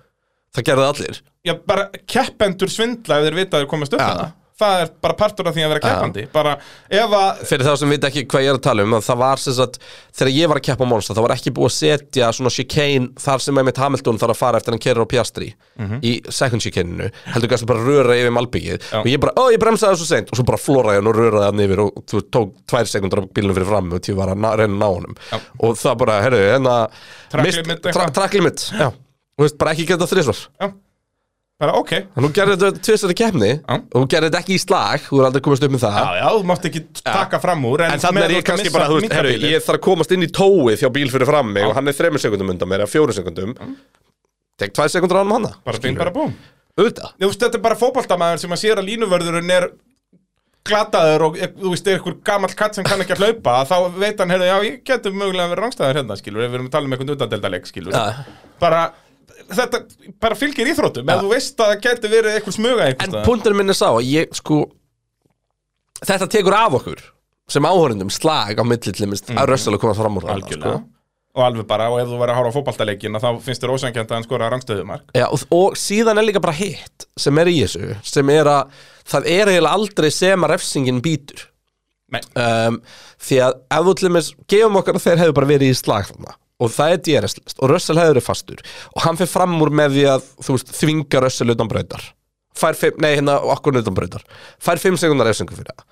Speaker 2: Það gerði allir.
Speaker 3: Já, bara keppendur svindla ef þeir vita að þeir komast upp
Speaker 2: Já.
Speaker 3: ja. Það er bara partur af því að vera keppandi Bara ef að
Speaker 2: Fyrir þá sem vita ekki hvað ég er að tala um, að það var sem sagt, þegar ég var að keppa á Monsa, það var ekki búið að setja svona chicane þar sem einmitt Hamilton þarf að fara eftir hann kerir á Piastri
Speaker 3: Mhm.
Speaker 2: í second chicaneinu, heldur kannski bara að röra yfir malbyggið og ég bara, ó, ég bremsaði þessu seint og svo bara flóraði hann og röraði hann yfir og þú veist, tók tvær sekundur af bílunum fyrir fram og tíu var að ná, reyna að ná honum og það bara, herru, hérna
Speaker 3: Track
Speaker 2: mist-
Speaker 3: limit
Speaker 2: tra-
Speaker 3: eitthvað.
Speaker 2: track limit, já, og veist, bara ekki geta þrisvar
Speaker 3: Bara ok Já,
Speaker 2: En hún gerði þetta tvisar í kemni og hún gerði þetta ekki í slag, hún er aldrei komast upp með það
Speaker 3: já, þú mátt ekki taka fram úr En,
Speaker 2: En þannig er
Speaker 3: meðan
Speaker 2: ég
Speaker 3: ert að
Speaker 2: kannski
Speaker 3: missa
Speaker 2: bara, þú veist, herru,
Speaker 3: minkabílinn.
Speaker 2: ég þarf að komast inn í tóið hjá bíl fyrir fram mig og hann er þremur sekundum undan mér, eða fjórum sekundum Tek tvær sekundur á hann um hana
Speaker 3: Bara bing, bara búm Þú
Speaker 2: Auðvitað
Speaker 3: veist, þetta er bara fótboltamaður sem að sér að línuvörðurinn er glataður og er- þú veist, er einhver gamall katt sem kann ekki að hlaupa þá veit hann, heyrðu, já, ég getur mögulega að vera rángstæður hérna, skilur, ef við erum að tala um einhvern utandeldaleg, skilur
Speaker 2: Ja.
Speaker 3: bara, þetta bara fylgir íþróttum, ef þú veist að það getur verið einhver smuga einhvers
Speaker 2: En
Speaker 3: staðar.
Speaker 2: punkturinn minn er sá, að ég sko Þetta tekur af okkur sem áhörundum slag á milli til minnst að rössalega komast fram úr hana sko.
Speaker 3: Algjörlega Og alveg bara, og ef þú verður að horfa á fótbaltaleikina þá finnst þér ósænkjönd að hann skora rangstöðumark
Speaker 2: Já, og, og síðan er líka bara hitt sem er í þessu, sem er að það er eiginlega aldrei sem að refsingin býtur
Speaker 3: Nei.
Speaker 2: um, því að ef þú til dæmis gefum okkar að þeir hefur bara verið í slag þarna og það er DRS-list og Russell hefur verið fastur og hann fyrir fram úr með því að þú veist, þvinga Russell utan brautar fær fimm, nei hérna okkur utan brautar fær 5 sekundar efsengu fyrir það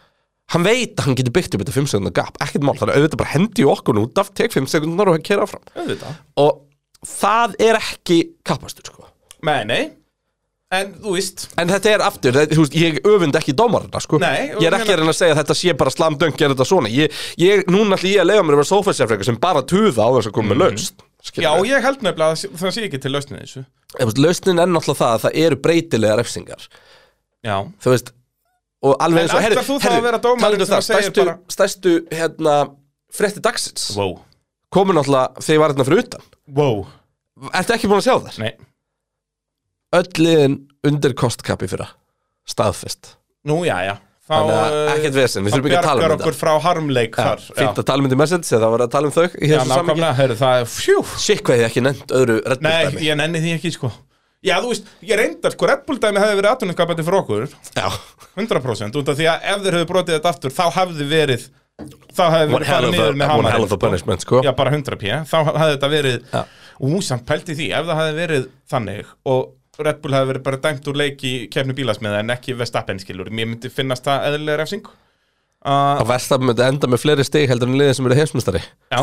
Speaker 2: hann veit að hann getur byggt upp þetta 5 sekundar gap ekkert mál, þannig að auðvitað bara hendi okkur út af tek 5 sekundar og hann kera áfram
Speaker 3: Auðvitað
Speaker 2: og það er ekki kappastur sko
Speaker 3: Nei, nei En þú veist
Speaker 2: En þetta er aftur, þetta, þú veist, ég öfund ekki dómarina, sko
Speaker 3: Nei, og
Speaker 2: Ég er ekki
Speaker 3: hérna-
Speaker 2: að reyna að segja að þetta sé bara slamdöng er þetta svona ég, ég, Núna ætlum ég að lega mér að vera sófæsjafreika sem bara tuða á þess að koma með laust
Speaker 3: Mhm. Já, ég held nefnilega að það- það sé ekki til lausnið þessu
Speaker 2: ég... Lausnin er náttúrulega það að það eru breytilega refsingar
Speaker 3: Já
Speaker 2: Þú veist, og alveg
Speaker 3: En
Speaker 2: eins og
Speaker 3: ætlar þú þá að vera dómarinn
Speaker 2: talandi um
Speaker 3: sem
Speaker 2: það,
Speaker 3: segir
Speaker 2: stærstu,
Speaker 3: bara-
Speaker 2: stærstu, hérna, frétti dagsins
Speaker 3: Wow
Speaker 2: Komur náttúrulega þegar ég var hérna fyrir utan
Speaker 3: Wow
Speaker 2: Ertu ekki búin að sjá þær?
Speaker 3: Nei
Speaker 2: Öll liðin undir kostkapi fyrir Staðfest
Speaker 3: Nú, já, já Þá eh,
Speaker 2: Þannig að ekkert vesen, við þurfum ekki að tala um
Speaker 3: bjargar
Speaker 2: þetta.
Speaker 3: okkur frá harmleik
Speaker 2: Já,
Speaker 3: þar
Speaker 2: Fínt að tala myndi message, það var að tala um þau í
Speaker 3: Já,
Speaker 2: þessu samhengi.
Speaker 3: nákvæmlega, heyrðu, það er fjú
Speaker 2: Shit hvað ég hef ekki nefnt öðru Red Bull
Speaker 3: Nei,
Speaker 2: dæmi
Speaker 3: ég nenni því ekki, sko Já, þú veist, ég reyndar, sko, Red Bull dæmi hefði verið atvinnumskapandi fyrir okkur
Speaker 2: Já,
Speaker 3: 100% út af því að ef þeir hefðu brotið þetta aftur þá hefði verið þá hefði
Speaker 2: one
Speaker 3: verið
Speaker 2: hell
Speaker 3: farið
Speaker 2: of
Speaker 3: niður með
Speaker 2: a- one hell of a
Speaker 3: hamarinn, sko.
Speaker 2: punishment sko
Speaker 3: Já, bara 100 p eh? þá hefði þetta verið
Speaker 2: Já.
Speaker 3: ú, samt pælti því, ef það hefði verið þannig og Red Bull hefði verið bara dæmt úr leik í kefni bílasmiða en ekki Vestappen skilur, mér myndi finnast það eðlilega refsing uh,
Speaker 2: Og Verstappen myndi enda með fleiri stig heldur en liðið sem eru heimsmyndstari
Speaker 3: Já,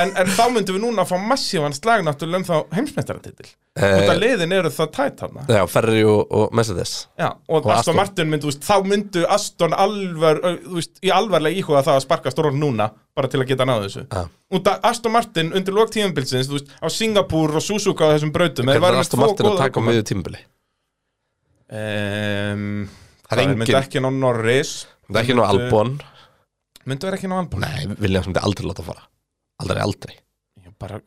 Speaker 3: en, en þá myndum við núna að fá massívan slag náttúrulega um þá heimsmeistaratitil
Speaker 2: Eh.
Speaker 3: Út af liðin eru það tætt hana
Speaker 2: Já, Ferri og, og Mercedes
Speaker 3: Já, og,
Speaker 2: Og
Speaker 3: Aston
Speaker 2: Aston.
Speaker 3: Martin mynd, þú veist, þá myndu Aston alvar, ö, þú veist, í alvarlega íhuga það að sparka stórn núna, bara til að geta náðu þessu
Speaker 2: Já.
Speaker 3: Út að Aston Martin undir lók tíðanbilsins, þú veist, á Singapur og Suzuka og þessum brautum
Speaker 2: Hvernig er Aston Martin að taka á miðju tímbili?
Speaker 3: um,
Speaker 2: Það er
Speaker 3: Það er
Speaker 2: engin-
Speaker 3: myndi ekki ná Norris
Speaker 2: Það er ekki nú Albon
Speaker 3: Myndu vera ekki ná albúl
Speaker 2: Nei, Williams myndi aldrei láta fara Aldrei, aldrei
Speaker 3: Ég bara,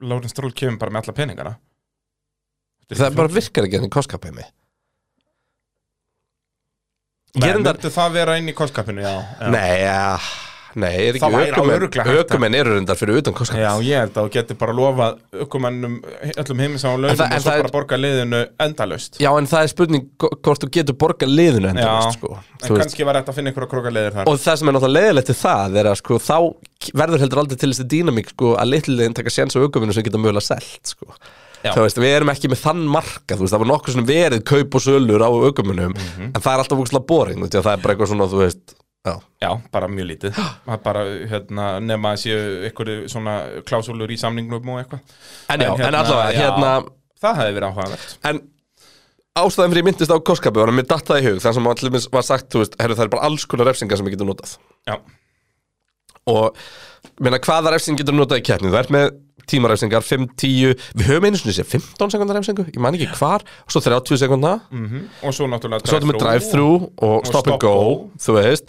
Speaker 3: Lawrence Stroll kemur bara með alla peningana
Speaker 2: Það bara virkar ekki enn koskapi mig Ég
Speaker 3: Nei,
Speaker 2: er endar
Speaker 3: myndu það vera inn í kolskapinu, já, já.
Speaker 2: Nei, ja, nei, er
Speaker 3: Það
Speaker 2: ekki
Speaker 3: væri alveg örugglega
Speaker 2: ökumenn
Speaker 3: hægt að-
Speaker 2: Ökumenn eru endar fyrir utan koskapi
Speaker 3: Já, ég held að þú getur bara lofað ökumennum öllum heimins á launum
Speaker 2: En það- en
Speaker 3: og svo
Speaker 2: það er-
Speaker 3: bara borga liðinu endalaust
Speaker 2: Já, en það er spurning hvo- hvort þú getur borgað liðinu endur,
Speaker 3: Já,
Speaker 2: sko.
Speaker 3: en
Speaker 2: Þú veist.
Speaker 3: kannski var þetta að finna einhverja krókaliðir þar
Speaker 2: Og það sem er náttúrulega leiðilegt til það er að sko, þá verður heldur aldrei til þessi dýnamík sko, að litliðin taka séns á aukuminu sem geta mögulega selt sko.
Speaker 3: Já.
Speaker 2: Þú veist, við erum ekki með þann marka þú veist, það var nokkuð svona verið kaup og sölur á aukuminum en það er alltaf vúkslega boring þú veist, það er bara eitthvað svona, þú veist já.
Speaker 3: Já, bara mjög lítið Það er bara, hérna, nema að séu einhverju svona klásúlur í samningnum og eitthvað
Speaker 2: En já, en, allavega,
Speaker 3: já,
Speaker 2: hérna
Speaker 3: Það hefði verið áhugavert
Speaker 2: en ástæðan fyrir ég myndist á koskapi var að mér datt það í hug þannig sem allir var sagt, þú veist, herru, það er bara alls konar refsingar sem ég getur notað
Speaker 3: Já,
Speaker 2: og meina, hvaða refsing getur notað í keppni þú ert með tímarefsingar, 5, 10 við höfum einu sinni sér 15 sekundar refsingu ég man ekki hvar, og svo 30 sekundar
Speaker 3: og svo náttúrulega
Speaker 2: svo erum við drive-thru og stop and go
Speaker 3: Mm, stop go.
Speaker 2: þú veist,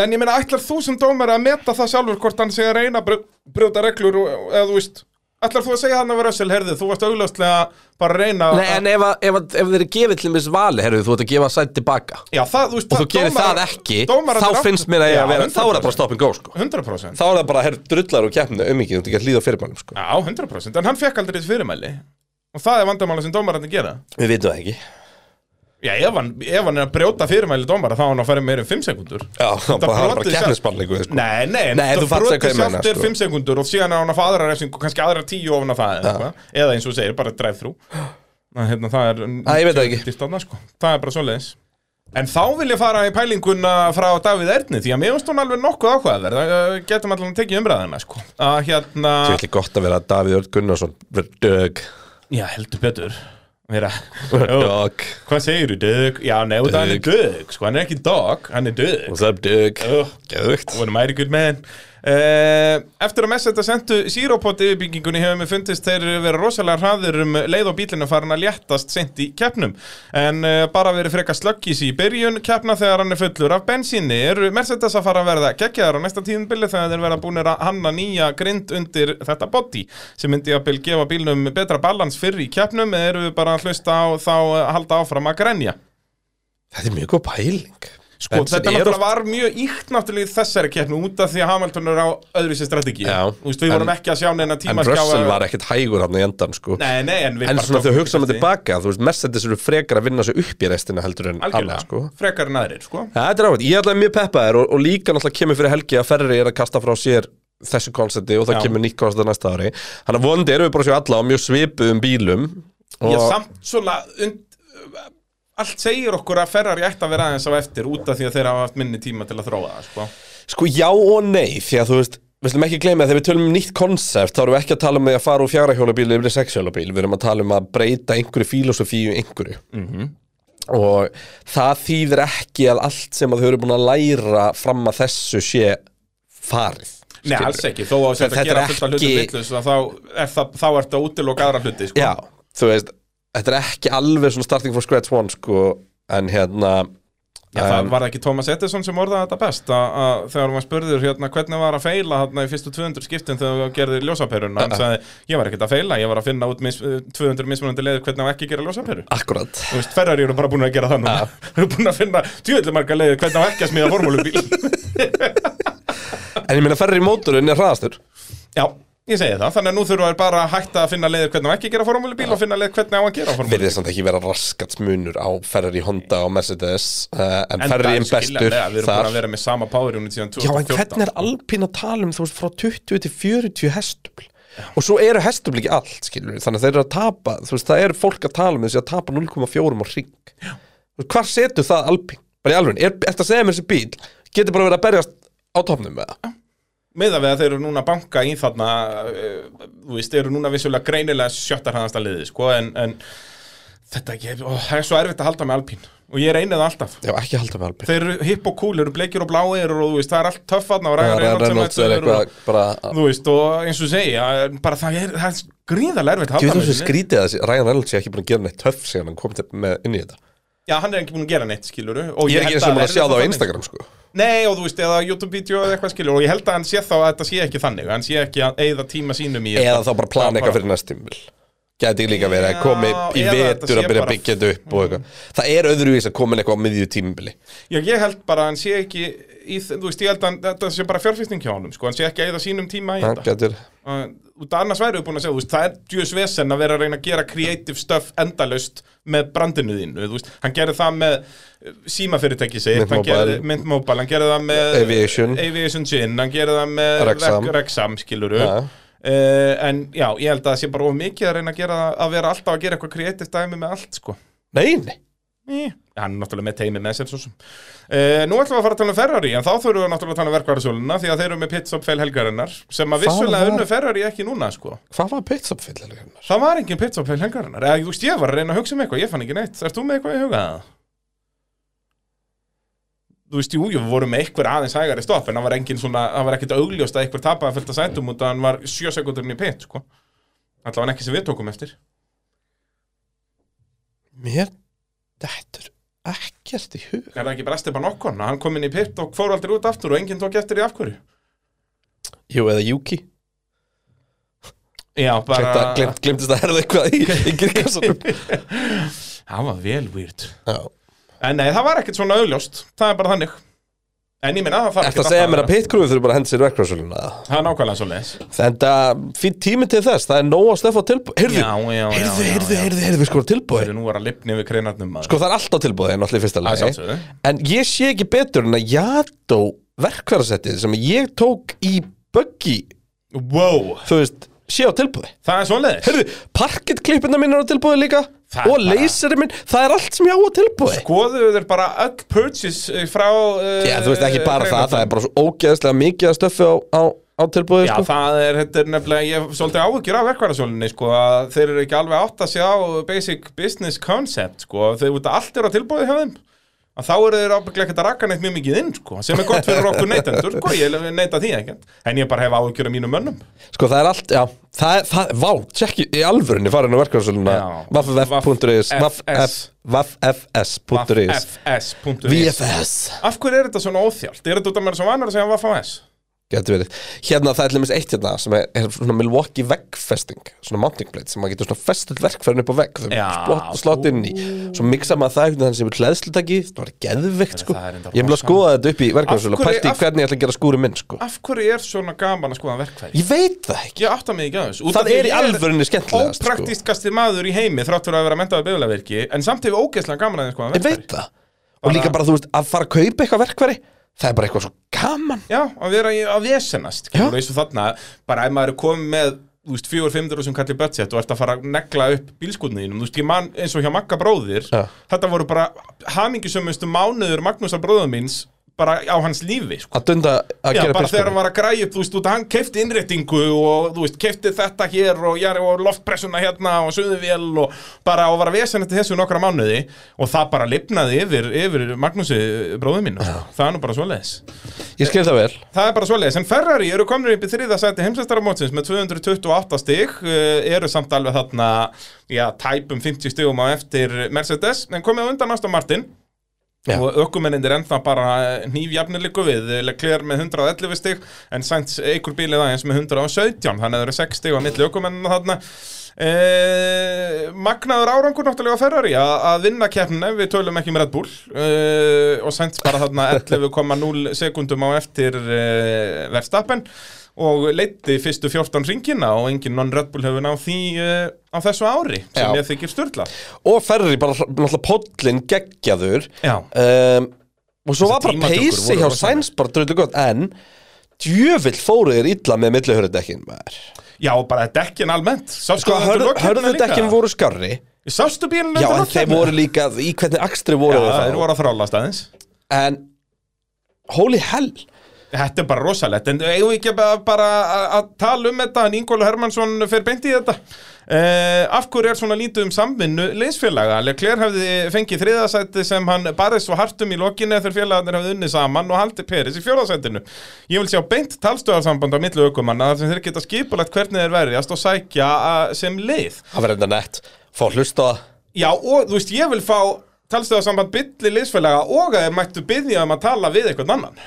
Speaker 3: En ég meina, ætlar þú sem dómar að meta það sjálfur hvort hann sé að reyna að brj- brjóta reglur og, eða þú veist Ætlar þú að segja hann að vera össil, herði, þú varst augljóslega bara að reyna
Speaker 2: Nei, en ef, að- ef, að- ef þeir eru gefið til mér vali herru, þú ert að gefa sætt tilbaka
Speaker 3: Já, það, þú veist,
Speaker 2: og þú gerir það ekki, þá finnst mér að ég að vera þá er það bara stop and go sko.
Speaker 3: 100%
Speaker 2: þá er það bara, herru, drullar og keppni um ekki þú ert ekki að hlýða fyrirmælum sko.
Speaker 3: Já, 100% En hann fekk aldrei þessi fyrirmæli Og það er vandamála sem dómararnir gera
Speaker 2: við vitum það ekki
Speaker 3: Já, ef hann, ef hann er að brjóta fyrirmæli dómara Þá á hann að fara meira um 5 sekundur
Speaker 2: Já, það bara, það er bara
Speaker 3: brotið sjálf-
Speaker 2: keppnisbannleiku sko.
Speaker 3: Nei, nei,
Speaker 2: Nei,
Speaker 3: það
Speaker 2: þú fattar
Speaker 3: brotið
Speaker 2: hvað ég meina,
Speaker 3: sjálft er
Speaker 2: sko.
Speaker 3: 5 sekundur Og síðan á hann að fá aðra refsingu Kannski aðra 10 ofan að það eða, eitthvað. eða eins og þú segir, bara drive-thru Ná, hérna, Það er
Speaker 2: Æ, ég veit það ekki.
Speaker 3: dýrt þarna, sko. Það er bara svoleiðis En þá vil ég fara í pælinguna frá Davíð Erni Því að mér finnst hún alveg nokkuð áhugaverð eh, Getum allan að tekið umræðina sko. að, hérna...
Speaker 2: Þú veist, gott að vera Davíð Örn Gunnarsson Dög
Speaker 3: Já, heldur betur Vera
Speaker 2: Dög
Speaker 3: Hvað segir þú, dög? Já, nei, dög. hann er
Speaker 2: Dög.
Speaker 3: dög, sko, hann er ekki dog, hann er dög
Speaker 2: What's up, Dög
Speaker 3: Ugh,
Speaker 2: Geðvikt
Speaker 3: What am I good man? Uh, eftir að messa þetta sendu Zero-pot yfirbyggingunni hefur mér fundist þeir verið rosalega hraðir um leið og bílinu farin að léttast sent í keppnum en uh, bara verið frekar slöggis í byrjun keppna þegar hann er fullur af bensíni eru Mercedes að fara að verða geggjaðar á næsta tíðinbili þegar þeir verða búinir að hanna nýja grind undir þetta body sem myndi að bil gefa bílnum betra balans fyrir í keppnum eða eru við bara að hlusta á þá að halda áfram að grenja
Speaker 2: Þetta er mjög góð pæling
Speaker 3: Sko,
Speaker 2: Benson
Speaker 3: þetta
Speaker 2: er
Speaker 3: náttúrulega var mjög íkt náttúrulega í þessari keppni út af því að Hamilton er á öðruvísi strategíu.
Speaker 2: Já.
Speaker 3: Þú veist, við vorum
Speaker 2: En-
Speaker 3: ekki að sjá neina
Speaker 2: En
Speaker 3: tíma
Speaker 2: Russell var ekkert hægur hann í endan sko.
Speaker 3: Nei, nei, en við
Speaker 2: En
Speaker 3: bara
Speaker 2: svona þau
Speaker 3: tókum
Speaker 2: hugsa um með
Speaker 3: eftir því.
Speaker 2: tilbaka Þú veist, Mercedes eru frekar að vinna sig upp í restina heldur en annað
Speaker 3: Algjörlega,
Speaker 2: sko.
Speaker 3: frekar en aðrir, sko
Speaker 2: Ja, Þetta er ávægt, ég er alltaf mjög peppaðir og, og líka náttúrulega kemur fyrir helgi að Ferri er að kasta frá sér þessu konsepti og það
Speaker 3: Já.
Speaker 2: kemur nýtt konsepti næsta ári Þannig að vonandi erum við bara að sjá alla á mjög svipuðum bílum og,
Speaker 3: Ég samt svona und, Allt segir okkur að Ferrari ætti að vera aðeins á eftir út af því að þeir hafa haft minni tíma til að þróa það, sko
Speaker 2: Sko já og nei, því að þú veist Við slum ekki gleyma að þegar við tölum um nýtt konsept þá erum við ekki að tala um því að fara úr fjárahjólabíl yfir í sexhjólabíl, við erum að tala um að breyta einhverju fílosofíu einhverju
Speaker 3: Mhm.
Speaker 2: -hmm. og það þýðir ekki að allt sem að þau eru búin að læra fram að þessu sé farið
Speaker 3: Nei,
Speaker 2: skilurðu.
Speaker 3: alls ekki, þó að
Speaker 2: Þetta
Speaker 3: þetta
Speaker 2: er
Speaker 3: gera fullt af hlutum
Speaker 2: ekki-
Speaker 3: vitlaus, að þá er það- þá ertu að útiloka aðra hluti, sko
Speaker 2: Já, þú veist, þetta er ekki alveg svona starting from scratch one sko, en hérna
Speaker 3: Já, það var ekki Thomas Edison sem orðaði þetta best að, að þegar maður spurður hérna hvernig var að feila hérna í fyrstu 200 skiptin þegar þú gerðir ljósaperuna hann sagði, ég var ekkert að feila, ég var að finna út mis, 200 mismunandi leiðir hvernig á ekki að gera ljósaperu
Speaker 2: Akkurat
Speaker 3: Þú veist, Ferrari eru bara búin að gera það núna Þú eru búin að finna tjóðlega marga leiðir hvernig á ekki að smíða formúlubíl
Speaker 2: En ég meina ferri í mótorun er hraðastur
Speaker 3: Já, ég segi það, þannig að nú þurfa þær bara að hætta að finna leiðir hvernig á ekki að gera formúlubíl og finna leið hvernig á að gera formúlubíl
Speaker 2: verðið samt ekki vera raskat munur á Ferrari, Honda og Mercedes uh, en Ferrari er bestur
Speaker 3: skiljanlega, Við erum bara
Speaker 2: þar
Speaker 3: að vera með sama power unit síðan
Speaker 2: Já, en
Speaker 3: 2014
Speaker 2: hvernig er Alpine að tala um þú veist frá 20 til 40 hestubl og svo eru hestubl ekki allt, skilur við þannig að þeir eru að tapa, þú veist, það er fólk að tala um þessi að tapa 0,4 á ring Já. Hvar setur það Alpine? Bara í alveg, er, ertu að segja mér þessi bíl getur bara verið að berjast á topnum með það
Speaker 3: með að við að þeir eru núna að banka í þarna eh, þú veist, þeir eru núna vissulega greinilega sjöttarhæðasta liði sko, en, en þetta ekki, ó, það er svo erfitt að halda með Alpín og ég reynið það alltaf
Speaker 2: Já, ekki að halda með Alpine
Speaker 3: þeir eru hipp og kúl, eru bleikir og bláir og þú veist, það er allt töff þarna og
Speaker 2: Já,
Speaker 3: ræður
Speaker 2: Reynolds er eitthvað bara
Speaker 3: þú veist, og eins og segja bara það er, það er gríðarlega erfitt að
Speaker 2: Ég veit
Speaker 3: halda
Speaker 2: þú sem
Speaker 3: með þessu liði.
Speaker 2: skrítið að þessi- Ryan Reynolds sé ekki búin að gera neitt töff síðan hann kom til, með, inn í þetta
Speaker 3: Já, hann er ekki búin að gera neitt, skiluru
Speaker 2: Ég er ekki eins og maður að sjá það á Instagram sko
Speaker 3: Nei, og þú veist, eða YouTube-vídeó eða eitthvað skilur Og ég held að hann sé þá að þetta sé ekki þannig Hann sé ekki að eyða tíma sínum í
Speaker 2: Eða þá bara plana eitthvað fyrir næst tímil Gæti líka verið að komi í
Speaker 3: eða þetta
Speaker 2: vetur
Speaker 3: sé
Speaker 2: að byrja að
Speaker 3: bara-
Speaker 2: byggja þetta upp og eitthvað Það er öðruvís að komin eitthvað á miðju tímili
Speaker 3: Já, ég held bara að hann sé ekki í, þ- Þú veist, ég held að hann, þetta sé bara fjárfæsting hjá honum sko. Hann sé ekki að eyða sínum tíma í þetta
Speaker 2: Gætir
Speaker 3: uh, út af annars værið búin að segja þú veist, það er djöðs vesen að vera að reyna að gera creative stuff endalaust með brandinu þínu þú veist, hann gerði það með uh, símafyrirtæki sitt,
Speaker 2: Mint
Speaker 3: hann
Speaker 2: Mobile.
Speaker 3: gerði Mint Mobile, hann gerði það með
Speaker 2: Eh, Aviation.
Speaker 3: Aviation Gin, hann gerði það með
Speaker 2: Rexham.
Speaker 3: Rec- Rexham skiluru
Speaker 2: Ja.
Speaker 3: Uh, en já, ég held að það sé bara of mikið að reyna að gera það, að vera alltaf að gera eitthvað kreativt dæmi með allt, sko
Speaker 2: Nei, nei
Speaker 3: Í. Hann er náttúrulega með teimi með sér svo sem uh, Nú ætlum við að fara að tala um Ferrari En þá þurfum við náttúrulega að tala um verkvarðarsöluna Því að þeir eru með pitstop feil helgarinnar Sem að
Speaker 2: Það var-
Speaker 3: vissulega unnu Ferrari ekki núna sko
Speaker 2: Hvað var pitstop fyll alveg hennar?
Speaker 3: Það var engin pitstop feil helgarinnar Eða þú veist ég var að reyna að hugsa um eitthvað Ég fann ekki neitt Ert þú með eitthvað í huga það? Þú veist, jú, jú, við vorum með einhver aðeins hægari stopp En það var, engin svona, það var ekkit augljóst að einhver tapaði fylgta sætum Út að hann var sjö sekundurinn í pit sko. Alla ekki sem við tókum eftir
Speaker 2: Mér Þetta er ekkert í hug
Speaker 3: Er það ekki bara Esteban Okkon? Hann kom inn í pit og fór aldrei út aftur Og enginn tók eftir í afhverju
Speaker 2: Jú, eða Juki
Speaker 3: Já, bara
Speaker 2: Glemt, Glemtist að herða eitthvað í, í kirkasunum
Speaker 3: Það var vel weird
Speaker 2: Já
Speaker 3: En nei, það var ekkert svona auðljóst Það er bara þannig En ég minna, það þarf
Speaker 2: Ertu
Speaker 3: ekkert
Speaker 2: að segja
Speaker 3: alltaf
Speaker 2: mér að
Speaker 3: vera-
Speaker 2: pitkrúið þurfi bara að henda sér verkvarsöluna?
Speaker 3: Það er nákvæmlega svo leis
Speaker 2: Þetta, fín tími til þess, það er nóg að stefa tilbúið Heyrðu,
Speaker 3: Já, já, já,
Speaker 2: heyrðu,
Speaker 3: já,
Speaker 2: heyrðu,
Speaker 3: já.
Speaker 2: heyrðu, heyrðu, sko tilbúið
Speaker 3: Þegar nú var að lipni við kreinarnum maður
Speaker 2: Sko það er alltaf tilbúið, náttúrulega í fyrsta
Speaker 3: Það er
Speaker 2: lagi
Speaker 3: sjálfsögðu.
Speaker 2: En ég sé ekki betur en að Jadó verkvarasettið sem ég tók í buggy,
Speaker 3: Wow,
Speaker 2: þú veist, sé á tilbúði
Speaker 3: það er svo leis
Speaker 2: Heyrðu, parkettklipina mín er á tilbúði líka
Speaker 3: Það er
Speaker 2: Og
Speaker 3: bara- Sko,
Speaker 2: leyseri minn, það er allt sem ég á á tilbúði
Speaker 3: Skoðu þeir bara öll purchase eh, frá uh,
Speaker 2: Já, þú veist ekki bara það, það er bara svo ógeðslega mikið að stöffi á, á, á tilbúði
Speaker 3: Já,
Speaker 2: sko.
Speaker 3: það er, þetta er nefnilega, ég hef svolítið áhugir af verkvarðarsólinni, sko, að þeir eru ekki alveg átt að sjá basic business concept, sko, þeir út að allt er á tilbúið hjá þeim, að þá eru þeir ábygglega ekkert að rakka neitt mjög mikið inn, sko, sem er gott fyrir okkur neytendur, sko, ég neyta því ekkert, en ég bara hef áhugir af mínum mönnum.
Speaker 2: Sko það er allt, já Það er, það, vá, tjekki í alvörunni farin á verkefnsöluna
Speaker 3: Já.
Speaker 2: Vaffs.is
Speaker 3: VFS.
Speaker 2: Vaffs.is
Speaker 3: FS.is.
Speaker 2: VFS
Speaker 3: Af hverju er þetta svona óþjált? Er þetta út af mér sem vanar að segja VFS?
Speaker 2: Getur verið Hérna það er lemmis eitt hérna sem er, er svona Milwaukee veggfesting Svona mounting plate sem maður getur svona festið verkfærin upp á vegg Þau
Speaker 3: Já.
Speaker 2: slott, slott inn í Svo miksa maður það einhvern veginn sem er hlæðslutaki Það var geðveikt sko
Speaker 3: það er enda
Speaker 2: Ég hef að
Speaker 3: rosa.
Speaker 2: skoða þetta upp í verkefnsölu
Speaker 3: Af hverju-
Speaker 2: Pælti
Speaker 3: af-
Speaker 2: hvernig ég ætla að gera skúri minn sko
Speaker 3: Af hverju er svona gaman að skoða verkfæri?
Speaker 2: Ég veit það ekki
Speaker 3: Ég átta mig ekki aðeins Út
Speaker 2: Það
Speaker 3: af því
Speaker 2: er í
Speaker 3: ég
Speaker 2: alvörunni skemmtilegast, sko.
Speaker 3: Ópraktískasti maður í heimi þrátt fyrir að vera mentaður byggulegverki En samt hefur ógeðslega gaman aðeins skoðan
Speaker 2: Ég veit það Og líka bara, þú veist, að fara að kaupa eitthvað verkfæri Það er bara eitthvað svo gaman
Speaker 3: Já, að vera í- að vesenast Kemur eins og þarna Bara ef maður er komið með Þú veist, fjögur, fimmdur og sem kallir budget og ert að fara að negla upp bílskutniðinum, þú veist, ég man eins og hjá Magga bróðir,
Speaker 2: Já.
Speaker 3: þetta voru bara hamingisömmustu mánuður Magnúsar bróðum míns bara á hans lífi, sko.
Speaker 2: Að dunda að
Speaker 3: Já,
Speaker 2: gera
Speaker 3: bara þegar
Speaker 2: pilsbúri
Speaker 3: hann var að græja upp, þú veist, út að hann keifti innréttingu og, þú veist, keifti þetta hér og, já, og loftpressuna hérna og suðuvél og bara og var að vesa þetta þessu í nokkra mánuði og það bara lifnaði yfir, yfir Magnúsi bróðu mínu, sko. það er nú bara svoleiðis.
Speaker 2: Ég skil það vel
Speaker 3: Það er bara svoleiðis, en Ferrari eru komin upp í þriða sæti heimsæstaramótsins með 228 stig, eh, eru samt alveg þarna, já, tæpum 50 stigum á eftir Mercedes, en komið á undan Aston Martin
Speaker 2: Já.
Speaker 3: og ökumenninn er ennþá bara nýfjafnir líku við, Leclerc með 111 stig en Sainz eikur bílið aðeins með 117, þannig að það eru 6 stig á milli ökumennina þarna eh, Magnaður árangur náttúrulega á Ferrari að að vinna keppnina, við tölum ekki með Red Bull eh, og Sainz bara þarna 11,0 sekundum á eftir eh, verðstappen og leiti fyrstu 14 ringina og engin non-Red Bull hefur náð því eh, á þessu ári sem
Speaker 2: Já.
Speaker 3: ég þykir styrla
Speaker 2: Og ferri bara hl- náttúrulega pollin geggjaður
Speaker 3: Já.
Speaker 2: um, Og svo var bara
Speaker 3: tímatökur
Speaker 2: peysi
Speaker 3: voru
Speaker 2: hjá
Speaker 3: rosaleg.
Speaker 2: Sainz bara dröldu gott En djöfull fóru þér illa með millihörðudekkin
Speaker 3: Já, bara dekkin almennt Sástu
Speaker 2: Sko,
Speaker 3: þetta
Speaker 2: hörð-
Speaker 3: lokkeppnina
Speaker 2: hörðudekkin
Speaker 3: líka?
Speaker 2: voru skarri
Speaker 3: Sástu bílunum
Speaker 2: Já, en þeir voru líka í hvernig akstri
Speaker 3: Já,
Speaker 2: voru
Speaker 3: þeir
Speaker 2: þeir þá
Speaker 3: voru að þrálast aðeins
Speaker 2: En holy hell
Speaker 3: Þetta er bara rosalegt, en eigum við ekki bara, bara að- að tala um þetta, en Ingólu Hermansson fer beint í þetta. Uh, af hverju er svona lítið um samvinnu leysfélaga? Leclerc hefði fengið þriðasæti sem hann barðið svo hart um í lokinu þegar félagarnir hefði unnið saman og haldið Peris í fjórðasætinu. Ég vil sjá beint talstöðarsamband á milli aukumanna þar sem þeir geta skipulegt hvernig þeir verjast og sækja uh, sem leið.
Speaker 2: Það verður enda nett Fá að hlusta á það
Speaker 3: Já, og þú veist, ég vil fá talstöðarsamband bylli liðsfélaga og að þeir mættu byggja um að tala við eitthvað annan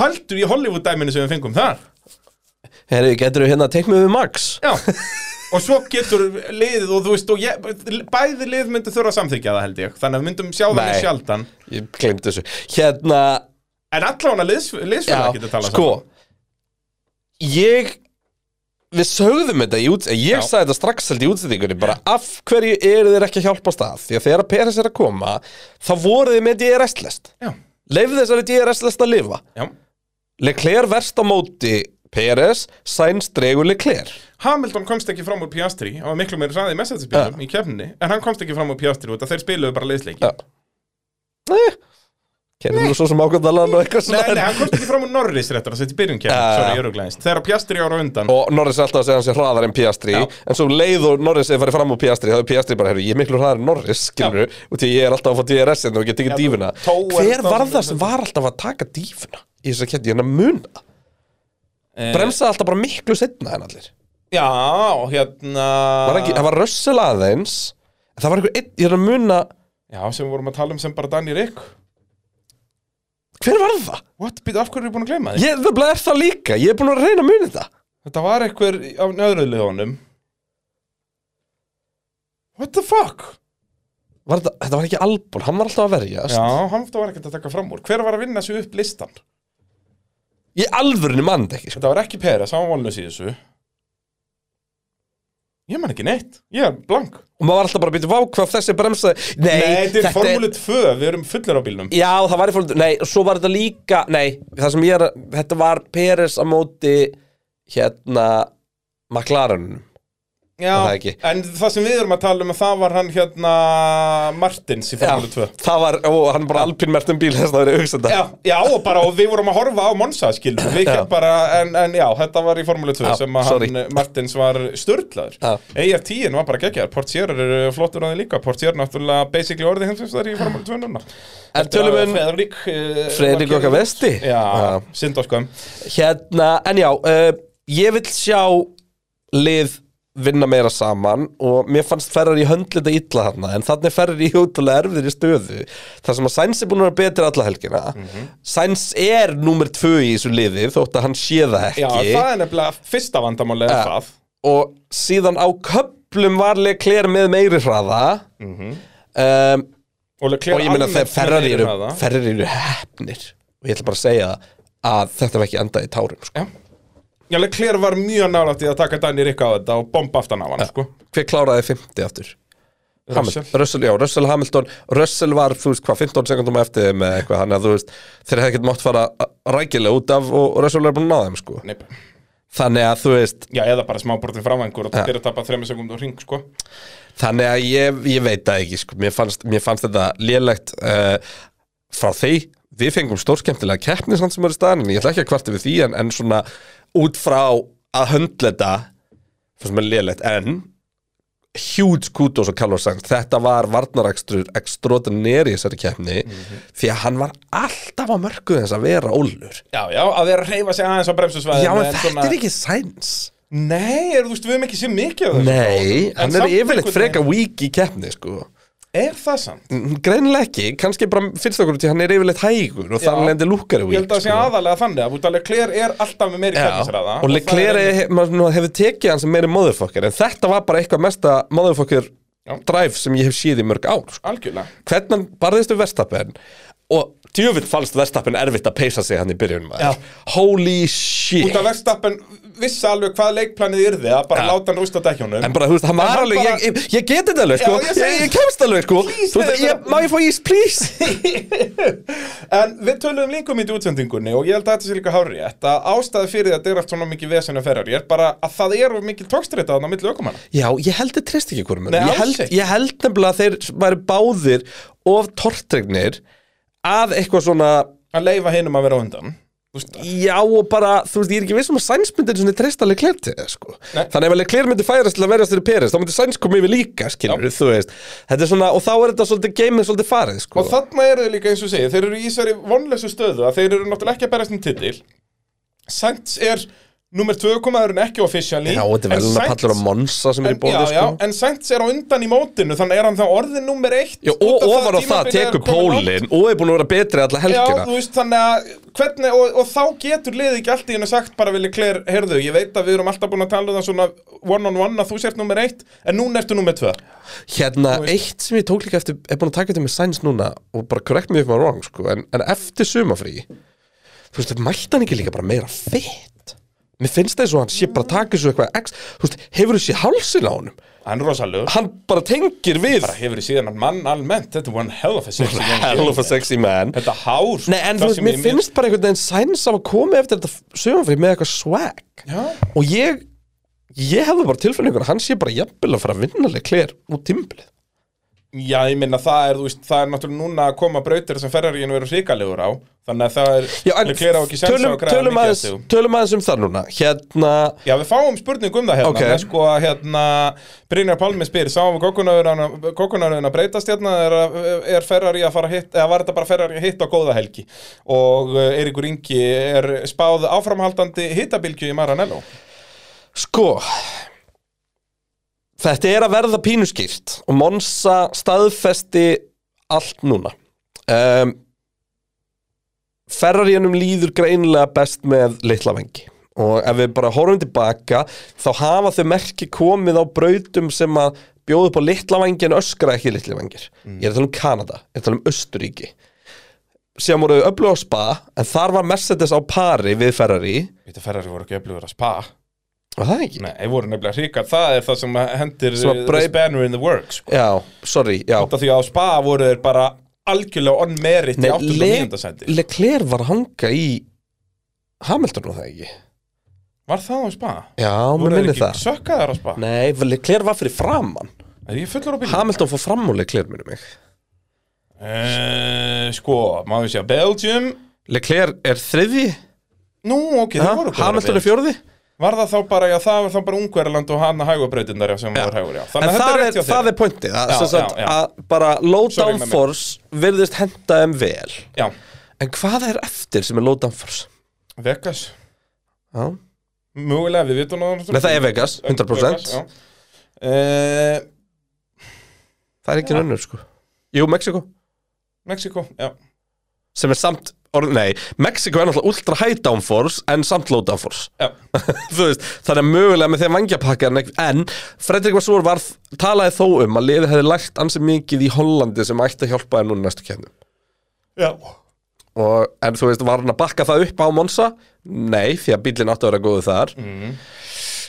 Speaker 3: Paldur í Hollywood-dæminu sem við fengum þar
Speaker 2: Herri, getur við hérna teiknum við Max?
Speaker 3: Já, og svo getur liðið og þú veist, og ég, bæði lið myndu þurfa að samþykja það held ég, þannig að við myndum sjá það
Speaker 2: Nei.
Speaker 3: mjög sjaldan,
Speaker 2: Ég glemt þessu Hérna,
Speaker 3: en allan að liðs, liðsfélag
Speaker 2: já,
Speaker 3: getur talað
Speaker 2: sko Ég Við sögðum þetta í út Ég sagði þetta strax held í útsendingunni bara Af hverju eru þeir ekki að hjálpa á stað? Því að þegar Peres er að koma Þá voru þið með DRS-lest
Speaker 3: saman
Speaker 2: Leifðu þessari DRS-lest að lifa
Speaker 3: Já, já
Speaker 2: Leclerc verst á móti Peres, Sainz dregur Leclerc
Speaker 3: Hamilton komst ekki fram úr Piastri hann var miklu meira ræði í messagesbílum í kefninni en hann komst ekki fram úr Piastri út að þeir spiluðu bara liðsleiki
Speaker 2: Já. Nei, kennum þú svo sem ákvæmdalan og um eitthvað
Speaker 3: Nei,
Speaker 2: svona
Speaker 3: nei, hann komst ekki fram úr Norris réttar að setja í byrjun kefni
Speaker 2: Já.
Speaker 3: Sorry, ég öruglæðist Þegar Piastri ára undan
Speaker 2: Mm. og Norris er alltaf að segja hans er hraðar en Piastri
Speaker 3: Já.
Speaker 2: en svo um leið og Norris er farið fram úr Piastri þá er Piastri bara, herru, ég er miklu hraðar en Norris skilur og því ég er alltaf að fá DRS en þú hérna get ekki dífuna
Speaker 3: tó er
Speaker 2: hver
Speaker 3: það-
Speaker 2: var það sem var alltaf að taka dífuna í þess að kætti hérna muna
Speaker 3: Eh.
Speaker 2: bremsaði alltaf bara miklu setna en allir
Speaker 3: Já, hérna
Speaker 2: var ekki, það var Russell aðeins en það var einhver einn, ég er að muna
Speaker 3: Já, sem við vorum að tala um sem bara Danny Rick
Speaker 2: hver var það?
Speaker 3: What, býta, af hverju er ég búin að gleyma því?
Speaker 2: Ég það er það líka, ég er búin að reyna að muna þetta
Speaker 3: Þetta var einhver á nöðruðliðunum What the fuck?
Speaker 2: var þetta, þetta var ekki Albon, hann var alltaf að verjast
Speaker 3: Já, hann var ekkert að taka fram úr Hver var að vinna þessu upp listan?
Speaker 2: ég alvörinu mann þetta ekki sko.
Speaker 3: Þetta var ekki Peres, hann var valnus í þessu Ég man ekki neitt Ég er blank
Speaker 2: og maður var alltaf bara að byrja vákvað þessi bremsaði nei,
Speaker 3: Nei, þetta er formúli 2, við erum fullir á bílnum
Speaker 2: Já, það var í fólk, nei, og svo var þetta líka, nei, það sem ég er, að- þetta var Peres á móti, hérna, McLaren,
Speaker 3: Já,
Speaker 2: var það ekki?
Speaker 3: en það sem við erum að tala um að það var hann hérna Martins í formúli 2
Speaker 2: það var, ó, hann bara alpinmert um bíl, þess að það verið auksenda.
Speaker 3: Já, já, og bara, og við vorum að horfa á Monsa, skilur við,
Speaker 2: Já.
Speaker 3: já. bara, en, en já, þetta var í Formule 2
Speaker 2: Já,
Speaker 3: sem að
Speaker 2: sorry.
Speaker 3: hann, Martins var störtlaður.
Speaker 2: Já.
Speaker 3: EF10 var bara geggjaður, Portier er eh, flottur á þeim líka, Portier náttúrulega basically orðið hins veist í Formule 2 núna.
Speaker 2: En tölum við um
Speaker 3: Fredrik,
Speaker 2: Fredrik okkar vesti.
Speaker 3: Já, synd á skoðum.
Speaker 2: Hérna, en já, uh, ég vil sjá lið vinna meira saman og mér fannst ferrar í höndlita illa þarna en þannig ferrar í hjóttulega erfðir í stöðu þar sem að Sainz er búin að vera betri alla helgina
Speaker 3: Mhm.
Speaker 2: Sainz er númer tvö í þessu liði þótt að hann sé það ekki
Speaker 3: Já, það er nefnilega fyrsta vandamálið er það.
Speaker 2: og síðan á köplum varlega kler með meiri hraða
Speaker 3: Mhm.
Speaker 2: um,
Speaker 3: Og,
Speaker 2: og ég meina þegar Ferrari eru, Ferrari eru hefnir og ég ætla bara að segja að þetta var ekki endað í tárum sko.
Speaker 3: Já, Já, Leclerc var mjög nálægt í að taka Danny Rick á þetta og bomba aftan á hann, sko.
Speaker 2: hver kláraði 50 aftur? Hamilton,
Speaker 3: Russell.
Speaker 2: Russell, já, Russell Hamilton Russell var, þú veist, hvað, 15 sekundum eftir þeim eða eitthvað, þannig að þú veist, þeir hefði ekkert mátt fara rækilega út af og Russell er búin að ná þeim, sko,
Speaker 3: Nei, bara-
Speaker 2: þannig að þú veist
Speaker 3: Já, eða bara smábrotin framvængur og þetta er að tapa þremmu sekundum hring, sko.
Speaker 2: þannig að ég, ég veit það ekki, sko mér fannst, mér fannst þetta lélegt uh, frá því, við fengum stórskemmtilega keppni samt sem eru staðan en ég ætla ekki að kvarta við því, en, en svona út frá að höndla þetta fannst mér lélegt, en huge kudos á Carlos Sainz þetta var varnarakstur extraordinari í þessari keppni
Speaker 3: Mhm.
Speaker 2: því að hann var alltaf á mörgu þess að vera ólur
Speaker 3: Já, já, að vera að reyfa sig aðeins á bremsusvæðinu.
Speaker 2: já en þetta er ekki Sainz
Speaker 3: Nei, er, þú veist, við höfum ekki séð mikið af þessu.
Speaker 2: nei, hann
Speaker 3: En
Speaker 2: er
Speaker 3: samt
Speaker 2: yfirleitt
Speaker 3: einhvern
Speaker 2: freka
Speaker 3: veginn-
Speaker 2: weak í keppni sko
Speaker 3: Er það samt?
Speaker 2: greinilega ekki, kannski bara finnst okkur út í að hann er yfirleitt hægur og
Speaker 3: Já.
Speaker 2: þannig lendir lúkari
Speaker 3: Ég held að það sé aðalega þannig að út að Leclerc er alltaf með meiri kjarnisræða.
Speaker 2: sko. og Leclerc hef, hefur tekið hann sem meiri motherfucker en þetta var bara eitthvað mesta motherfucker
Speaker 3: Já.
Speaker 2: drive sem ég hef séð í mörg ár sko.
Speaker 3: Algjörlega.
Speaker 2: hvernig hann barðist við verstappen og djöfitt fannst verstappen erfitt að peysa sig hann í byrjunum
Speaker 3: Já.
Speaker 2: holy
Speaker 3: Út
Speaker 2: shit
Speaker 3: að Verstappen vissi alveg hvað leikplanið yrði að bara láta hann rústa dækjónum.
Speaker 2: En bara, þú veist, hann var
Speaker 3: hann
Speaker 2: alveg,
Speaker 3: bara-
Speaker 2: ég, ég, ég get þetta alveg, sko,
Speaker 3: Já,
Speaker 2: ég,
Speaker 3: ég segi-
Speaker 2: ég, kemst alveg, sko,
Speaker 3: Please,
Speaker 2: Þú veist,
Speaker 3: segðu
Speaker 2: ég,
Speaker 3: það.
Speaker 2: má ég fá ís, please?
Speaker 3: En við töluðum líkum í útsendingunni og ég held að þetta sé líka hárétt að ástæði fyrir því að þetta er allt svona mikið vesenu ferrar er bara að það er of mikil tókstreita þannig á milli ökumanna.
Speaker 2: Já, ég held þeir treyst ekki hverjum
Speaker 3: Nei,
Speaker 2: öðrum. ég
Speaker 3: alls
Speaker 2: held,
Speaker 3: ekki.
Speaker 2: ég held nefnilega að þeir væri báðir of tortregnir að eitthvað svona
Speaker 3: Að leifa hinum að vera á undan. Þú veist,
Speaker 2: já og bara, þú veist, ég er ekki vissum að Sainz myndir svona treysta Leclerc til það, sko
Speaker 3: Nei.
Speaker 2: þannig ef Leclerc myndi færast til að verjast fyrir Peres þá myndi Sainz koma yfir líka, skilur þú veist þetta er svona, og þá er þetta svolítið geimið svolítið farið, sko
Speaker 3: Og þarna eru þau líka eins og segja, þeir eru í þessari vonleysu stöðu að þeir eru náttúrulega ekki að berast um titil Sainz er Númer 2 komaðurinn ekki officially
Speaker 2: Já, þetta er
Speaker 3: en
Speaker 2: velna pallur á
Speaker 3: Sainz-
Speaker 2: Monsa sem er
Speaker 3: En,
Speaker 2: í bóði,
Speaker 3: já, já,
Speaker 2: sko.
Speaker 3: en Sainz er á undan í mótinu þannig er hann þá orðin nummer eitt
Speaker 2: Já, og
Speaker 3: út af
Speaker 2: ofan á það
Speaker 3: tímabilið er
Speaker 2: tekur
Speaker 3: komið langt.
Speaker 2: pólinn og er búin að vera betri alla
Speaker 3: Já,
Speaker 2: helgina.
Speaker 3: þú veist, þannig að hvernig, og, og þá getur liðið ekki allt í hennu sagt bara vilja kler, heyrðu, ég veit að við erum alltaf búin að tala um það svona one on one að þú sért nummer eitt, en núna ertu nummer tvö
Speaker 2: Hérna, eitt sem ég tók líka eftir, er búin að taka þetta með Sainz núna og bara correct me if I'm wrong, sko, en, en eftir sumafrí, þú veist, mætti hann ekki líka bara meira fett? Mér finnst það eins og hann sé bara að taka þessu eitthvað ex, þú veist, hefur þessi hálsin á honum?
Speaker 3: Hann er rosalegur,
Speaker 2: Hann bara tengir við
Speaker 3: bara hefur síðan hann mann almennt, þetta er one hell of a sexy young
Speaker 2: hell of a
Speaker 3: kid.
Speaker 2: sexy man.
Speaker 3: Þetta hár sko,
Speaker 2: Nei, en
Speaker 3: það
Speaker 2: þú veist,
Speaker 3: sem
Speaker 2: mér
Speaker 3: ég-
Speaker 2: finnst bara einhvern veginn Sainz hafa komið eftir þetta sumafrí með eitthvað swag
Speaker 3: Já,
Speaker 2: og ég, ég hefði bara tilfinningun að hann sé bara jafnvel að fara að vinna leikleir út tímbilið.
Speaker 3: já, ég minna það er, þú veist, það er náttúrulega núna að koma brautir sem ferðarginu verður hrikalegur á Þannig að það er,
Speaker 2: Já, en
Speaker 3: Leclerc á ekki séns á
Speaker 2: tölum,
Speaker 3: að græða
Speaker 2: tölum,
Speaker 3: mikið á
Speaker 2: aðeins,
Speaker 3: stigum.
Speaker 2: tölum aðeins um það núna Hérna,
Speaker 3: Já, við fáum spurningu um það hérna,
Speaker 2: Ok.
Speaker 3: okay. sko að hérna, Brynjar Palmi spyr, sáum við kokkunaröðin að breytast hérna, er, er Ferrari að fara að hitt, eða var þetta bara Ferrari að hitta á góða helgi? Og eh, Eiríkur Ingi er spáð áframhaldandi hittabilgju í Maranello.
Speaker 2: sko Þetta er að verða pínuskýrt og Monsa staðfesti allt núna um, Ferrariðanum líður greinilega best með litla vengi og ef við bara horfum tilbaka þá hafa þau merki komið á brautum sem að bjóðu upp á litla vengi en öskra ekki litla vengir Ég er að tala um Kanada, ég er að tala um Östuríki sem voru öflug á spa en þar var Mercedes á pari við Ferrari
Speaker 3: Þetta Ferrari voru ekki öflugur að spa.
Speaker 2: Var það ekki?
Speaker 3: Nei, þeir voru nefnilega hrikar, það er það sem hendir
Speaker 2: Sem að
Speaker 3: eh,
Speaker 2: brei-
Speaker 3: the spanner in the works. Sko.
Speaker 2: Já, sorry, já
Speaker 3: Þetta því að á spa voru þeir bara algjörlega on merit í 8. og
Speaker 2: Le-
Speaker 3: 9. sendi.
Speaker 2: Leclerc var að hanga í Hamilton og það ekki
Speaker 3: Var það á spa?
Speaker 2: Já, mér
Speaker 3: Voru þeir
Speaker 2: minni
Speaker 3: ekki
Speaker 2: það
Speaker 3: sökkaðar á spa?
Speaker 2: Nei, Leclerc var fyrir framann
Speaker 3: Er ég fullur á bílum?
Speaker 2: Hamilton fór fram úr Leclerc, minni mig
Speaker 3: Uh, sko, maður sé að Belgium
Speaker 2: Leclerc er þriði
Speaker 3: Nú, ok,
Speaker 2: ha?
Speaker 3: það voru góðar
Speaker 2: Hamilton er
Speaker 3: við.
Speaker 2: fjórði
Speaker 3: Var það þá bara, já, það var þá bara Ungverland og hana hægubreytindar sem
Speaker 2: Já.
Speaker 3: voru hægur, já
Speaker 2: En
Speaker 3: Þannig að þetta
Speaker 2: það
Speaker 3: er
Speaker 2: er,
Speaker 3: rétt hjá
Speaker 2: það
Speaker 3: þér
Speaker 2: er pointið að,
Speaker 3: Já,
Speaker 2: sem sagt,
Speaker 3: já, já.
Speaker 2: að bara low
Speaker 3: Sorry,
Speaker 2: down
Speaker 3: með mig.
Speaker 2: force virðist henda þeim vel
Speaker 3: Já,
Speaker 2: En hvað er eftir sem er low down force?
Speaker 3: Vegas,
Speaker 2: Já.
Speaker 3: mögulega, við vitum náttúrulega-
Speaker 2: Nei, það er Vegas, 100%
Speaker 3: Vegas, já. Eh,
Speaker 2: Það er ekki nönnur sko Jú, Mexiko
Speaker 3: Mexiko, já
Speaker 2: sem er samt orð, nei, Mexiko er náttúrulega ultra high downforce en samt low downforce
Speaker 3: Já.
Speaker 2: Þú veist, þannig að mögulega með þeim vangjapakka en, en Fredrik Vassur var talaði þó um að liðið hefði lært ansi mikið í Hollandi sem ætti að hjálpa þér núna í næstu kefnum
Speaker 3: Já,
Speaker 2: og, en þú veist, var hann að bakka það upp á Monsa? Nei, því að bílinn átti að vera góðu þar
Speaker 3: Mhm.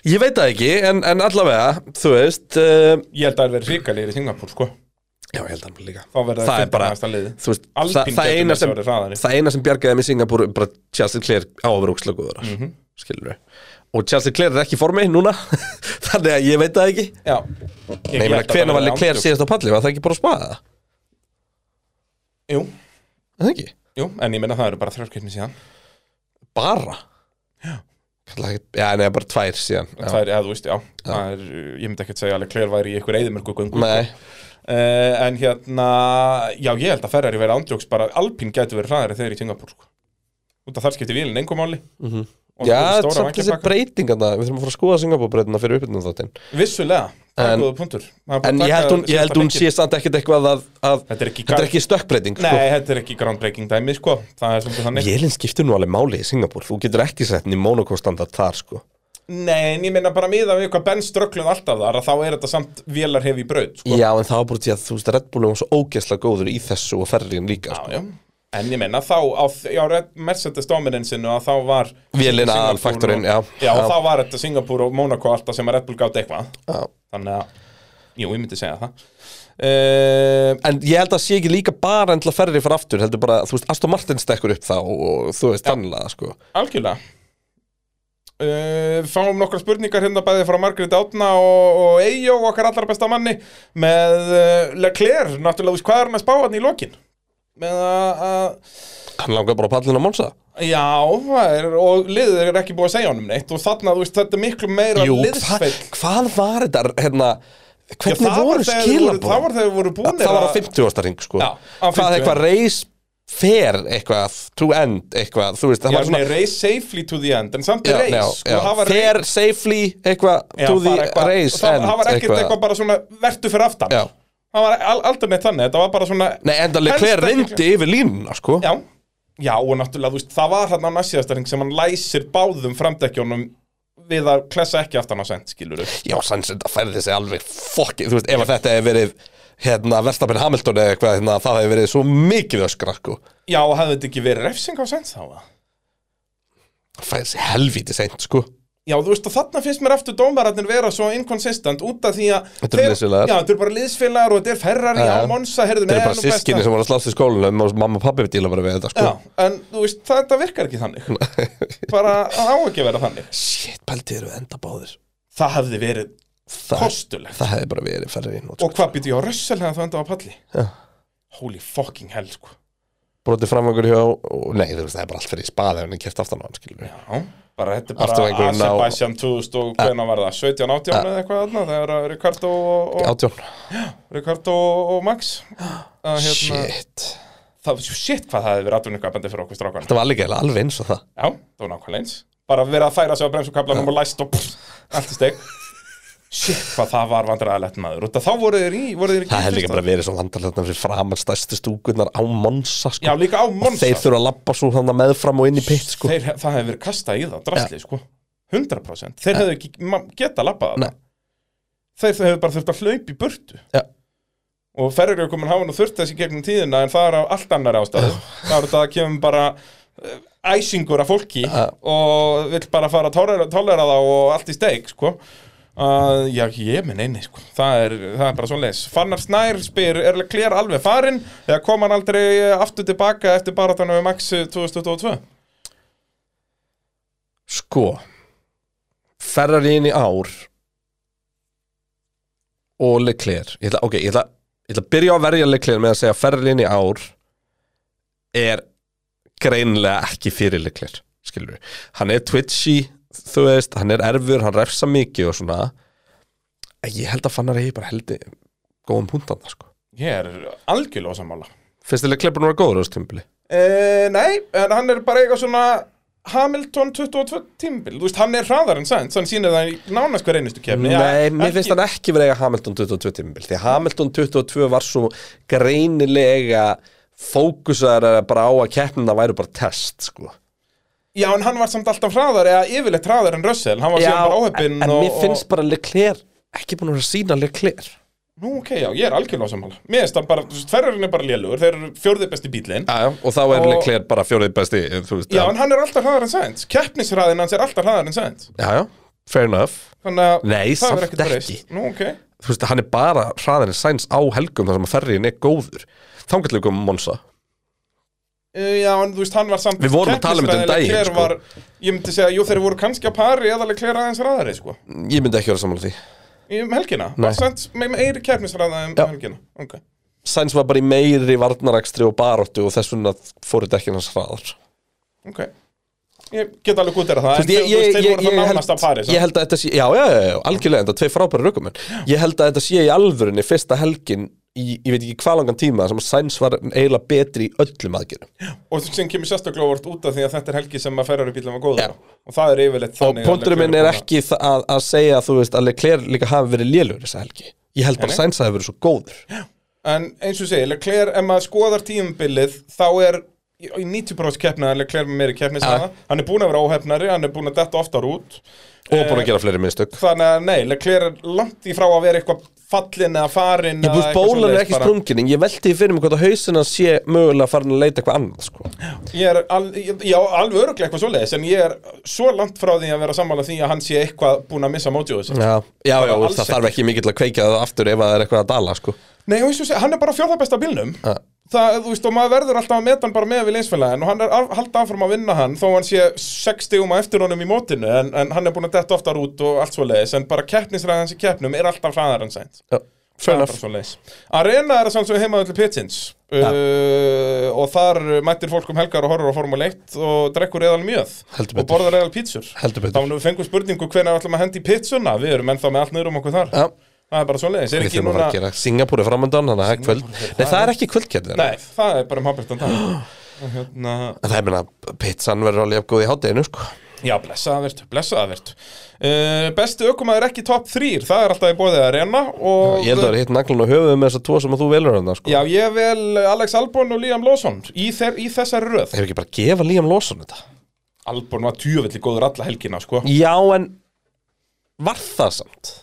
Speaker 2: Ég veit það ekki, en, en allavega þú veist, uh,
Speaker 3: ég held að það er verið ríkalegir í Singapur, sko
Speaker 2: já, ég held hann líka
Speaker 3: Þá verður
Speaker 2: Það er bara-
Speaker 3: næsta liði
Speaker 2: þú veist,
Speaker 3: Alpín
Speaker 2: það, það,
Speaker 3: getur
Speaker 2: eina sem,
Speaker 3: með þessu orðið hraðari.
Speaker 2: það eina sem bjargaði mig í Singapur bara Charles Leclerc á að vera ókslega góður mm
Speaker 3: Mhm.
Speaker 2: skilur við og Charles Leclerc er ekki í formi núna þannig að ég veit það ekki
Speaker 3: Já
Speaker 2: Nei, ég meina, hvenær var Leclerc síðast á palli, var það ekki bara að spaða það?
Speaker 3: Jú,
Speaker 2: Er það ekki?
Speaker 3: jú, en ég meina það eru bara þrjárkipni síðan
Speaker 2: Bara? Já Já, nei, bara tvær síðan
Speaker 3: Það
Speaker 2: já.
Speaker 3: er, eða þú veist, já, Það er, ég myndi ekki að segja að Leclerc væri í ykkur eðimörku
Speaker 2: Nei,
Speaker 3: Uh, sko. en hérna, já ég held að Ferrari verið ándjóks bara, Alpín gæti verið hraðari þegar í Singapur sko. Út af þar skipti vílinn engum máli Og
Speaker 2: Mhm. já,
Speaker 3: það voru stóra
Speaker 2: samt þessi
Speaker 3: vængjapakka.
Speaker 2: breytingarna Við þurfum að fóra að skoða Singapur-breytina fyrir uppbyrnum þáttinn
Speaker 3: Vissulega,
Speaker 2: En-
Speaker 3: það er góða punktur Það er bara
Speaker 2: En
Speaker 3: að
Speaker 2: ég
Speaker 3: taka
Speaker 2: held hún, ég held
Speaker 3: síðasta
Speaker 2: hún
Speaker 3: leikinn.
Speaker 2: sé samt ekkert eitthvað að, að
Speaker 3: Þetta er ekki,
Speaker 2: Þetta er ekki stökkbreyting sko.
Speaker 3: Nei, þetta er ekki groundbreaking dæmi sko. Það er svolítið þannig
Speaker 2: Vélinn skiptir nú alveg máli í Singapur Þú getur ekki sett henni monokostandard þar sko
Speaker 3: Nei, en ég meina bara miða við hvað Ben ströggluð alltaf þar að þá er þetta samt vélar hefi braut sko.
Speaker 2: Já, en það var bara til að þú veist að Red Bull er svo ógeðslega góður í þessu og ferriðin líka sko.
Speaker 3: já, já. En ég meina þá á, á Red- Mercedes dominansinu að þá var
Speaker 2: Vélin
Speaker 3: Singapúr
Speaker 2: aðalfaktorinn,
Speaker 3: og-
Speaker 2: já.
Speaker 3: Já,
Speaker 2: Já.
Speaker 3: og þá var þetta Singapur og Monaco alltaf sem að Red Bull gátt eitthvað
Speaker 2: Já.
Speaker 3: Þannig að, jú, ég myndi segja það uh,
Speaker 2: En ég held að sé ekki líka bara en til að ferrið fyrir aftur heldur bara, þú veist, Aston Martin stekkur upp þá og þú veist, þannlega sko.
Speaker 3: Algjörlega Uh, fáum nokkra spurningar hérna bæði frá Margrét Átna og, og Eyjó okkar allra besta manni með uh, Leclerc, náttúrulega þú veist, hvað er hann að spá hann í lokin með að að-
Speaker 2: Hann langar bara á pallin á Monsa
Speaker 3: Já, það er, og liðið er ekki búið að segja honum neitt og þarna, þú veist, þetta er miklu meira
Speaker 2: Jú, hva,
Speaker 3: liðsfell
Speaker 2: hvað var þetta, hérna
Speaker 3: Já,
Speaker 2: hvernig
Speaker 3: það var
Speaker 2: voru
Speaker 3: þegar þeir voru-
Speaker 2: skilabóð?
Speaker 3: Það var þegar þeir voru búinir
Speaker 2: það var á
Speaker 3: að-
Speaker 2: 50 ásta ring sko.
Speaker 3: Já, á
Speaker 2: Hvað
Speaker 3: 50.
Speaker 2: eitthvað reis fer eitthvað to end eitthvað, þú veist, það
Speaker 3: Já,
Speaker 2: var
Speaker 3: svona
Speaker 2: svona
Speaker 3: race safely to the end En samt
Speaker 2: Já,
Speaker 3: race
Speaker 2: já,
Speaker 3: sko,
Speaker 2: já.
Speaker 3: hafa race-
Speaker 2: fer safely eitthvað
Speaker 3: Já,
Speaker 2: to the
Speaker 3: bara eitthvað-
Speaker 2: race
Speaker 3: það,
Speaker 2: end
Speaker 3: það var ekkert eitthvað, bara svona vertu fyrir aftan
Speaker 2: Já.
Speaker 3: Það var al- aldrei neitt þannig, þetta var bara svona
Speaker 2: Nei, endalega
Speaker 3: Helst
Speaker 2: hver
Speaker 3: ekki-
Speaker 2: rindi yfir línuna, sko
Speaker 3: Já, já og náttúrulega, þú veist, það var hann á næstsíðastaring sem hann læsir báðum framdekkjónum við að klessa ekki aftan á sent, skilur við
Speaker 2: Já, sanns þetta færði sig alveg fokki Þú veist, ef að þetta hefði verið hérna, Verstapin Hamilton eða eitthvað hérna, það hefði verið svo mikið öskra, sko
Speaker 3: Já, og hafði þetta ekki verið refsing á sent þá eða?
Speaker 2: Það færði sig helvítið seint, sko
Speaker 3: Já, þú veist, og þarna finnst mér aftur dómararnir vera svo inconsistent út af því að
Speaker 2: Þetta eru
Speaker 3: þeir-
Speaker 2: liðsfélagar.
Speaker 3: Já, þetta eru bara liðsfélagar og þetta er Ferrari,
Speaker 2: Já.
Speaker 3: já, Monsa, herðu
Speaker 2: Þetta er bara sískinni sem voru að slást í skólanum og mamma og pappi díla bara við þetta, sko
Speaker 3: Já, en þú veist, þetta virkar ekki þannig Bara, það á ekki að vera þannig
Speaker 2: Shit, pæltið eru enda báðir
Speaker 3: Það hafði verið
Speaker 2: Það,
Speaker 3: kostulegt
Speaker 2: það hefði bara verið færri í sko. nót,
Speaker 3: Og hvað býtti ég á Russell hefði það enda á palli?
Speaker 2: Já.
Speaker 3: Holy fucking hell, sko
Speaker 2: sko Brotið framvöngur hjá, og- nei, þú veist, það er bara allt fyrir í spaði en ég kæft aftan á hann, skilur við
Speaker 3: Já, bara þetta er
Speaker 2: Aftur
Speaker 3: bara
Speaker 2: einhverjum ná-
Speaker 3: Azerbaijan 2000 og hvenær var það? 17, 18 eða eitthvað þarna Þegar að Ricardo og, og,
Speaker 2: Átjón,
Speaker 3: Ricardo og, og Max að, hérna,
Speaker 2: shit
Speaker 3: það, Shit, hvað það hefði verið aðvunni gapandi fyrir okkur strákan Já,
Speaker 2: Þetta var alveg eiginlega alveg eins og það
Speaker 3: það var nákvæmlega eins Bara verið að færa sig á bremsukablanum og læst og pff, allt í steg Shit, hvað það var vandræðalegt maður Út að þá voru þeir í, voru þeir í
Speaker 2: Það hefði líka
Speaker 3: gírdrista.
Speaker 2: bara verið svo vandarlega fyrir framan stærstu stúkunar á Monsa sko.
Speaker 3: Já, líka á Monza.
Speaker 2: Og þeir þurfa að lappa svo þannig meðfram og inn í pitt sko.
Speaker 3: Þeir, það hefði verið kastað í það, drasli, sko 100% Þeir hefðu ekki ma- getað labbað það
Speaker 2: Nei.
Speaker 3: Þeir hefðu bara þurft að hlaupa í burtu
Speaker 2: Já.
Speaker 3: Og ferrið er komin hafa nú þurft þessi gegnum tíðina En það er á allt annar ástæðu Það er þetta að kemur bara eh, æsingur af fólki og vill bara fara að tólera, tólera það og allt í steik sko Uh, já, ég minn einni, sko Það er, það er bara svona leis Fannar Snær spyr, er Leclerc alveg farinn eða kom hann aldrei eh, aftur tilbaka eftir baratanum við Maxi 2022?
Speaker 2: sko Ferrari inn í ár og Leclerc ég ætla, ok, ég ætla, ég ætla að byrja á að verja Leclerc með að segja að Ferrari inn í ár er greinilega ekki fyrir Leclerc skilur við, hann er twitchy þú veist, hann er erfur, hann refsa mikið og svona En ég held að fannar að ég bara heldi góðum púntan sko.
Speaker 3: Ég er algjörlega ósammála
Speaker 2: finnst þið Leclerc búin að vera góður á þessu tímabili
Speaker 3: e, Nei, en hann er bara eitthvað svona Hamilton 22 tímbil Þú veist, hann er hraðar en sænt Hann sýnir það í nánast hver einustu kefni
Speaker 2: Nei, mér finnst hann ekki verið eiga Hamilton 22 tímabil því að Hamilton 22 var svo greinilega fókusaður bara á að keppnina væri bara test sko.
Speaker 3: Já, en hann var samt alltaf hraðar Eða yfirleitt hraðar en Russell Hann var síðan bara
Speaker 2: en,
Speaker 3: óheppinn
Speaker 2: en
Speaker 3: og-
Speaker 2: mér finnst bara Leclerc ekki búin að vera að sína Leclerc
Speaker 3: og... Nú, ok, já, ég er algjörlega ósammála Mér finnst hann bara, þú veist, ferðarinn er bara lélugur Þeir eru fjórði besti bílinn
Speaker 2: já, já, og þá er
Speaker 3: Og-
Speaker 2: Leclerc bara fjórið besti þú veist,
Speaker 3: Já, en hann er alltaf hraðar en sænt Keppnishraðin hans er alltaf hraðar en sænt
Speaker 2: já, já, fair enough
Speaker 3: Þannig að
Speaker 2: Nei,
Speaker 3: það hefur
Speaker 2: samt
Speaker 3: ekkert breyst.
Speaker 2: ekki.
Speaker 3: Nú, ok
Speaker 2: þú veist, hann er bara hraðinni sæns á helgum þar sem að ferriðin er góður þá getur við komum Monsa
Speaker 3: Uh, Já, en þú veist, hann var samt
Speaker 2: Við vorum að tala um þetta um
Speaker 3: keppnisræðileg
Speaker 2: daginn,
Speaker 3: Leclerc
Speaker 2: sko.
Speaker 3: var, Ég myndi segja, jú, þeir voru kannski að pari eða Leclerc aðeins ræðari, sko
Speaker 2: ég myndi ekki vera sammála því
Speaker 3: Í- Um helgina, var samt með með eiri keppnisræða um
Speaker 2: Já.
Speaker 3: helgina Ok,
Speaker 2: sæns var bara í meiri varnarakstri og baróttu og þess vegna fóruð ekki hans hraðar
Speaker 3: ok Ég get alveg gútið að það,
Speaker 2: Þú veist,
Speaker 3: en
Speaker 2: ég,
Speaker 3: þú
Speaker 2: ég,
Speaker 3: veist, þeir
Speaker 2: ég,
Speaker 3: voru
Speaker 2: ég,
Speaker 3: það nánast að
Speaker 2: held,
Speaker 3: pari
Speaker 2: ég held að þetta sé já, já, já, já, algjörlega, þetta er tvei frábæri raukumenn ég held að þetta sé í alvörunni fyrsta helgin í, ég veit ekki hvað langan tíma sem að Sainz var eiginlega betri í öllum aðgerðum
Speaker 3: Og sem kemur sérstaklega óvart út af því að þetta er helgi sem að ferrari bílum var góður
Speaker 2: Já.
Speaker 3: á. Og það er yfirleitt
Speaker 2: og
Speaker 3: þannig að
Speaker 2: pónturinn minn
Speaker 3: Leclerc
Speaker 2: er
Speaker 3: bara-
Speaker 2: ekki þa- að, að segja þú veist, að Leclerc líka hafi verið lélugur þessa helgi ég held bara að Sainz hafi verið svo góður
Speaker 3: En eins og segja, Leclerc, ef maður skoðar tíumbilið Þá er í í 90% keppnaðar Leclerc með meiri keppnisræða Hann er búin að vera óhefnari, hann er búin að detta oftar út
Speaker 2: og búin að gera fleiri minnstök
Speaker 3: þannig að nei, Leclerc er langt í frá að vera eitthvað fallin eða farin
Speaker 2: ég búið bólan er ekki sprungin en ég velti því fyrir mig hvort að hausina sé mögulega farin að leita eitthvað annað sko.
Speaker 3: ég er al, ég- já, alveg öruglega eitthvað svoleiðis en ég er svo langt frá því að vera sammála því að hann sé eitthvað búin að missa mótjóðu sér
Speaker 2: já, já, já
Speaker 3: Bara alls
Speaker 2: það þarf ekki mikið til að kveikja það aftur ef að það er eitthvað að dala sko.
Speaker 3: nei, og eins og sé, hann er bara fjórða besta á bílnum
Speaker 2: Ja.
Speaker 3: það, þú veist, og maður verður alltaf að meta hann bara með við leinsfélagin og hann er al- halda áfram að vinna hann þó hann sé 60 um að eftir honum í mótinu en, en hann er búin að detta oftar út og allt svoleiðis en bara keppnisræðan sem keppnum er alltaf hraðar en sænt
Speaker 2: já, fair
Speaker 3: Það er
Speaker 2: enough
Speaker 3: bara svoleiðis. Arena er sanns og heimaðalli pitchins uh, og þar mættir fólk um helgar og horfur á Formule 1 og drekkur eðal mjöð
Speaker 2: Heldur
Speaker 3: og
Speaker 2: betur.
Speaker 3: borðar eðal pítsur
Speaker 2: Heldur betur.
Speaker 3: þá nú fengum við spurningu hvernig ætlum að hendi í pítsuna við erum ennþá með allt niður um okkur þar
Speaker 2: Já.
Speaker 3: það er bara svoleiðis er
Speaker 2: Við
Speaker 3: ekki
Speaker 2: þurfum að fara
Speaker 3: núna
Speaker 2: að gera Singapúr er framöndan, þannig að það er kvöld Nei, það er ekki kvöldkjæðin
Speaker 3: Nei, það er bara um hafbyrtan dag og hérna
Speaker 2: En það er meina, pizzan verður alveg jafn góð í hátteginu, sko
Speaker 3: Já, blessaðavert, blessaðavert uh, Besti ökumaður ekki top 3 Það er alltaf í bóðið að reyna og...
Speaker 2: Ég held að það er hitt naglun og höfuðu með þess að tvo sem að þú velur hann, sko
Speaker 3: Já, ég vel Alex Albon og Liam Lawson Í, þeir, í þessar röð
Speaker 2: Hefur ekki bara að gefa Liam Lawson þetta?
Speaker 3: Albon var tjöfelli góður alla helgina, sko
Speaker 2: Já, en var það samt?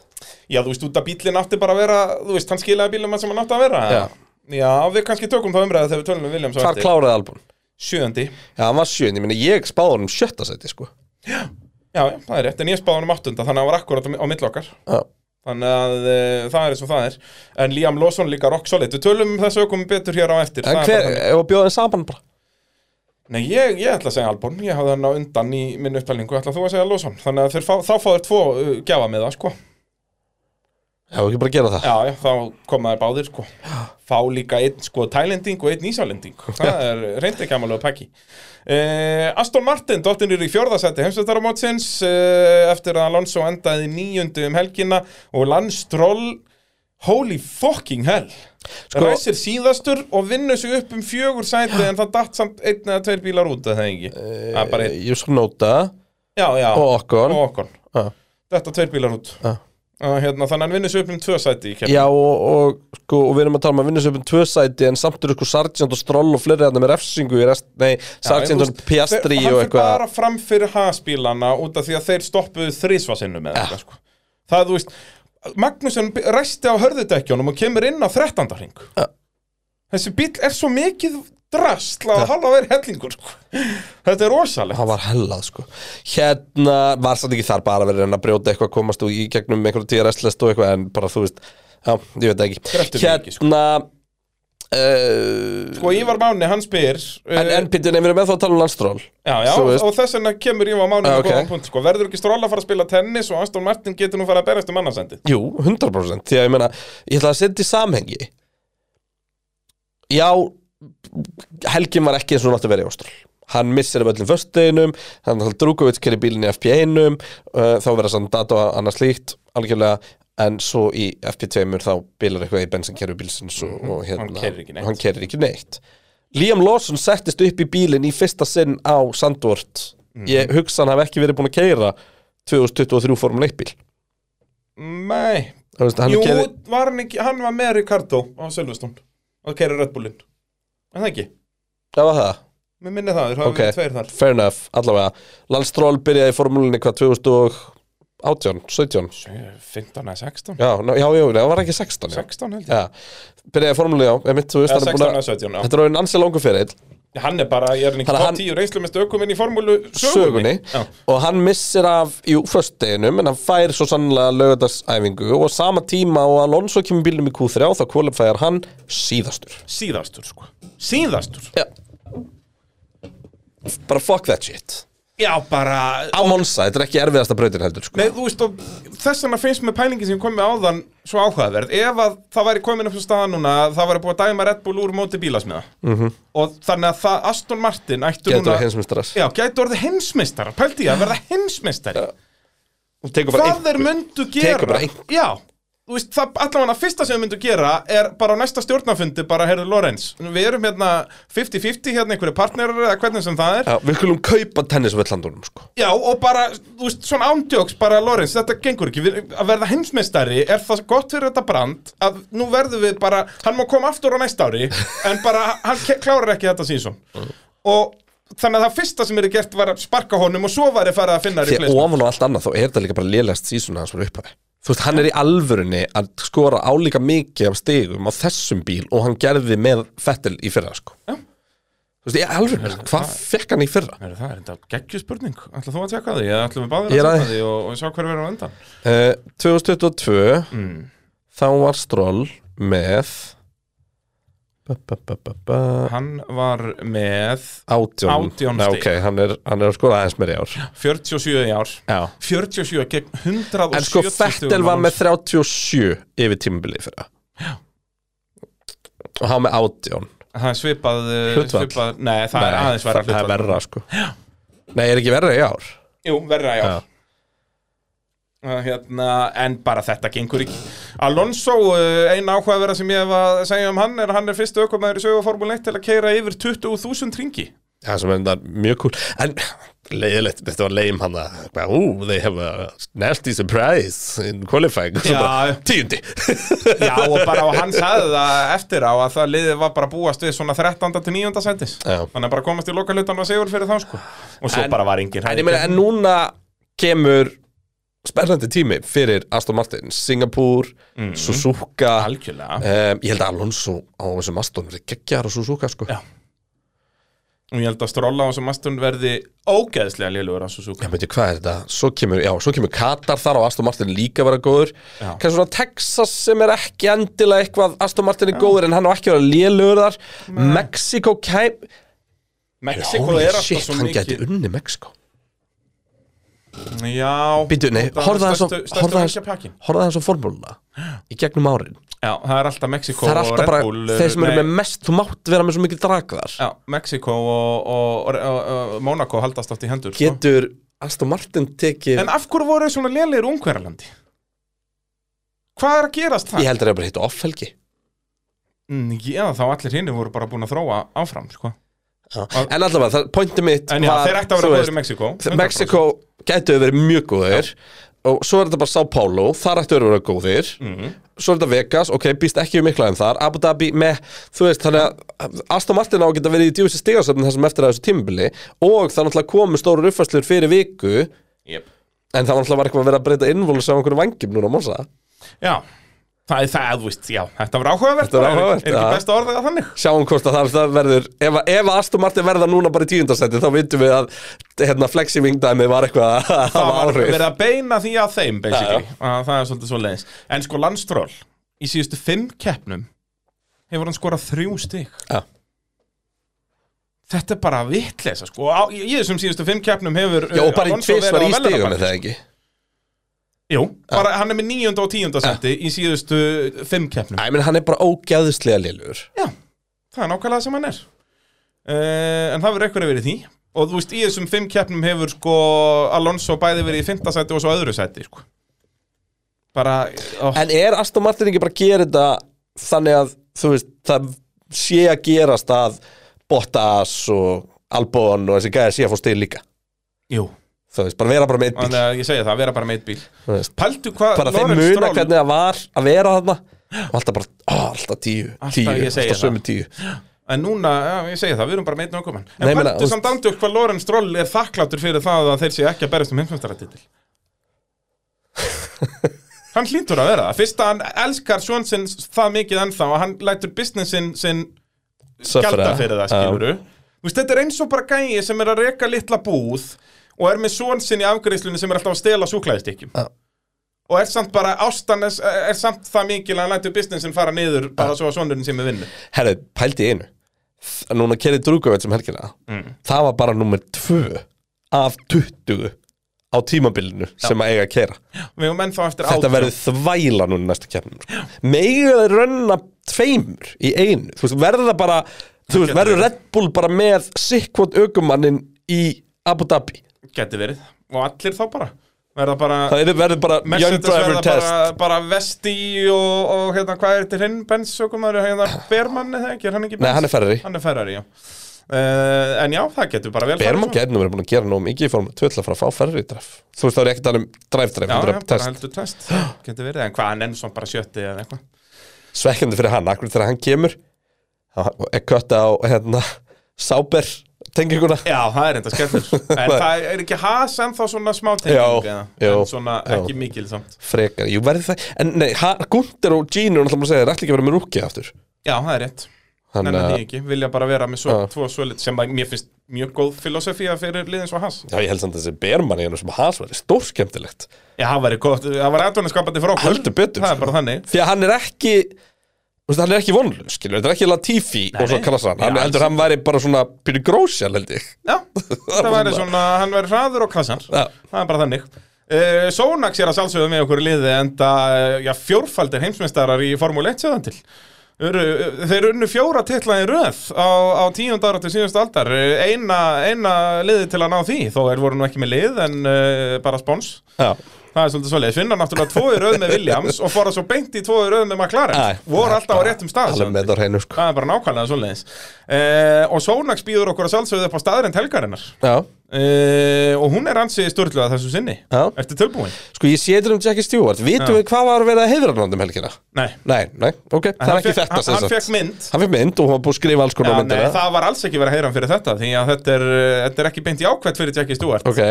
Speaker 3: Já, þú veist, út að bílinn átti bara að vera Þú veist, hann skilaði bílum sem hann átti að vera
Speaker 2: Já.
Speaker 3: Já, við kannski tökum það umræðið þegar við tölum við William svo
Speaker 2: Hvar kláraði albún?
Speaker 3: Sjöndi
Speaker 2: Já, hann var sjönd, ég meina, ég spáði honum sjötta seti, sko
Speaker 3: Já, já, það er rétt, en ég spáði hann um áttunda Þannig að hann var akkurat á mi- á milli okkar
Speaker 2: Já,
Speaker 3: Þannig að e, það er eins og það er En Liam Lawson líka rock solid Við tölum um þessu ökum betur hér á eftir
Speaker 2: en hver,
Speaker 3: Það er bara þannig.
Speaker 2: ef að bjóða þeim saman bara
Speaker 3: Nei, ég, ég ætla að segja Albon Ég hafði hann á undan í minn upptælingu Ætla þú að segja Lawson Þannig að þeir fá, þá fá þér tvo uh, gjafa með það, sko
Speaker 2: Já, ekki bara að gera það
Speaker 3: Já, já, þá koma þér báðir, sko Fá líka einn, sko, tælending og einn ísálending Það er reyndi ekki amalega pakki uh, Aston Martin, dottin er í fjórðasætti Heimsveitarumótsins uh, Eftir að Alonso endaði níundu um helgina Og Landstroll Holy fucking hell sko, Ræsir síðastur og vinnur sig upp um fjögur sæti En það datt samt einn eða tveir bílar út eða ekki Það er bara einn
Speaker 2: Ég sko nota
Speaker 3: Já, já
Speaker 2: og okkon
Speaker 3: og okkon
Speaker 2: Já.
Speaker 3: Þetta tveir bílar út
Speaker 2: Já.
Speaker 3: Og hérna, Þannig að hann vinnur sig upp um tvö sæti í keppni.
Speaker 2: Já, og, og, sko, og við erum að tala um að vinna sér upp um tvö sæti en samt eru sko Sargent og Stroll og fleiri þarna með refsingu í rest, nei, Sargent
Speaker 3: þú
Speaker 2: og
Speaker 3: veist,
Speaker 2: Piastri og
Speaker 3: þeir- Hann fyrir
Speaker 2: eitthvað
Speaker 3: bara fram fyrir haspílana út af því að þeir stoppuðu þrísvarsinu með þetta sko. Það er þú veist Magnússon resti á hörðutekjunum og kemur inn á 13. hring Þessi bíl er svo mikið drastl að halva verið hellingur sko. Þetta er rosalegt
Speaker 2: hann var hellað sko hérna var samt ekki þar bara að vera að reyna að brjóta eitthvað komast og í gegnum einhverju tíu restlest og eitthvað en bara þú veist, já, ég veit það
Speaker 3: Greftur
Speaker 2: ekki
Speaker 3: mig ekki,
Speaker 2: hérna uh,
Speaker 3: Og Sko, Ívar Máni, hann spyr
Speaker 2: en,
Speaker 3: eh,
Speaker 2: en Pintin, við erum ennþá að tala um landstról
Speaker 3: Já, já,
Speaker 2: þú veist.
Speaker 3: og þess vegna kemur Ívar Máni
Speaker 2: Já,
Speaker 3: með
Speaker 2: ok.
Speaker 3: góðan punkt, sko. Verður ekki stróla að fara að spila tennis og Aston Martin getur nú fara að berast um annarsendið
Speaker 2: jú, 100% því að ég meina, ég ætla að setja í samhengi já helgin var ekki eins og hún átti að vera í Ástrál hann missir af öllum föstudeginum hann þá Drukovic kerir bílinn í FP1 uh, þá verða sann data og annað slíkt algjörlega, en svo í FP2 þá bilar eitthvað í bensinkerfi bílsins og, og hérna,
Speaker 3: Mhm, Hann keyrir ekki neitt.
Speaker 2: hann keyrir ekki neitt. Liam Lawson settist upp í bílinn í fyrsta sinn á Sandvort ég
Speaker 3: Mhm.
Speaker 2: hugsa hann hafi ekki verið búin að keira 2023 formuleik bíl
Speaker 3: Nei,
Speaker 2: Þú veist, hann
Speaker 3: Jú,
Speaker 2: keyrði-
Speaker 3: var hann ekki, hann var með Ricardo á Silveston og kæri Red Bullinn En það ekki,
Speaker 2: Það var það,
Speaker 3: mér minni það, þeir hafa
Speaker 2: Ok.
Speaker 3: verið tveir þar
Speaker 2: fair enough, allavega Landstról byrjaði í formúlinni hvað 2018, 17
Speaker 3: 15 eða 16
Speaker 2: Já, ná, já, já, nei, það var ekki 16 já.
Speaker 3: 16 held ég
Speaker 2: Já, byrjaði í formúlinni, já, emitt, þú veist
Speaker 3: Eða
Speaker 2: hann er
Speaker 3: 16
Speaker 2: búin
Speaker 3: eða
Speaker 2: að
Speaker 3: 17, já
Speaker 2: Þetta er orðin ansið langur fyrir
Speaker 3: Hann er bara, ég er hann ekki
Speaker 2: Þannig að hann-
Speaker 3: top 10 reynslumest ökuminn í formúlu
Speaker 2: sögunni
Speaker 3: sögunni Já,
Speaker 2: og hann missir af, jú, föstudeginum en hann fær svo sannlega lögadagsæfingu og á sama tíma og Alonso kemur bílum í Q3 þá kvalifæjar hann síðastur
Speaker 3: síðastur sko Síðastur
Speaker 2: Já Bara fuck that shit
Speaker 3: Já, bara
Speaker 2: Á Monsa, þetta er ekki erfiðasta brautin heldur sko.
Speaker 3: Nei, þú veist, og þess vegna finnst mér pælingin sem ég kom með áðan svo áhugaverð Ef að það væri komin upp svo staða núna að það væri búið að dæma Red Bull úr móti bílasmiða
Speaker 2: Mhm.
Speaker 3: -hmm. Og þannig að það, Aston Martin ættu
Speaker 2: Getur
Speaker 3: núna
Speaker 2: það hinsmestras
Speaker 3: Já, gæti orðið heimsmeistar Pældi ég að verða heimsmeistari
Speaker 2: Hún tekur bara
Speaker 3: Hvað þeir
Speaker 2: einhver-
Speaker 3: myndu gera
Speaker 2: Tekur bara einhver.
Speaker 3: Já, þú veist, það, allavega fyrsta sem þeir myndu gera er bara á næsta stjórnafundi bara, heyrðu, Lorenz, við erum hérna 50-50, hérna einhverju partnerar eða hvernig sem það er
Speaker 2: Já, við skulum kaupa tennisvellandunum sko.
Speaker 3: Já, og bara, þú veist, svona ándjóks bara, Lorenz, þetta gengur ekki við, að verða heimsmeistari, er það gott fyrir þetta brand að nú verðum við bara hann má koma aftur á næsta ári en bara, hann ke- klárar ekki þetta síðan
Speaker 2: Mm.
Speaker 3: og þannig að það fyrsta sem er gert var að sparka honum og svo var ég farið að finna
Speaker 2: því að
Speaker 3: replacement.
Speaker 2: ofan og allt annað þá er þetta líka bara lélegast sísuna hans fyrir upphafi þú veist, hann er í alvörunni að skora álíka mikið af stigum á þessum bíl og hann gerði með Fettel í fyrra sko.
Speaker 3: Já.
Speaker 2: þú veist, ég alvörunni, hvað fekk hann í fyrra
Speaker 3: Heru, það er enda geggju spurning, ætla þú að tjekka því eða ætlum við báðir
Speaker 2: Ég
Speaker 3: að
Speaker 2: ræði.
Speaker 3: tjekka því og, og sjá hver verður á Mm. endan
Speaker 2: uh, 2022 þá var Stroll með ba, ba, ba, ba, ba,
Speaker 3: Hann var með
Speaker 2: átjón,
Speaker 3: Átján
Speaker 2: Nei,
Speaker 3: stig.
Speaker 2: ok, hann er, hann er að skora aðeins meir í ár
Speaker 3: 47 í ár
Speaker 2: Já.
Speaker 3: 47 gegn 170
Speaker 2: en sko Fettel var með 37 yfir tímabilið fyrra og hann með átjón
Speaker 3: Það er svipað, uh,
Speaker 2: Hlutfall.
Speaker 3: svipað Nei, það er aðeins
Speaker 2: Það
Speaker 3: verra
Speaker 2: er
Speaker 3: hlutfall.
Speaker 2: verra sko Nei, er ekki verra í ár?
Speaker 3: Jú, verra, já, Eh,
Speaker 2: Já.
Speaker 3: já. Hérna, En bara þetta gengur ekki Alonso, eh, ein áhugaverða sem ég hef að segja um hann er að hann er fyrstu ökumæður í sögu Formule 1 til að keira yfir 20.000 ringi
Speaker 2: Það sem er þetta mjög cool En leiðilegt, þetta var leim hann að bara, Ú, they have a nasty surprise in qualifying Og svo
Speaker 3: Já.
Speaker 2: bara, Tíundi
Speaker 3: Já, og bara og hann sagði það eftir á að það liðið var bara búast við svona 13. til 9. sætis
Speaker 2: Já.
Speaker 3: Þannig að bara komast í lokalutan og segjur fyrir þá sko Og svo
Speaker 2: En-
Speaker 3: bara var engin
Speaker 2: En ég meina, en núna kemur spennandi tími fyrir Aston Martin Singapur,
Speaker 3: Mhm.
Speaker 2: Suzuka
Speaker 3: Algjörlega
Speaker 2: um, Ég held að Alonso á þessum Aston verið geggjar á Suzuka sko.
Speaker 3: Já. Og ég held að stróla á þessum astun verði ógeðslega lélugur á Suzuka
Speaker 2: Ég veit hvað er þetta, svo kemur, já, svo kemur Katar þar og Aston Martin líka að vera góður
Speaker 3: Já.
Speaker 2: Kanski svona Texas sem er ekki endilega eitthvað Aston Martin er góður en hann á ekki að vera lélugur þar Mexiko kæm
Speaker 3: Mexiko
Speaker 2: Holy
Speaker 3: er alltaf
Speaker 2: shit,
Speaker 3: svo
Speaker 2: hann gæti
Speaker 3: mikið
Speaker 2: unni Mexiko
Speaker 3: Já
Speaker 2: Býtu, nei,
Speaker 3: þetta er
Speaker 2: horfða
Speaker 3: stærstu-
Speaker 2: hans á-
Speaker 3: stærstu
Speaker 2: horfðu aðeins-
Speaker 3: ríkja pakkin.
Speaker 2: horfðu aðeins á formúluna í gegnum árin
Speaker 3: Já, það er alltaf Mexiko
Speaker 2: Það er
Speaker 3: og
Speaker 2: alltaf
Speaker 3: Red
Speaker 2: bara,
Speaker 3: Bull
Speaker 2: þeir sem eru
Speaker 3: nei,
Speaker 2: með mest, þú mátt vera með svo mikið drag þar
Speaker 3: Já, Mexiko og, og, og, og, og Monaco haldast átt í hendur sko.
Speaker 2: Getur Aston Martin tekið
Speaker 3: En af hverju voru þeir svona lélegir ungverjalandi? Hvað er að gerast það?
Speaker 2: Ég heldur að það er bara hitt off-helgi
Speaker 3: Mm, Já, þá allir hinnir voru bara búin að þróa áfram, sko. Að-
Speaker 2: En allavega, það- pointið mitt
Speaker 3: En já,
Speaker 2: var,
Speaker 3: þeir ætti að
Speaker 2: þú
Speaker 3: vera
Speaker 2: veist,
Speaker 3: góður í Mexiko. 100%.
Speaker 2: Mexiko gætu verið mjög góðir og svo er þetta bara Sao Paulo, þar ættu að vera góðir
Speaker 3: Mhm.
Speaker 2: svo er þetta Vegas, ok, býst ekki um mikla en þar, Abu Dhabi með, þú veist þannig að Aston Martin á að geta verið í djúsi stigasöfn þessum eftir að þessu tímbili og það náttúrulega komu stóru uppfæslur fyrir viku
Speaker 3: Yep.
Speaker 2: en það var náttúrulega var eitthvað að vera að breyta innvóls á einhverju vangjum núna á morsa
Speaker 3: Já, það er það, þú veist, já, þetta var áhugavert.
Speaker 2: Þetta var
Speaker 3: bara, er-
Speaker 2: áhugavert,
Speaker 3: Er ekki
Speaker 2: já.
Speaker 3: best að orða það þannig?
Speaker 2: sjáum hvort að það, það verður ef, að- ef að Aston Martin verða núna bara í tíundarsæti þá vitum við að hérna, flexi-vingdæmi var eitthvað að
Speaker 3: Það
Speaker 2: hafa
Speaker 3: var
Speaker 2: áhrif
Speaker 3: verið að beina því að þeim, basically. Að Það er svolítið svo leiðis. En sko, landstról, í síðustu fimm keppnum hefur hann skorað þrjú stygg.
Speaker 2: Já.
Speaker 3: Þetta er bara vittleisa, sko. Á- Í í þessum síðustu fimm keppnum hefur... uh,
Speaker 2: Já, og bara í
Speaker 3: Alonso verið
Speaker 2: tvisvar
Speaker 3: á
Speaker 2: í stigum er
Speaker 3: verðlaunapalli.
Speaker 2: það ekki
Speaker 3: Jú, bara hann er með níunda og tíunda seti í síðustu fimm keppnum.
Speaker 2: Æ, menn hann er bara ógæðislega liðlugur
Speaker 3: Já, það er nákvæmlega sem hann er uh, En það verður eitthvað verið í því Og þú veist, í þessum fimm keppnum hefur sko Alonso bæði verið í fimmta sæti og svo öðru sæti sko. Bara ó,
Speaker 2: En er Aston Martin ekki bara að gera þetta þannig að, þú veist, það sé að gerast að Bottas og Albon og þessi gæði sé að fá stil líka
Speaker 3: Jú,
Speaker 2: Þú veist, bara vera bara með eitt bíl
Speaker 3: þannig að ég segja það, vera bara með eitt bíl
Speaker 2: þú veist.
Speaker 3: Pældu hvað
Speaker 2: Bara þeim
Speaker 3: Lawrence
Speaker 2: muna
Speaker 3: Stroll-
Speaker 2: hvernig það var að vera þarna og alltaf bara, ó, alltaf tíu,
Speaker 3: Alltaf,
Speaker 2: tíu,
Speaker 3: ég segi
Speaker 2: alltaf
Speaker 3: það.
Speaker 2: sömu tíu
Speaker 3: En núna, já, ég segja það, við erum bara með eitt nákvæmann En
Speaker 2: Nei,
Speaker 3: pældu
Speaker 2: meina, þú-
Speaker 3: samt andjók hvað Lorenz Stroll er þakkláttur fyrir það að þeir séu ekki að berjast um heimsmyndarættitil Hann hlýtur að vera það Fyrst að hann elskar svon sinn það mikið ennþá að hann lætur businessin sinn gælda fyrir það, skiluru Þú veist, þetta er eins og bara gæi sem er að reka litla búð og er með svon sinn í afgreiðslunni sem er alltaf að stela súklaðistykkjum
Speaker 2: Já.
Speaker 3: Og er samt bara, ástan er, er samt það mikil að hann lætur businessin fara niður bara svo að svonurinn sem er vinnu
Speaker 2: Herðu, pældi í einu Þ- Núna kerið Drúkovits um helgina
Speaker 3: Mm.
Speaker 2: Það var bara nummer tvö af 20 á tímabilinu sem að eiga að kera
Speaker 3: Við erum ennþá eftir
Speaker 2: Þetta
Speaker 3: átján.
Speaker 2: verður þvæla núna í næstu keppnum sko. Mega þeir rönna tveimur í einu Þú veist, verður það bara Þú veist,
Speaker 3: getur
Speaker 2: verður
Speaker 3: verið.
Speaker 2: Red Bull bara með Sikkvot aukumannin í Abu Dhabi
Speaker 3: Geti verið Og allir þá bara Verða bara
Speaker 2: Það er- verður bara Young
Speaker 3: Mercedes
Speaker 2: Driver
Speaker 3: verða
Speaker 2: Test
Speaker 3: bara, bara Vesti og, og hérna, hvað er þetta hinn Benz og hvað maður hérna Berman eða ekki, er hann ekki
Speaker 2: Nei, hann er Ferrari
Speaker 3: Hann er Ferrari, já uh, En já, það getur bara vel
Speaker 2: Berman
Speaker 3: farið svona.
Speaker 2: gæti nú verið búin að gera nóg mikið í formule 2 til að fara að fá Ferrari draf Þú veist, þá er ég ekki að tala um drive drive,
Speaker 3: Já,
Speaker 2: heldur
Speaker 3: já,
Speaker 2: að
Speaker 3: bara
Speaker 2: test
Speaker 3: heldur test Geti verið, en hvað hann enn svo bara sjötti eða eitthvað
Speaker 2: svekkjandi fyrir hann, akkur þegar hann kemur þá er kötta á hérna, sáber tenginguna
Speaker 3: Já, það er enda skellur En það er ekki has ennþá svona smá
Speaker 2: Já,
Speaker 3: tenging eða?
Speaker 2: já,
Speaker 3: En svona
Speaker 2: já.
Speaker 3: ekki mikil samt
Speaker 2: frekar, jú verði það en nei, ha- Gunther og Gino, náttúrulega maður segja, er allir ekki að vera með rúkið aftur
Speaker 3: Já, það er rétt
Speaker 2: hann,
Speaker 3: Nennan
Speaker 2: uh,
Speaker 3: því ekki, vilja bara vera með svo,
Speaker 2: Já.
Speaker 3: tvo svolit sem að mér finnst mjög góð filosofía fyrir liðin svo has
Speaker 2: já, ég held samt að þessi bermann í hennu sem hans verði stórskemmtilegt
Speaker 3: Já, það væri gott, það var aðvunarskapandi fyrir okkur
Speaker 2: Heldur betur,
Speaker 3: Það er
Speaker 2: sko.
Speaker 3: bara þannig
Speaker 2: því að hann er ekki þú veist, hann er ekki vonlun, skilur, þetta er ekki Latifi og svo
Speaker 3: nei.
Speaker 2: kallas hann, hann
Speaker 3: Já,
Speaker 2: heldur hann væri bara svona pyrr grósjál held ég
Speaker 3: Já, það væri svona, hann væri hraður og krassar
Speaker 2: Já.
Speaker 3: Það er bara þannig uh, Sónax er að sjálfsögðu með okkur í liði enda, uh, já, fjórfaldir heimsmeistarar í Formule 1 sjöðan til Eru, uh, Þeir unnu fjóra titla í röð á, á tíund ára til síðust aldar Uh, eina, eina liði til að ná því þó er voru nú ekki með lið en uh, eh, bara spons
Speaker 2: já,
Speaker 3: Það er svolítið svolítið, finna náttúrulega tvoi röð með Williams og fara svo beint í tvoi röð með
Speaker 2: Æ,
Speaker 3: McLaren voru alltaf á réttum stað
Speaker 2: Alveg með það á hreinu sko
Speaker 3: Það er bara nákvæmlega svolítið uh, Og Sónax býður okkur að sjálfsögðu upp á staðrind helgarinnar
Speaker 2: Já,
Speaker 3: uh, Og hún er ansi störtlega þessu sinni
Speaker 2: Já.
Speaker 3: Ertu tilbúin?
Speaker 2: sko ég sétur um Jackie Stewart Vitum við hvað var verið að heiðra hann um helgina?
Speaker 3: Nei
Speaker 2: Nei, nei, ok, það er
Speaker 3: Hann
Speaker 2: ekki
Speaker 3: fékk-
Speaker 2: þetta
Speaker 3: hann-
Speaker 2: sem
Speaker 3: Hann
Speaker 2: sagt
Speaker 3: fekk mynd
Speaker 2: Hann fyrir mynd og hann var búið að skrifa alls konar á
Speaker 3: Já, nei,
Speaker 2: myndina
Speaker 3: það var alls ekki verið að heyra hann fyrir þetta því að þetta er, eh, þetta er ekki beint í ákvætt fyrir Jackie Stewart
Speaker 2: Ok,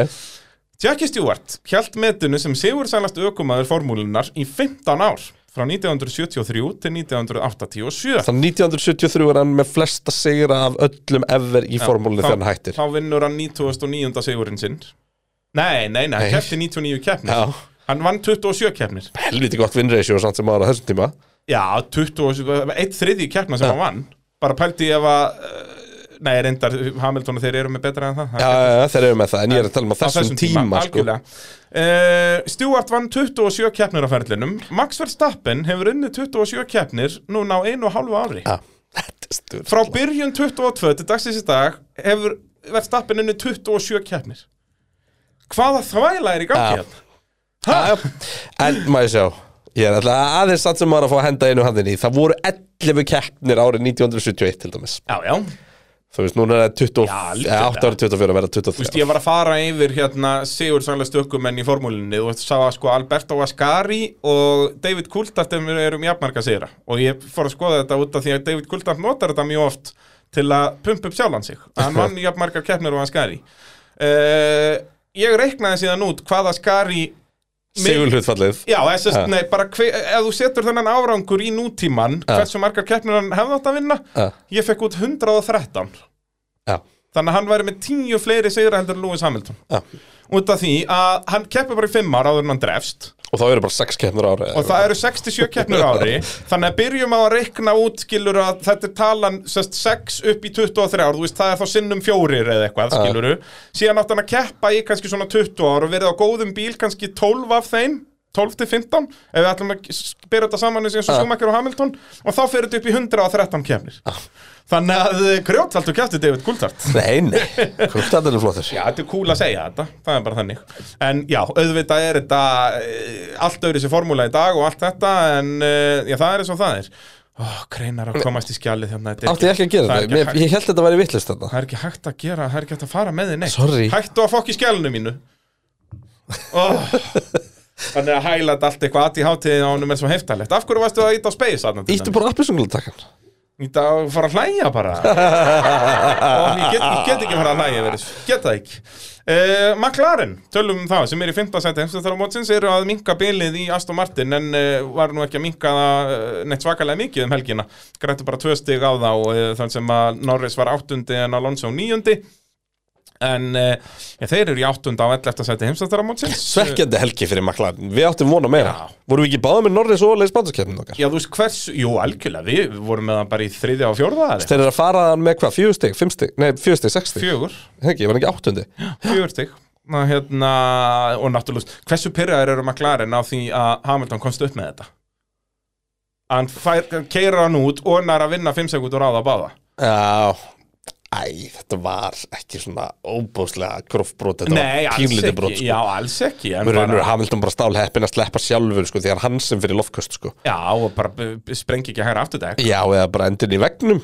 Speaker 3: Jackie Stewart hjælt metinu sem sigur sælast aukumæður formúlunar í 15 ár frá 1973 til 1987
Speaker 2: þannig 1973 er hann með flesta sigra af öllum ever í formúlinu þegar hann hættir
Speaker 3: Þá vinnur hann 99. sigurinn sinn Nei, nei, nei,
Speaker 2: Nei.
Speaker 3: hann keppti 99 keppnir
Speaker 2: Já.
Speaker 3: Hann vann 27 keppnir
Speaker 2: Helviti gott vinnreisjó samt sem ára þessum tíma
Speaker 3: Já, 27, eitt þriði keppna sem hann vann Bara pældi ég ef að eh, Nei, reyndar Hamilton og þeir eru með betra en það
Speaker 2: Já, já, já, þeir eru með það, en ég er að tala um á
Speaker 3: á
Speaker 2: þessum tíma sko.
Speaker 3: algjörlega. Eh, Stewart vann 27 keppnir á ferlinum Max Verstappen hefur unnið 27 keppnir núna á einu og hálfu ári
Speaker 2: Já, þetta er stúr
Speaker 3: Frá byrjun 22 til dagsins í dag hefur Verstappen unnið 27 keppnir Hvaða þvæla er í gangi
Speaker 2: Já.
Speaker 3: hérna?
Speaker 2: En maður sjá Ég er alltaf aðeins satt sem maður að fá að henda einu handin í Það voru 11 keppnir árið 1971 til dæmis
Speaker 3: Já, já,
Speaker 2: Þú veist, núna er það 20,
Speaker 3: Já, líka
Speaker 2: ja, 8
Speaker 3: þetta.
Speaker 2: árið 24 að vera
Speaker 3: þú veist,
Speaker 2: 23
Speaker 3: ég var að fara yfir hérna Sigur sannlega stökumenn í formúlinni og sá að sko Alberto Ascari og David Coulthard eru- eru um jafnmarka sigra og ég fór að skoða þetta út af því að David Coulthard notar þetta mjög oft til að pumpa upp sjálfan sig hann vann jafnmarka keppnir og Ascari uh, ég reiknaði síðan út hvað Ascari
Speaker 2: Sigurhlutfallið
Speaker 3: Já, þess
Speaker 2: Ja.
Speaker 3: að, nei, bara hve, ef þú setur þennan árangur í nútíman hversu margar keppnir hann hefði átt að vinna
Speaker 2: Ja.
Speaker 3: ég fekk út 113
Speaker 2: Já,
Speaker 3: þannig að hann væri með 10 fleiri sigra heldur en Lewis Hamilton
Speaker 2: já
Speaker 3: út af því að hann keppur bara í 5 ára áður en hann drefst
Speaker 2: Og þá eru bara 6 keppnir árið
Speaker 3: og það eru 67 keppnir á ári þannig að byrjum á að reikna út skilur að þetta er talan sest, 6 upp í 23 ár, þú veist það er þá sinnum fjórir eða eitthvað skilur síðan átt hann að keppa í kannski svona 20 ár og verið á góðum bíl kannski 12 af þeim 12 til 15 ef við ætlum að s- byrja þetta saman eins og Schumacher og Hamilton og þá fyrir þetta upp í 113 keppnir þannig að eh, grjótvaldur keppti David Coulthard
Speaker 2: Nei, nei, kvöldan er flottur
Speaker 3: Já, þetta er cool að segja þetta, það er bara þannig En já, auðvitað er þetta eh, allt öðru sér formúla í dag og allt þetta En eh, já, það er eins og það er Ó, kreinar að komast í skjalið hérna þetta er
Speaker 2: Átti ég ekki að
Speaker 3: það
Speaker 2: gera
Speaker 3: er
Speaker 2: þetta,
Speaker 3: ekki
Speaker 2: Mér-
Speaker 3: hægt-
Speaker 2: ég held þetta væri vittlust þarna
Speaker 3: Það er ekki hægt að gera, það er ekki hægt að fara með þið neitt
Speaker 2: Sorry.
Speaker 3: Hættu að fokk í skjalinu mínu oh. Þannig að hæla þetta allt eitthvað aðt í hátíðin á honum er svo heftalegt Af hverju varstu að íta á space þarna? til
Speaker 2: Íttu
Speaker 3: dæmis?
Speaker 2: bara appisunglutakkan
Speaker 3: Íta á að fara að hlæja bara Og ég get, ég get ekki að fara að hlæja verið Get það ekki uh, McLaren, tölum um það sem er í 15. seti heimstöðarmótsins eru að minka bilið í Aston Martin en uh, var nú ekki að minka það eh, neitt svakalega mikið um helgina grættu bara tvö stig á þá uh, þann sem að Norris var áttundi en Alonso níundi en uh, ja, þeir eru í áttunda á Eh, 11. seti heimstöðarmótsins
Speaker 2: Svekkjandi helgi fyrir McLaren, við áttum vona meira Vorum við ekki báða með Norris og Leis Bandarskeppnum okkar?
Speaker 3: Já, þú veist hversu, jú, algjörlega, við vorum með það bara í þriðja og fjórða eða?
Speaker 2: Þeir eru að fara með hvað, fjögur stig, fimm stig, nei fjögur stig, sex stig
Speaker 3: Fjögur
Speaker 2: Hengi, ég var ekki áttundi
Speaker 3: fjögur stig Ná, hérna, og náttúrulega hversu pyrraður eru McLaren á því að Hamilton komst upp með þetta Að hann fær, keirar hann út og hann er að vinna 5 sekundur á það báða
Speaker 2: Já Æ, þetta var ekki svona óbúslega grófbrot, þetta
Speaker 3: Nei,
Speaker 2: var
Speaker 3: alls
Speaker 2: pínlítið
Speaker 3: ekki,
Speaker 2: brot sko.
Speaker 3: já, alls ekki en
Speaker 2: Mér raunur
Speaker 3: bara,
Speaker 2: að Hamilton bara stál heppin að sleppa sjálfur sko, því hann hann sem fyrir loftköst sko.
Speaker 3: Já, og bara b- b- sprengi ekki hægra afturdæk
Speaker 2: Já, eða bara endin í vegnum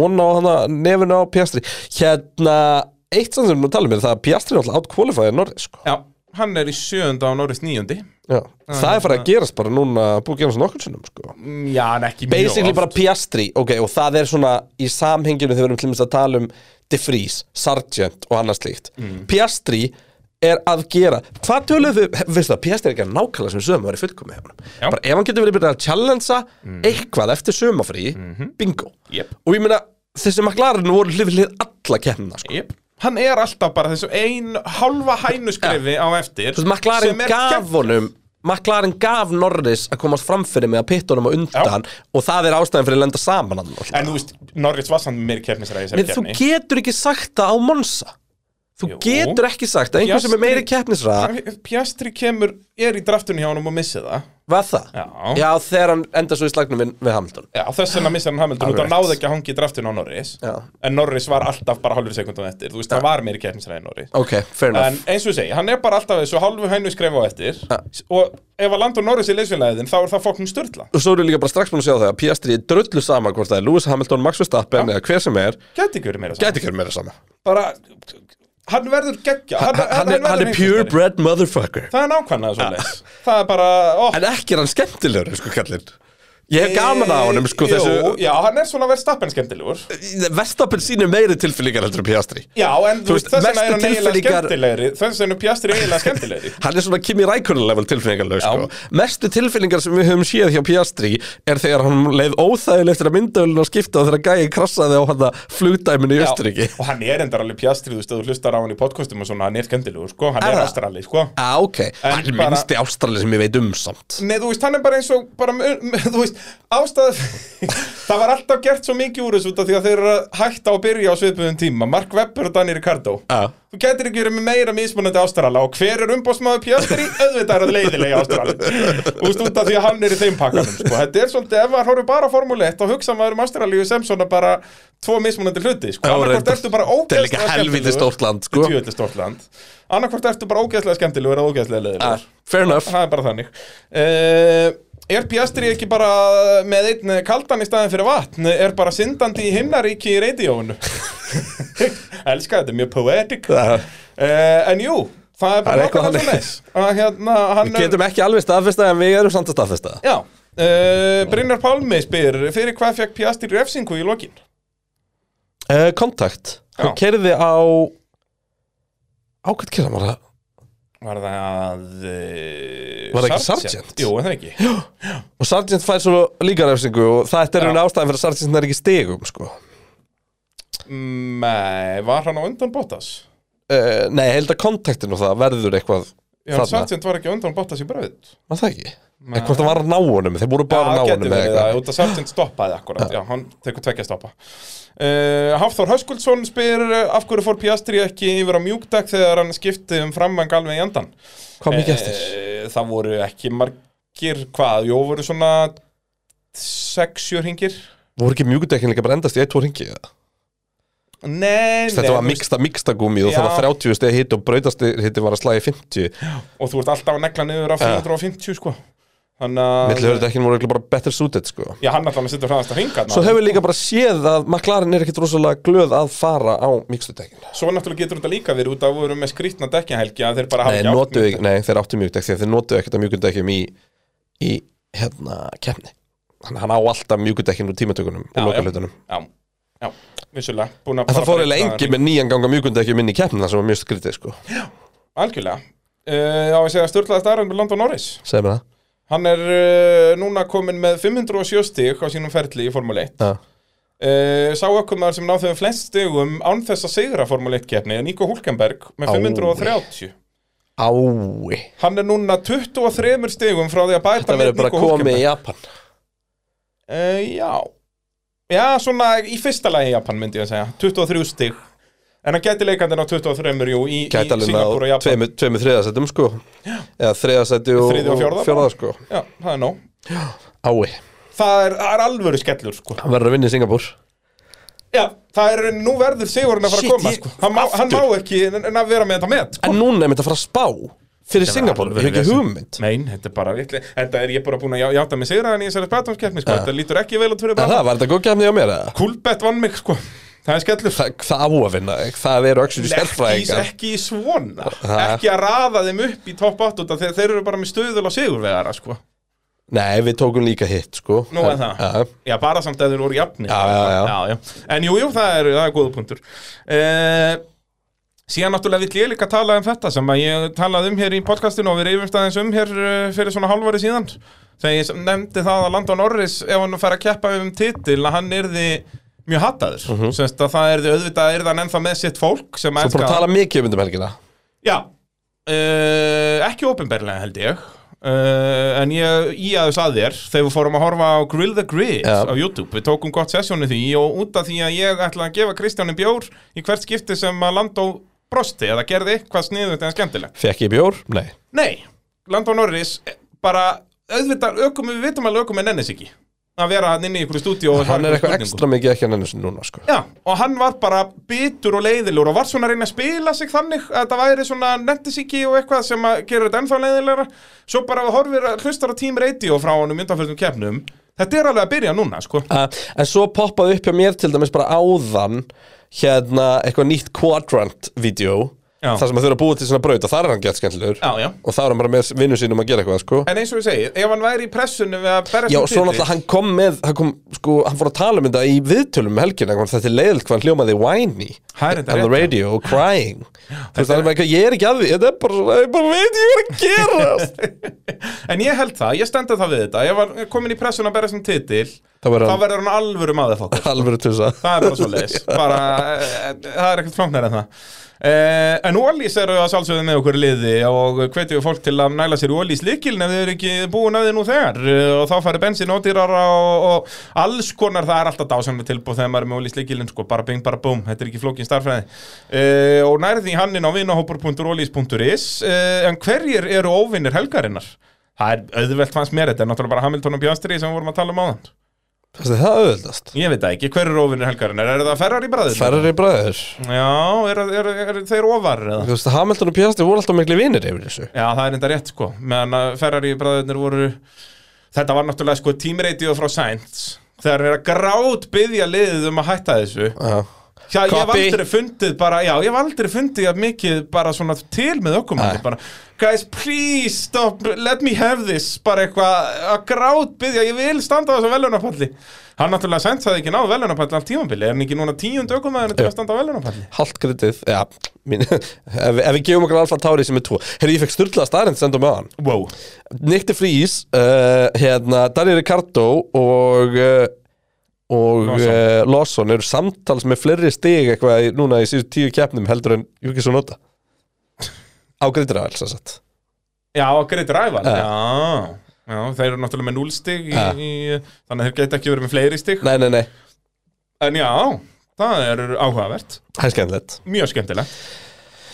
Speaker 2: og ná hana nefinu á Piastri Hérna, eitt sann sem nú talum er það að Piastri náttúrulega átkvalifaði Norris sko.
Speaker 3: Já, hann er í sjönda á Norris níundi
Speaker 2: Já, það er farið
Speaker 3: hérna-
Speaker 2: að gerast bara núna búið að gerast nokkur sinnum sko.
Speaker 3: Mm, Já, en ekki mjög
Speaker 2: Basically
Speaker 3: oft.
Speaker 2: bara Piastri, ok, og það er svona í samhenginu þegar við erum til dæmis að tala um De Vries, Sargent og annað slíkt
Speaker 3: Mm.
Speaker 2: Piastri er að gera, hvað töluðu þau, veistu það, Piastri er ekki að nákvæmlega sem sömu var í fullkomi hjá honum Bara ef hann getur verið byrjað að challengea eitthvað eftir sömafrí, bingo
Speaker 3: Mm. Mhm. Jep.
Speaker 2: Og ég meina, þessi maklarinn voru hlið við hlið alla kemna, sko
Speaker 3: Jep. Hann er alltaf bara þessu ein halva hænuskrifi á eftir
Speaker 2: Þú veist, maklarinn
Speaker 3: sem er
Speaker 2: gaf honum maklarinn gaf Norris að komast framfyrir með að pitta honum á undan og það er ástæðan fyrir að lenda saman hann
Speaker 3: En þú veist, Norris var samt meiri keppnisræði í þessari
Speaker 2: Nei, þú
Speaker 3: keppni.
Speaker 2: getur ekki sagt það á Monsa Þú getur ekki sagt að einhver sem er meiri keppnisraða
Speaker 3: Pjastri kemur, er í draftunni hjá honum og missi það
Speaker 2: Var það?
Speaker 3: Já.
Speaker 2: Já, þegar hann enda svo í slagnum við, við Hamilton
Speaker 3: Já, þess vegna missar hann Hamilton út
Speaker 2: Alright.
Speaker 3: að náði ekki að hangi draftin á Norris
Speaker 2: Já.
Speaker 3: En Norris var alltaf bara hálfur sekundum eftir Þú veist, það var meiri keppnisræði Norris
Speaker 2: Ok, fair
Speaker 3: En
Speaker 2: enough
Speaker 3: eins og ég segi, hann er bara alltaf þessu hálfu hænu skref á eftir Og ef að landa á Norris í leysfélagin Þá er það fólknum störla
Speaker 2: Og svo eru líka bara strax búin að sjá það að Piastri er drullu sama hvort það er Lewis Hamilton, Max Verstappen eða hver sem er
Speaker 3: Gæti ekki verið meira saman
Speaker 2: Gæti ekki verið meira sama
Speaker 3: Bara, hann verður geggja
Speaker 2: Hann, hann, er, hann er purebred motherfucker
Speaker 3: Það er nákvæmlega svo Það er bara, ó,
Speaker 2: En ekki er hann skemmtilegur, sko kallinn Ég hef gaman að honum, sko,
Speaker 3: Eh, jú,
Speaker 2: þessu
Speaker 3: Já, hann er svona verðstappen skemmtilegur
Speaker 2: Verstappen sýnir meiri tilfyllingar heldur en Piastri
Speaker 3: Já, en þú
Speaker 2: Þú veist,
Speaker 3: veist, þess vegna er
Speaker 2: mestu
Speaker 3: hann eiginlega
Speaker 2: tilfinningar-
Speaker 3: skemmtilegri Þess vegna er Pjastri eiginlega skemmtilegri
Speaker 2: Hann er svona Kimi Rækonen level tilfinningarlaug sko. Mestu tilfinningar sem við höfum séð hjá Piastri er þegar hann leið óþægileg eftir að myndavölinu að skipta og þegar gæi krassaði á hann að flugdæminu í
Speaker 3: Já,
Speaker 2: Östuríki
Speaker 3: Og hann er endar alveg Pjastri, þú veist, ef þú hlustar á hann í podcastum og svona, hann er skemmtilegur, sko, hann
Speaker 2: Er
Speaker 3: er,
Speaker 2: það?
Speaker 3: er astrali, sko
Speaker 2: Já, Ah, ok, hann er
Speaker 3: bara-
Speaker 2: minnsti ástrali sem ég veit um samt
Speaker 3: Nei, þú veist, hann er bara eins og, bara, mu- mu- þú veist, ástæð Það var alltaf gert svo mikið úr þessu út af því að þeir eru að hætta að byrja á svipuðum tíma Mark Webber og Danny Ricardo
Speaker 2: Já.
Speaker 3: Þú getur ekki verið með meira mismunandi ástrala og hver er umbóðsmaður Pjastri? Auðvitað er að leiðilega ástrali Þú veist, út af því að hann er í þeim pakkanum sko. Þetta er svolítið, ef maður horfir bara á Formule 1 og hugsa maður um ástralíu sem svona bara tvo mismunandi hluti, sko, annarkvort ertu bara
Speaker 2: Það er líka
Speaker 3: ógeðslega
Speaker 2: helviti
Speaker 3: skemmtilegur-
Speaker 2: stórt land, sko
Speaker 3: Djöfulli stórt land Annarkvort ertu bara ógeðslega skemmtilegur eða ógeðslega
Speaker 2: Ah,
Speaker 3: leiðilegur
Speaker 2: Fair enough
Speaker 3: Það er bara þannig uh, Er Piastri ekki bara með einn kaldan í staðin fyrir vatn Er bara syndandi í himnaríki í radióinu Elska þetta, mjög poetic uh,
Speaker 2: Það-
Speaker 3: En jú, það er
Speaker 2: Það er
Speaker 3: bara
Speaker 2: eitthvað
Speaker 3: nákvæmlega
Speaker 2: þannig.
Speaker 3: svoleiðis. Að hérna, hann
Speaker 2: Við getum ekki alveg staðfesta en við erum samt að staðfesta
Speaker 3: Já Uh, Brynjar Pálmi spyr fyrir hvað fekk Piastri refsingu í lokin
Speaker 2: uh, Kontakt, hann kerði á Á hvað kerði hann var það?
Speaker 3: Var það uh,
Speaker 2: Var það ekki Sargent?
Speaker 3: Jú, en það ekki Já,
Speaker 2: Og Sargent fær svo líka refsingu og þetta er einu ástæðan fyrir að Sargent er ekki í stigum sko.
Speaker 3: Nei, var hann á undan Bottas?
Speaker 2: uh, Nei, ég held að kontaktin og það verður eitthvað
Speaker 3: Já,
Speaker 2: Þarna.
Speaker 3: Sargent var ekki á undan Bottas í bröðt
Speaker 2: Var það ekki? Eða hvort það var að ná honum, þeir voru bara
Speaker 3: Já,
Speaker 2: að ná
Speaker 3: getur
Speaker 2: honum eða
Speaker 3: verið það,
Speaker 2: eitthvað
Speaker 3: út að Sargent stoppaði akkurat, já, hann tekur tvekja stoppa uh, Hafþór Höskuldsson spyr uh, af hverju fór Piastri ekki yfir á mjúkdæk þegar hann skipti um framvang alveg í andan
Speaker 2: Hvað mikið eftir?
Speaker 3: uh, Það voru ekki margir, hvað, jú, voru svona 6-7 hringir
Speaker 2: Voru ekki mjúkudekkin líka bara endast í 1-2 ringi?
Speaker 3: Nei, nei,
Speaker 2: Þetta var
Speaker 3: þú veist,
Speaker 2: miksta, miksta gúmið og það var
Speaker 3: Já.
Speaker 2: 30 steg hitt og brautast hitti var að slagi 50
Speaker 3: og þú ert alltaf að negla niður á 550 sko Þannig að
Speaker 2: Mittlu höfðu voru ekki bara better suited sko
Speaker 3: Já, hann alltaf að setja hraðast að hringa
Speaker 2: Svo hefur líka bara séð að McLaren er ekkit rosalega glöð að fara á mikstudekkin
Speaker 3: Svo náttúrulega getur þetta líka verið út að við erum með skrýtna dekkjahelgi að þeir bara hafa
Speaker 2: Nei,
Speaker 3: átt
Speaker 2: notuðu
Speaker 3: mjúkt
Speaker 2: ekki- nei, þeir áttu mjúkdekk því að þeir notuðu ekkert að mjúkudekkim í, í hérna, kemni Þannig að hann á alltaf mjúkudekkin úr tímatökunum og lokalutunum
Speaker 3: Já, já, vissulega Búin að
Speaker 2: En það
Speaker 3: bara
Speaker 2: fór
Speaker 3: breyta
Speaker 2: eiginlega engi með nýjan ganga mjúkudekkim inn í kemna sem var mjög skrítið sko
Speaker 3: Algjörlega uh, Á að segja störlaðast aðrönd með Landon Norris
Speaker 2: Segðu mér það
Speaker 3: Hann er uh, núna komin með 507 stig á sínum ferli í Formule 1
Speaker 2: Já.
Speaker 3: uh, Sá ökkumar sem náðu þeim flest stigum án þess að sigra Formule 1 keppni er Nico Hulkenberg með 530
Speaker 2: Ái
Speaker 3: Hann er núna 23 stigum frá því að bæta
Speaker 2: Þetta verður bara komið í Japan
Speaker 3: Uh, já Já, svona í fyrsta lagi í Japan myndi ég að segja 23 stig En hann gæti leikandinn á 23 jú, í, í
Speaker 2: Gæti alveg
Speaker 3: Singapur og
Speaker 2: náð
Speaker 3: Japan
Speaker 2: tveimur tveimur þriðasætum sko Eða þriðasæti og,
Speaker 3: Þriðja og fjórða bara.
Speaker 2: fjórða sko
Speaker 3: Já, það er nóg
Speaker 2: Ái
Speaker 3: Það er, það er alvöru skellur sko
Speaker 2: Hann verður að vinna í Singapur
Speaker 3: Já, það er nú verður sigurinn að fara
Speaker 2: Shit,
Speaker 3: að koma
Speaker 2: ég-
Speaker 3: sko hann má, hann má ekki en en að vera með þetta með sko.
Speaker 2: En núna er mitt að fara að spá Fyrir Singapur, ég hef ekki hugmynd
Speaker 3: Nein, þetta er bara vitli Þetta er ég bara búin að já- játa mig sigraðan í þessari spætumskeppni sko Þetta lítur ekki vel út fyrir
Speaker 2: En
Speaker 3: bara
Speaker 2: það, var þetta góð kemni á mér eða?
Speaker 3: Kúlbett vann mig sko Það er skellur
Speaker 2: Þa, það á að vinna, ekki? það eru öxur í
Speaker 3: ekki,
Speaker 2: sérfræðingar
Speaker 3: ekki í svona ekki að raða þeim upp í topp 8 út af því að þeir eru bara með stöðul á sigurvegara sko.
Speaker 2: Nei, við tókum líka hitt, sko
Speaker 3: Nú er það.
Speaker 2: Já,
Speaker 3: já, bara samt að þeir voru jafni
Speaker 2: Já, já, já.
Speaker 3: en jú, jú, það er, það er góða punktur uh, síðan náttúrulega vill ég líka tala um þetta sem að ég talaði um hér í podcastinu og við reyfumst aðeins um hér eh, fyrir svona hálfari síðan þegar ég nefndi það að Landon Norris ef hann fer að keppa um titil að hann yrði mjög hataður uh
Speaker 2: Mhm.
Speaker 3: að það yrði auðvitað yrði hann ennþá með sitt fólk sem
Speaker 2: Þú búin að
Speaker 3: elskar-
Speaker 2: tala mikið um þetta um helgina
Speaker 3: Já, uh, ekki ópenbarlega held ég uh, En ég í aðeins að þér Þegar við fórum að horfa á Grill the Grid
Speaker 2: Já.
Speaker 3: á YouTube Við tókum gott sessjónu því og út af því að ég ætla að gefa Kristjáni bjór Í hvert skipti sem að Landó brosti eða gerði eitthvað sniðugt eða skemmtilegt
Speaker 2: Fekk ég bjór? Nei
Speaker 3: Nei, Landon Norris eh, bara, auðvitað, ökum, við vitum alveg ökum en nennis ekki að vera hann inni í einhverju stúdíu og
Speaker 2: Hann
Speaker 3: svara
Speaker 2: er
Speaker 3: einhverjum
Speaker 2: eitthvað
Speaker 3: spurningum.
Speaker 2: ekstra mikið ekki að nennu sinni núna sko
Speaker 3: Já, og hann var bara bitur og leiðilegur og var svona að reyna að spila sig þannig að það væri svona nettisíki og eitthvað sem að gera þetta ennþá leiðilegra svo bara horfir að hlustar á Team Radio frá honum undanfjöldum keppnum þetta er alveg að byrja núna, sko
Speaker 2: Uh, en svo poppaði upp hjá mér til dæmis bara áðan hérna eitthvað nýtt quadrant-vídeó
Speaker 3: Já.
Speaker 2: þar sem þau eru að búa til svona braut og þar er hann gett skemmtilegur
Speaker 3: Já, já.
Speaker 2: og þá er hann bara með vinnu sínum að gera eitthvað sko.
Speaker 3: En eins og ég segi, ef hann væri í pressunum við að um berja
Speaker 2: Já, svo náttúrulega hann kom með hann, kom, sko, hann fór að tala um þetta í viðtölum um helgina, hann, þetta er leiðilt hvað hann hljómaði whiny
Speaker 3: Það er þetta
Speaker 2: on the
Speaker 3: rétt, já.
Speaker 2: radio og crying þú veist, það er bara eitthvað, ég er ekki að því þetta er bara, svona, ég bara veit ég er að gerast
Speaker 3: En ég held það, ég stenda það við þetta Ef hann er komin í pressun að berja sem titil
Speaker 2: Þá verður
Speaker 3: þá
Speaker 2: hann-
Speaker 3: verður hann alvöru maður fokk
Speaker 2: alveg til þess
Speaker 3: Það er bara svo leis bara, eh, Það er ekkert flóknar en það eh, En Ólís eru að sjálfsögðu með okkur í liði og hvetjum fólk til að næla sér í Ólís líkilin ef þau eru ekki búin að þið nú þegar Eh, og þá farið bensin ódýrara og, og alls konar það er alltaf dásamlega tilbúð þegar maður er með Ólís líkilin sko, bara bing, bara búm, þetta er ekki flókin starfræði eh, og nærið því hann inn á vinahópur.ólís.is eh, en hverjir eru óvinnir helgarinnar? Það er auðvelt fannst mér þetta, er náttúrulega bara Hamilton og Bjastri sem við vorum að tala um áðan
Speaker 2: það er það auðvöldast
Speaker 3: Ég veit það ekki, hver eru óvinnir helgarinnar? Er það Ferrari bræður?
Speaker 2: Ferrari bræður,
Speaker 3: Já, er, er, er, þeir ofar eða?
Speaker 2: þú veist, Hamilton og Piastri voru alltaf miklu vinir yfir þessu
Speaker 3: Já, það er enda rétt sko meðan að Ferrari bræðurnir voru þetta var náttúrulega sko tímreitið frá Sainz þegar hann er að grát byggja liðið um að hætta þessu
Speaker 2: Já.
Speaker 3: Já, ég hef
Speaker 2: Copy.
Speaker 3: aldrei fundið bara, já, ég hef aldrei fundið að mikið bara svona til með okkur manni, bara, guys, please stop, let me have this, bara eitthvað að grát byggja, ég vil standa á þessu velunarpalli. Hann náttúrulega sendt það ekki náðu velunarpalli allt tímabili, er hann ekki núna tíund ökumæðinu til að standa á velunarpalli?
Speaker 2: Hálft kredið, já, mín, ef, ef við gefum okkur alfa tári sem er tvo Herri, ég fekk styrlaða starrend senda með hann
Speaker 3: Wow.
Speaker 2: Nikti Frís, uh, hérna, Daniel Ricardo og, uh, og uh, Lawson eru samtals með fleiri stig eitthvað í- núna í síðustu tíu keppnum heldur en Júkis og Nota Á greitir aðeins, þess að
Speaker 3: Já, Great Rival, já. Já, þeir eru náttúrulega með núlstig í,
Speaker 2: Ja.
Speaker 3: í, þannig að þeir geta ekki verið með fleiri stig.
Speaker 2: Nei, nei, nei,
Speaker 3: En já, það er áhugavert,
Speaker 2: það er skemmtilegt
Speaker 3: mjög skemmtilegt.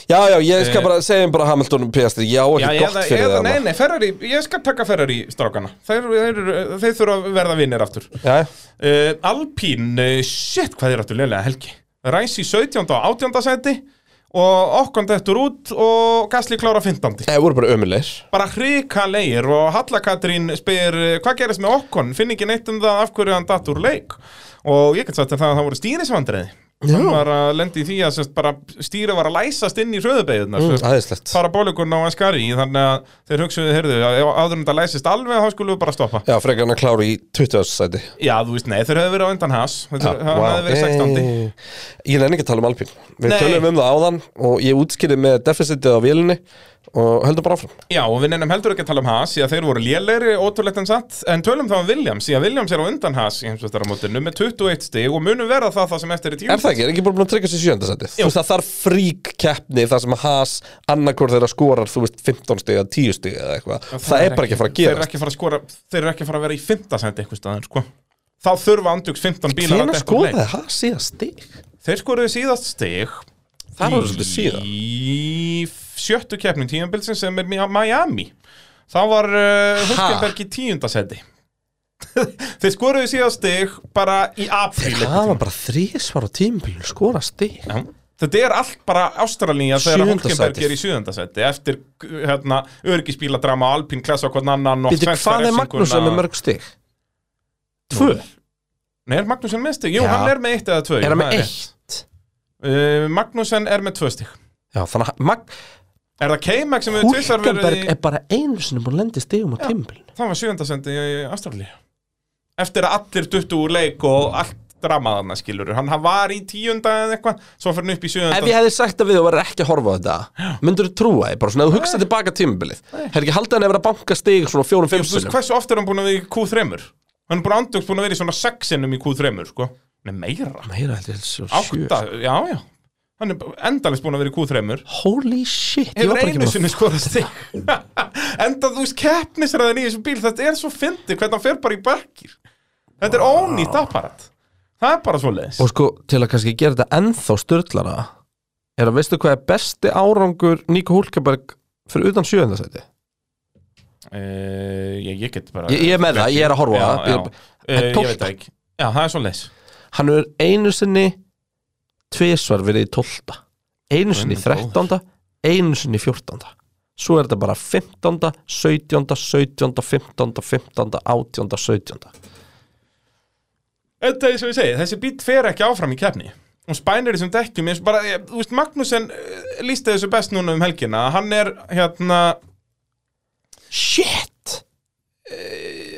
Speaker 2: Já, já, ég skal bara segja um bara Hamilton og Piastri Já,
Speaker 3: Eh. Já,
Speaker 2: ekki gott
Speaker 3: eða,
Speaker 2: fyrir
Speaker 3: eða,
Speaker 2: það
Speaker 3: nei, nei, Ferrari, ég skal taka Ferrari strákana Þeir, þeir, eru- þeir þurfa að verða vinnir aftur uh,
Speaker 2: Já,
Speaker 3: Alpín, uh, shit, hvað er aftur leilega helgi Ræs í 17. og 18. seti og okkur dettur út og Gasly klára 15.
Speaker 2: það voru bara ömulegir
Speaker 3: Bara hrikalegir og Halla Katrín spyr uh, hvað gerist með okkon, finn ekki neitt um það af hverju hann datt úr leik og ég get sagt að það, að það voru stýrisvandriði hann var að lendi í því að sest, bara stýri var að læsast inn í hröðubeigðunar
Speaker 2: Mm, Æðislegt
Speaker 3: parabólikun á Ascari þannig að þeir hugsuðu, heyrðu, að ef áður en þetta læsist alveg þá skulum við bara stoppa
Speaker 2: Já, frekar hann að klára í 20. sæti
Speaker 3: Já, þú veist, nei, þeir hefðu verið á undan hans Þetta er-
Speaker 2: Ah,
Speaker 3: hann
Speaker 2: Vá. Eh.
Speaker 3: hefði verið 16
Speaker 2: Ey, Ég nenni ekki að tala um Alpín Við
Speaker 3: Nei.
Speaker 2: tölum um það áðan og ég útskýrði með deficitið á vélinni og höldum bara áfram
Speaker 3: Já, og við nefnum heldur ekki að tala um Haas því að þeir voru lélegri, ótrúlegt en satt en tölum þá um Williams, því að Williams er á undan Haas í heimsvöstaramótinu með 21 stig og munum vera það það sem eftir er tíma
Speaker 2: Er það ekki? Er ekki bara búin að tryggja sér sjöndasætið? Þú veist að það er frík keppni þar sem að Haas annarkvör þeirra skorar, þú veist, 15 stig eða 10 stig eða eitthvað Það, er bara ekki að fara að
Speaker 3: Þeir eru
Speaker 2: gera
Speaker 3: ekki að fara að skora, þeir eru ekki að fara að vera í 15 sendi eitthvað staðar, sko Þá þurfa andjöks 15 bílar
Speaker 2: Hvenær
Speaker 3: detta úr leik.
Speaker 2: skoraði Haas síðan stig?
Speaker 3: Þeir skoruðu síðast stig
Speaker 2: Það var svolítið síðan.
Speaker 3: Í sjöttu keppnum tímabilsin sem er Miami Þá var uh, Hulkenberg í tíundasendi Þeir skoruðu síðast stig bara í apríl
Speaker 2: Það
Speaker 3: einhvern
Speaker 2: var bara þrísvar á tímabilinu skora stig
Speaker 3: tímann. Já. Þetta er allt bara ástralínja þegar
Speaker 2: Sjöunda
Speaker 3: Hulkenberg
Speaker 2: sætið.
Speaker 3: er í sjöðundasendi eftir hérna, örgisbíladrama, alpín klessa og hvern annan og
Speaker 2: Býtu,
Speaker 3: tvennt
Speaker 2: hvað er
Speaker 3: refsinguna.
Speaker 2: Magnússon með mörg stig? Tvö?
Speaker 3: Nei, er Magnússon með stig? Jú,
Speaker 2: Já.
Speaker 3: hann er með eitt eða tvö
Speaker 2: Er
Speaker 3: jú,
Speaker 2: hann
Speaker 3: það
Speaker 2: með
Speaker 3: rétt.
Speaker 2: eitt?
Speaker 3: Uh, Magnússon er með tvö stig
Speaker 2: Já, þannig að Mag-
Speaker 3: Er það K-Mac sem við tvisar verið í...
Speaker 2: Hulkenberg er bara einu sinni búin að lenda í stigum á tímabilinu
Speaker 3: Það var sjöfundasendi í Ástralíu Eftir að allir duttu úr leik og allt dramaðana skilur Hann hann var í tíunda eða eitthvað Svo fyrir hann upp í sjöfunda
Speaker 2: Ef ég hefði sagt að við og var ekki að horfa á þetta myndur þú trúa því, bara svona, ef þú hugsa tilbaka tímabilið hefði ekki haldið hann að vera að banka stig svona fjórum fimm
Speaker 3: Þú veist
Speaker 2: sinum
Speaker 3: hversu oft er hann búin að vera í Q3 Hann er búin andjóks búin að vera í svona sexinum í Q3 sko. Nei meira
Speaker 2: Meira held ég helst svo sjö
Speaker 3: Átta, já já Hann er endalist búin að vera í Q3
Speaker 2: Holy shit, ég var
Speaker 3: Hefur
Speaker 2: bara ekki
Speaker 3: einu
Speaker 2: með
Speaker 3: sinni skorast þig Enda þú veist keppnisraðin í þessum bíl Þetta er svo fyndi hvernig hann fer bara í bakkir Þetta er ónýtt apparat Það er bara svo leiðis
Speaker 2: Og sko, til að kannski gera þetta ennþá störtlara er að veistu hvað er besti árangur Níko Hulkeberg fyrir utan sjöðundasæti
Speaker 3: Uh, ég, ég get bara
Speaker 2: ég, ég er með það, ég er að horfa á
Speaker 3: já,
Speaker 2: það
Speaker 3: já.
Speaker 2: Ég-
Speaker 3: Eh,
Speaker 2: En
Speaker 3: Ég
Speaker 2: tólfta?
Speaker 3: veit það ekki Já, það er svo leis
Speaker 2: hann er einu sinni tvisvar verið í 12 einu sinni í 13 einu sinni í 14 svo er þetta bara 15 17 17 15 15 18 17
Speaker 3: Þetta er svo ég segi, þessi bít fer ekki áfram í kefni og spænir þessum dekkjum eins og bara, ég, þú veist, Magnúsen eh, lýsti þessu best núna um helgina að hann er, hérna
Speaker 2: shit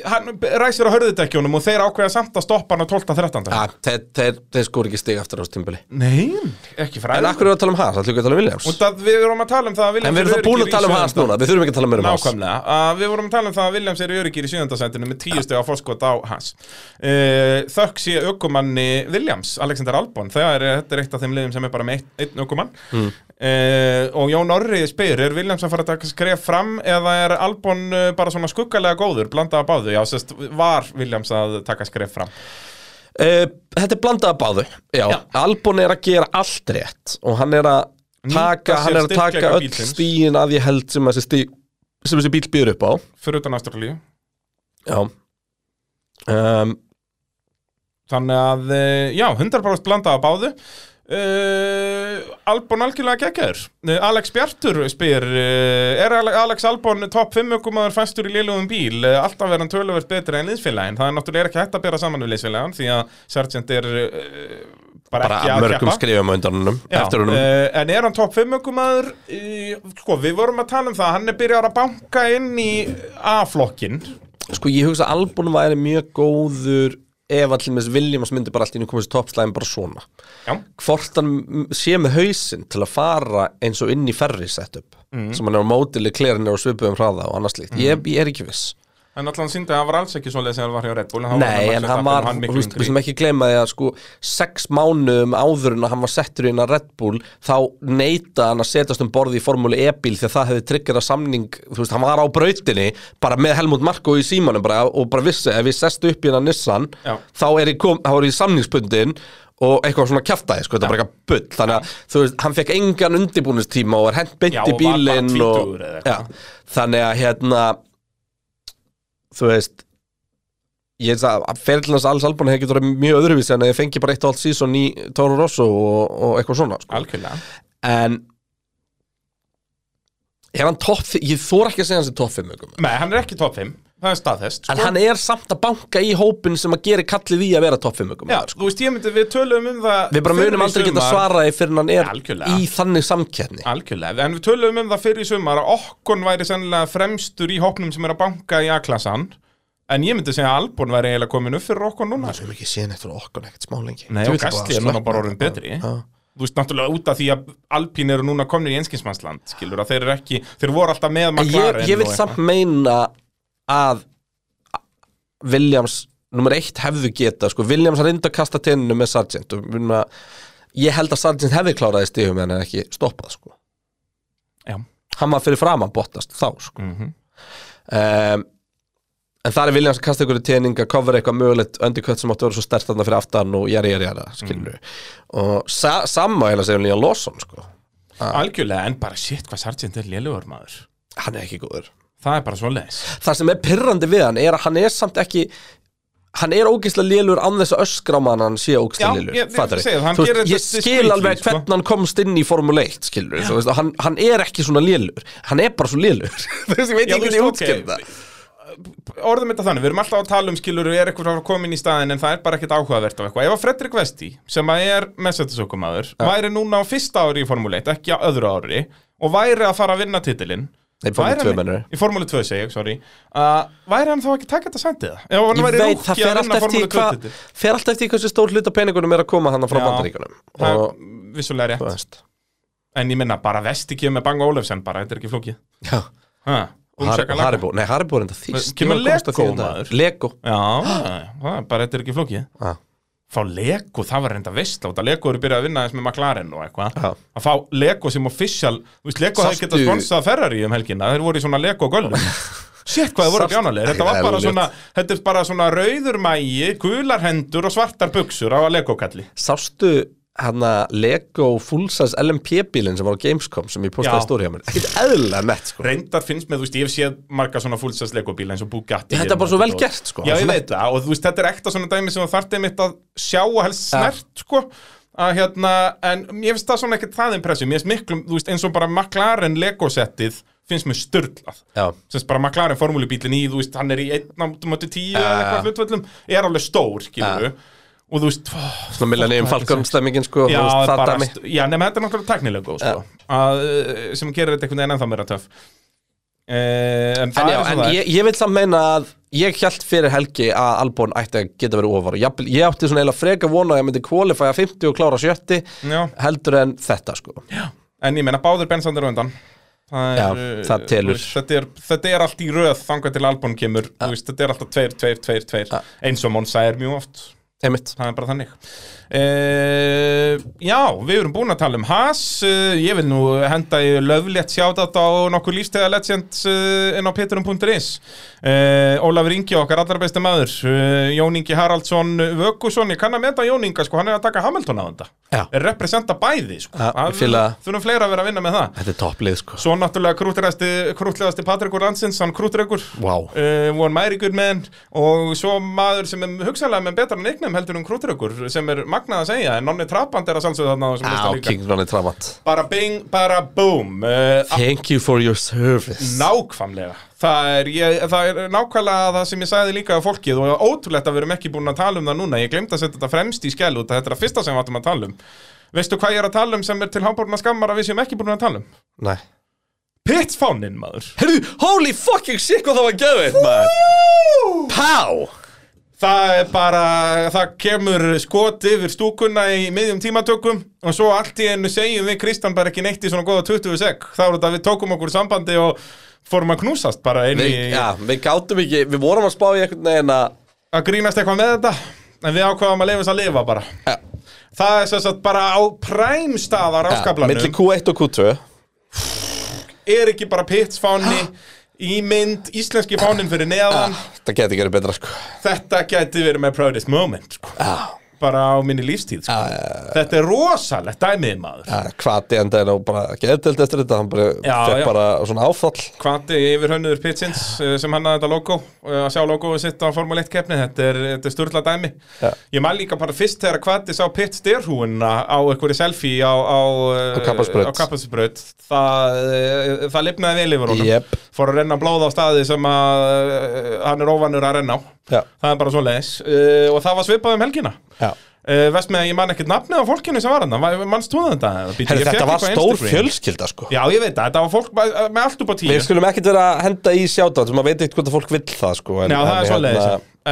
Speaker 3: hann ræsir á hörðudekkjunum og þeir ákveða samt að stoppa hann á 12. 13.
Speaker 2: ja, þeir, þeir, þeir skor ekki stig aftur á stimbili
Speaker 3: Nei, ekki
Speaker 2: en
Speaker 3: fræðið
Speaker 2: akkur erum við að tala um Haas, allir ekki að tala um Williams
Speaker 3: Og það, við vorum að tala um það að Williams
Speaker 2: en við erum
Speaker 3: er
Speaker 2: það búin
Speaker 3: öruggir
Speaker 2: að
Speaker 3: í
Speaker 2: tala um Haas
Speaker 3: sjöunda-
Speaker 2: núna við þurfum ekki að tala meira um Haas
Speaker 3: Nákvæmlega, að við vorum að tala um það að Williams er í öryggir í 7. sendinu með 10 steg á fórskot á hans uh, Þökk sé aukumanni Williams, Alexander Albon þegar er, þetta er eitt af þeim liðum sem er bara með eitt- einn aukumann mm. og Jón Orri spyr, er Williams að fara að taka skref fram eða er Albon eh, bara svona skuggalega góður, blandaða báðu já, sérst, var Williams að taka skref fram
Speaker 2: Uh, þetta er blandaða báðu Já. Albon er að gera allt rétt og hann er að taka,
Speaker 3: sér
Speaker 2: hann er að taka
Speaker 3: styrkleika
Speaker 2: öll
Speaker 3: bílsins.
Speaker 2: stíin að ég held sem þessi, stí, sem þessi bíl býður upp á
Speaker 3: fyrir utan Ástralíu
Speaker 2: Já um,
Speaker 3: Þannig að, eh, já, 100% blanda á báðu uh, Albon algjörlega geggjaður uh, Alex Bjartur spyr uh, Er Ale- Alex Albon topp 5 ökumæður fæstur í lélugum bíl? Uh, alltaf er hann töluvert betri en liðsfélagin Það er náttúrulega ekki hægt að bera saman við liðsfélagin Því að Sargent er uh, bara,
Speaker 2: bara
Speaker 3: ekki að
Speaker 2: mörgum
Speaker 3: keppa
Speaker 2: skrifum á undanunum
Speaker 3: Já,
Speaker 2: eftir húnum
Speaker 3: eh, en er hann topp 5 ökumæður? Uh, sko, við vorum að tala um það Hann er byrjar að banka inn í A-flokkin
Speaker 2: Sko ég hugsa að Albon væri mjög góður ef allir með Williams myndi bara allt í nú komast í toppslæðin bara svona
Speaker 3: Já.
Speaker 2: Hvort hann m- sé með hausinn til að fara eins og inn í ferri setup
Speaker 3: Mm.
Speaker 2: sem hann er á mótileg klerinir og svipuðum hraða og annars líkt ég, ég er ekki viss
Speaker 3: En allan síndi að hann var alls ekki svo leið sem hann var hjá Red Bull
Speaker 2: Nei, en hann var, þú veist, við sem ekki gleyma því að sko, sex mánuðum áður en að hann var settur inn að Red Bull þá neyta hann að setjast um borði í formúli e-bíl því að það hefði tryggjara samning þú veist, hann var á brautinni bara með Helmut Marko í símanum bara, og bara vissi, ef ég sestu upp í hennar Nissan
Speaker 3: Já.
Speaker 2: þá er ég, kom, þá er ég samningsbundin og eitthvað svona kjaftaði, sko, þetta er bara eitthvað bull þannig að, þú veist, hann fekk engan undirbúningstíma og var hent beint
Speaker 3: Já,
Speaker 2: í
Speaker 3: og var bara
Speaker 2: bílinn og,
Speaker 3: tvítugur eða
Speaker 2: já, þannig að, hérna þú veist ég veist að ferðlans alls albúin hefði getur verið mjög öðruvísi en að ég fengi bara eitt og allt sísón í Toro Rosso og, og eitthvað svona sko.
Speaker 3: Algjörlega
Speaker 2: en er hann topp fi- ég þóra ekki að segja hans í topp 5 ökum
Speaker 3: Nei, hann er ekki top 5, það er staðfest sko.
Speaker 2: en hann er samt að banka í hópin sem að gera kallið í að vera topp 5 ökum
Speaker 3: Já, sko. þú veist, ég myndi, við töluðum um það
Speaker 2: við bara
Speaker 3: fyrr
Speaker 2: munum
Speaker 3: í
Speaker 2: aldrei geta
Speaker 3: sumar-
Speaker 2: svaraði fyrir hann er
Speaker 3: Algjörlega.
Speaker 2: í þannig samkeppni
Speaker 3: Algjörlega, en við töluðum um það fyrir í sumar að okkon væri sennilega fremstur í hópnum sem er að banka í A-klassan En ég myndi segja að Albon væri eiginlega komin upp fyrir okkon núna
Speaker 2: sem ekki séð neitt frá okkur ekkert smá lengi
Speaker 3: Nei,
Speaker 2: Þú
Speaker 3: og
Speaker 2: veist sko, bara,
Speaker 3: Gastli er núna
Speaker 2: slökna.
Speaker 3: bara orðin betri
Speaker 2: Já.
Speaker 3: Þú veist, náttúrulega út af því að Alpín eru núna komin í einskinsmannsland, skilur að þeir eru ekki, þeir voru alltaf með
Speaker 2: En ég,
Speaker 3: McLaren
Speaker 2: ég vil
Speaker 3: og
Speaker 2: samt meina að Williams nummer eitt hefðu geta sko. Williams reyndi að kasta tennu með Sargent og muna, ég held að Sargent hefði kláraði stífum en hann ekki stoppað sko.
Speaker 3: Já.
Speaker 2: hann var fyrir framan bóttast þá sko.
Speaker 3: Mhm.
Speaker 2: um, en það er Williams að kasta einhverju tening að cover eitthvað mögulegt undirkött sem áttu að vera svo stert þarna fyrir aftan og jæri jæri jæri skilur og sa sama heila segja um Líðan Lawson sko.
Speaker 3: Algjörlega, en bara shit, hvað Sargent er lélugur maður
Speaker 2: hann er ekki góður
Speaker 3: Það er bara svo leis
Speaker 2: það sem er pyrrandi við hann er að hann er samt ekki hann er ógeðslega lélur án þess að öskra á mann að hann sé
Speaker 3: Já,
Speaker 2: ógeðslega lélur
Speaker 3: ég- ég segi það, hann gerir
Speaker 2: ég
Speaker 3: þetta
Speaker 2: skil alveg
Speaker 3: discreetly, sko.
Speaker 2: hvernig hann komst inn í Formule 1 skilur, þú veist, og hann, hann er ekki svona lélur hann er bara svo lélur þú veist, ég veit
Speaker 3: Já,
Speaker 2: ekki
Speaker 3: þú
Speaker 2: hvernig ég
Speaker 3: veist,
Speaker 2: útskýr
Speaker 3: ok.
Speaker 2: það
Speaker 3: orðum þetta þannig, við erum alltaf að tala um skilur og er eitthvað að koma inn í staðin en það er bara ekkert áhugavert á eitthvað. Ef að Fredrik Vesti sem að er messetisökumadur væri núna á fyrsta ári í Formule 1, ekki á öðru ári og væri að fara að vinna titilinn
Speaker 2: Nei, Formúlu
Speaker 3: væri
Speaker 2: 2
Speaker 3: hann-
Speaker 2: mennur.
Speaker 3: Í Formule 2 segi ég, sorry uh, Væri hann þá ekki að taka þetta sændið? Ef hann
Speaker 2: ég
Speaker 3: væri
Speaker 2: veit, það
Speaker 3: rúkki
Speaker 2: fer
Speaker 3: að
Speaker 2: alltaf
Speaker 3: vinna
Speaker 2: eftir í
Speaker 3: Formule 2
Speaker 2: hvað
Speaker 3: titil
Speaker 2: fer alltaf eftir í hversu stór hluta peningunum er að koma hann frá
Speaker 3: Já.
Speaker 2: bandaríkunum
Speaker 3: Það
Speaker 2: og,
Speaker 3: er vissulega
Speaker 2: þú
Speaker 3: rétt
Speaker 2: veist,
Speaker 3: En ég minna bara Vesti kemur með Bang Olufsen bara, þetta er ekki flókið
Speaker 2: já og
Speaker 3: Ha,
Speaker 2: Har-
Speaker 3: Bumshaka
Speaker 2: og
Speaker 3: Laka.
Speaker 2: Haribo, nei Haribo er enda þýst
Speaker 3: Kemur
Speaker 2: Ég var að komast að
Speaker 3: Lego,
Speaker 2: því um daginn.
Speaker 3: maður.
Speaker 2: Lego, Ah.
Speaker 3: Já, það er bara þetta er ekki flókið
Speaker 2: Já.
Speaker 3: Fá Lego, það var reynda veistla út að Lego eru byrjað að vinna aðeins með McLaren og eitthvað
Speaker 2: Já.
Speaker 3: Að fá Lego sem official Þú veist, Lego hefði
Speaker 2: Sástu-
Speaker 3: getað sponsað Ferrari um helgina Þeir voru í svona Lego gölnum Sétt hvað þið voru
Speaker 2: Sástu-
Speaker 3: bjánalegir Þetta var
Speaker 2: Það er
Speaker 3: bara
Speaker 2: ljótt.
Speaker 3: svona, þetta er bara svona rauður mægi, gular hendur og svartar buksur á Lego kalli
Speaker 2: sástu hana Lego full-size LMP bílinn sem var á Gamescom sem ég postaði
Speaker 3: Já.
Speaker 2: stóri hjá mér ekkert eðlilega nett sko
Speaker 3: Reyndar finnst mér, þú veist, ég hef séð marga svona fullsess legobíla eins og Bugatti
Speaker 2: Þetta er bara svo vel gert, sko.
Speaker 3: Já, ég
Speaker 2: Svona-
Speaker 3: veit það, og þú veist, þetta er ekta svona dæmi sem þú þarft einmitt að sjá og helst snert, sko að hérna, en ég finnst það svona ekkert það impressum, ég finnst miklum, þú veist, eins og bara McLaren Lego-settið finnst mér störlað
Speaker 2: Já.
Speaker 3: sem bara McLaren formúlubílinn í, þú veist, hann er í 1.10 eða eitthvað hlutvöllum, er alveg stór, skilur og þú veist, ó,
Speaker 2: svona millennium Falcon stemmingin sko
Speaker 3: Já,
Speaker 2: þú veist, það
Speaker 3: bara,
Speaker 2: dæmi.
Speaker 3: st- já nema þetta er náttúrulega tæknilega góð sko, að, eh, sem gerir þetta einhvern veginn ennþá meira töff e, En
Speaker 2: En
Speaker 3: það
Speaker 2: já,
Speaker 3: er
Speaker 2: en
Speaker 3: svona
Speaker 2: ég, ég vil samt meina að ég held fyrir helgi að Albon ætti að geta verið ofar Jafnvel- Ég átti svona eiginlega freka vona að ég myndi kvalifæja 50 og klára 70
Speaker 3: já,
Speaker 2: heldur en þetta sko Já,
Speaker 3: En ég meina báður bensandir á undan það
Speaker 2: Já,
Speaker 3: eh,
Speaker 2: það telur.
Speaker 3: þú veist, þetta er, þetta er allt í röð þangað til Albon kemur þú veist, Þetta er alltaf tveir, tveir, tveir, tveir Eins og Monsa er mjög oft
Speaker 2: einmitt
Speaker 3: Það er bara þannig e, Já, við erum búin að tala um Haas eh, Ég vil nú henda í löflétt sjátat á nokkur lífstæða legends eh, inn á peterum.is e, Ólafur Ingi okkar allra besti maður e, Jón Ingi Haraldsson Vökusson, ég kann að meta Jón Inga sko, hann er að taka Hamilton á þetta
Speaker 2: Já.
Speaker 3: Er Representa bæði sko.
Speaker 2: Já,
Speaker 3: Það-
Speaker 2: ég fíla það.
Speaker 3: Þurfum fleira að vera að vinna með það
Speaker 2: Þetta er topplið sko
Speaker 3: Svo náttúrulega krútlegasti, krútlegasti Patrikur Hansins, hann krútregur
Speaker 2: Vá.
Speaker 3: uh, Von Mærigur með hann Og svo maður sem er hugsalega með betra neignum heldur um krútregur Sem er magnað að segja, en nonni Trappand er að sjálfsögða þarna á þessum
Speaker 2: Já,
Speaker 3: lista líka
Speaker 2: King Ronny Tramant
Speaker 3: Bara bing, bara boom uh,
Speaker 2: Thank you for your service
Speaker 3: Nákvæmlega það er, ég, það er nákvæmlega það sem ég sagði líka á fólkið og ótrúlegt að við erum ekki búin að tala um það núna Ég glemt að setja þetta fremst í skell út að Þetta er að fyrsta sem við áttum að tala um Veistu hvað ég er að tala um sem er til háborna skammar að við séum ekki búin að tala um?
Speaker 2: Nei
Speaker 3: Pitsfáninn, maður
Speaker 2: Herru, holy fucking shit hvað það var gæðið maður Pá
Speaker 3: Það er bara, það kemur skot yfir stúkunna í miðjum tímatökum og svo allt í ennu segjum við Kristján bara ekki neitt í svona góða 20 sek þá er þetta að við tókum okkur sambandi og fórum að knúsast bara inn í
Speaker 2: Við, já, við gátum ekki, við vorum að spá í einhvern veginn að
Speaker 3: að grínast eitthvað með þetta en við ákvaðum að leifa þess að lifa bara
Speaker 2: Já.
Speaker 3: Það er sem sagt bara á præmstaða ráskablanum
Speaker 2: Milli Q1 og Q2
Speaker 3: er ekki bara pitsfáni í mynd, íslenski fánin fyrir neðan
Speaker 2: Það geti Ah, ekki verið betra sko
Speaker 3: þetta gæti verið með proudest moment sko.
Speaker 2: Já,
Speaker 3: bara á minni lífstíð sko. þetta er rosalegt dæmið maður
Speaker 2: já hvað ég endaði nú bara geðdelt eftir þetta Hann bara
Speaker 3: Já,
Speaker 2: fekk
Speaker 3: já.
Speaker 2: bara svona áfall
Speaker 3: Kvati yfir hönnuður Pitsins eh, sem hann hafði þetta logo, eh, að sjá logoðu sitt á Formule 1 keppni, þetta er, þetta er sturla dæmi
Speaker 2: Já.
Speaker 3: ég mæl líka bara fyrst þegar Kvati sá Pits derhúuna á einhverju selfie á, á, eh,
Speaker 2: Á Kappakstursbraut.
Speaker 3: á Kappakstursbraut. það, eh, það lifnaði vel yfir honum
Speaker 2: Jep.
Speaker 3: fór að renna blóð á staði sem að, eh, hann er óvanur að renna á
Speaker 2: Já.
Speaker 3: það er bara svo leiðis og það var svipað um helgina
Speaker 2: Já.
Speaker 3: Uh, veist með að ég man ekkert nafnið á fólkinu sem var hann mannst þú þetta? Bíddu,
Speaker 2: Herri,
Speaker 3: ég fékk
Speaker 2: þetta var
Speaker 3: eitthvað
Speaker 2: stór
Speaker 3: Instagram.
Speaker 2: fjölskylda sko
Speaker 3: Já, ég veit það, þetta var fólk bara- með allt upp á tíu
Speaker 2: Við skulum ekkert vera að henda í sjátátt maður veit ekkert hvort að fólk vill það sko en,
Speaker 3: Já, það
Speaker 2: en,
Speaker 3: er svoleiðis uh,
Speaker 2: eh,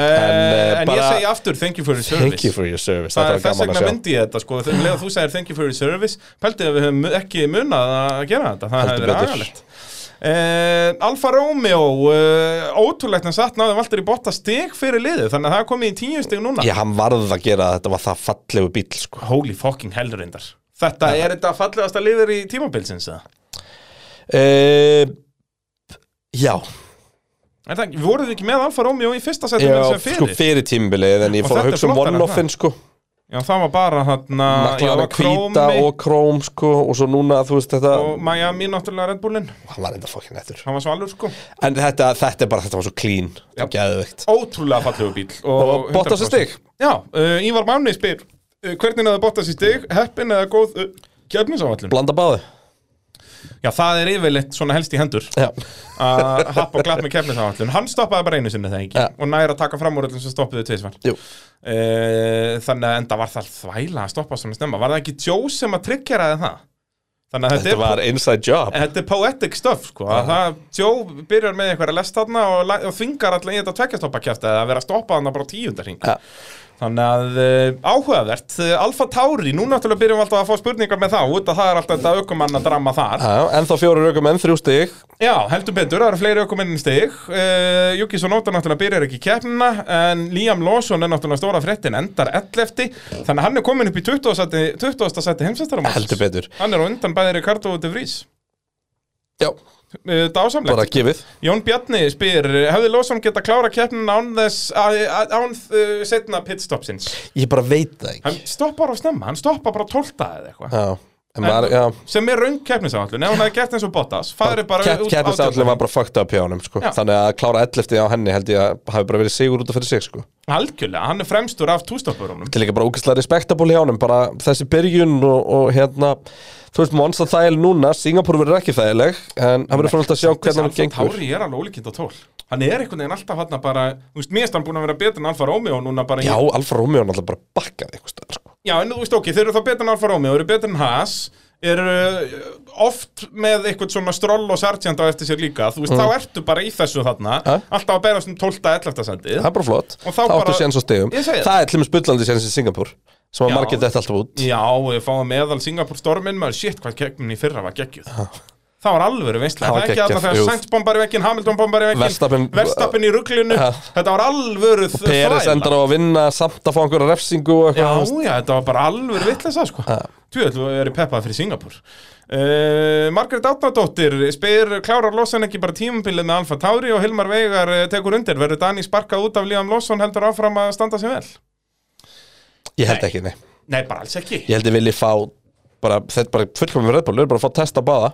Speaker 3: En, en
Speaker 2: bara-
Speaker 3: ég segi aftur, thank you for your service
Speaker 2: Thank you for your service,
Speaker 3: Það er
Speaker 2: þetta
Speaker 3: þess
Speaker 2: var gaman
Speaker 3: vegna
Speaker 2: að sjá
Speaker 3: myndi ég þetta sko Þegar leða þú segir thank you for your service Pæltið að við höfum ekki munað að gera þetta Það hefði
Speaker 2: Heldur
Speaker 3: verið
Speaker 2: betur.
Speaker 3: agalegt Uh, Alfa Romeo uh, ótrúlegt en satt náðum alltaf í botta stig fyrir liðið þannig að það er komið í tíu stig núna
Speaker 2: Já, hann varð að gera að þetta var það fallegu bíl sko
Speaker 3: Holy fucking hell reyndar Þetta er þetta fallegasta liðir í tímabilsins eða?
Speaker 2: uh, Já,
Speaker 3: Er það ekki, voruð þið ekki með Alfa Romeo í fyrsta setjum
Speaker 2: já
Speaker 3: sem
Speaker 2: sko
Speaker 3: fyrir?
Speaker 2: fyrir tímbilið en ég
Speaker 3: Og
Speaker 2: fór
Speaker 3: þetta
Speaker 2: að
Speaker 3: er
Speaker 2: hugsa um
Speaker 3: flottara en
Speaker 2: one-offin sko
Speaker 3: Já, það var bara þarna já,
Speaker 2: McLaren
Speaker 3: það var
Speaker 2: hvíta
Speaker 3: Chromi
Speaker 2: og króm sko og svo núna þú veist þetta
Speaker 3: og Miami náttúrulega Red Bullin
Speaker 2: hann var enda fokkin eftir
Speaker 3: hann var svo alveg sko
Speaker 2: en þetta, þetta er bara þetta var svo clean og geðveikt
Speaker 3: ótrúlega fallegu bíl
Speaker 2: og Bottas er
Speaker 3: 100%.
Speaker 2: stig
Speaker 3: Já, uh, Ívar Máni spyr uh, hvernig er það Bottas í stig, heppin eða góð uh, kefnisáallin?
Speaker 2: blanda báði
Speaker 3: Já, það er yfirleitt svona helst í hendur
Speaker 2: já.
Speaker 3: að happ og glapp með kefnisáallin hann stoppaði bara einu sinni það ekki
Speaker 2: Ja.
Speaker 3: og næra að taka fram úr öllum sem stoppuðu tveisvar
Speaker 2: Jú.
Speaker 3: uh, þannig að enda var það þvæla að stoppa svona snemma var það ekki Joe sem að tryggjaraði það? Þannig að þetta,
Speaker 2: þetta
Speaker 3: er
Speaker 2: var inside job
Speaker 3: Þetta er poetic stuff sko að það, Joe byrjar með einhverja lest þarna og, la- og þvingar alltaf í þetta tveggjastoppa kjæfti að vera að stoppa þarna bara á tíundar hring
Speaker 2: Ja.
Speaker 3: Þannig að uh, áhugavert, uh, Alfa Tauri, nú náttúrulega byrjum við alltaf að fá spurningar með það út að það er alltaf þetta aukumann að drama þar
Speaker 2: já, en þá fjóru raukum enn þrjú stig
Speaker 3: Já, heldur betur, það eru fleiri aukumennin stig uh, Juki Sonota náttúrulega byrjar ekki keppnina en Liam Lawson er náttúrulega stóra fréttin endar 11 þannig að hann er komin upp í 20. seti, 20. seti heimsæstaramóts
Speaker 2: heldur betur
Speaker 3: Hann er á undan bæði Ricardo og De Vries
Speaker 2: já
Speaker 3: uh, dásamlegt
Speaker 2: bara gefið
Speaker 3: Jón Bjarni spyr Hefði Lawson geta klára keppnin án þess að- að- án uh, setna pitstopsins
Speaker 2: Ég bara veit það ekki
Speaker 3: Hann stoppar á snemma, hann stoppar bara 12 eða eitthvað
Speaker 2: Já, en maður, já
Speaker 3: sem er raung keppnisáallun, ef hann hefði gert eins og Bottas farið bara út
Speaker 2: Kettinsallin var bara fucked up hjá honum sko.
Speaker 3: Já.
Speaker 2: Þannig að klára 11. á henni held ég að hafi bara verið sigur út af fyrir sig sko.
Speaker 3: algjörlega, hann er fremstur af tústoppurunum
Speaker 2: Til líka bara ógæslega respektabúli hjá honum bara þessi byrjun og, og hérna þú veist, Monza þægileg núna, Singapur verður ekki þægileg en hann verður fyrir að sjá hvernig hann gengur
Speaker 3: Tári er alveg ólíkind á tól hann er einhvern veginn alltaf hann bara þú veist, mér er hann búin að vera betur en Alfa Romeo núna bara í-
Speaker 2: Já, Alfa Romeo er alltaf bara bakkað eitthvað stöðar sko.
Speaker 3: Já, en þú veist ok, þeir eru þá betur en Alfa Romeo, eru betur en Haas eru uh, oft með eitthvað svona stroll og sartjand á eftir sér líka þú veist,
Speaker 2: Mm.
Speaker 3: þá ertu bara í þessu þarna
Speaker 2: Ja.
Speaker 3: alltaf að berast um 12. 11. sendið
Speaker 2: Það er bara flott,
Speaker 3: Og
Speaker 2: þá
Speaker 3: þá bara-
Speaker 2: áttu séns á stegum
Speaker 3: Ég segi
Speaker 2: Það er til með spullandi séns í Singapur sem að
Speaker 3: Já.
Speaker 2: margir þetta alltaf út
Speaker 3: Já, og ég fáið meðal Singapore stormin maður shit hvað keppnin í fyrra var geggjuð Það var alvöru veistla,
Speaker 2: Það
Speaker 3: það
Speaker 2: var
Speaker 3: er ekki alltaf
Speaker 2: geggjað,
Speaker 3: þegar
Speaker 2: jú.
Speaker 3: Sainz bombar í vekkin, Hamilton bombar í vekkin
Speaker 2: Verstappen-
Speaker 3: í ruglinu,
Speaker 2: Ja.
Speaker 3: þetta var alvöru þ-
Speaker 2: Peres
Speaker 3: þvæla.
Speaker 2: endar á að vinna samt að fá einhverja refsingu og
Speaker 3: Já,
Speaker 2: eitthvað
Speaker 3: já, þetta var bara alvöru vitleisa sko Tjóðl, þú er í peppað fyrir Singapur uh, Margrét Átnadóttir spyr, klárar Lawson ekki bara tímabilið með Alfa Tauri og Hilmar Veigar eh, tekur undir, verður Dani sparkað út af Liam Lawson heldur áfram að standa sig vel?
Speaker 2: Ég held ekki, nei
Speaker 3: Nei, bara alls ekki
Speaker 2: Ég held ég vilji fá bara, þetta er bara fullkomum Red Bull, við erum bara að fá að testa báða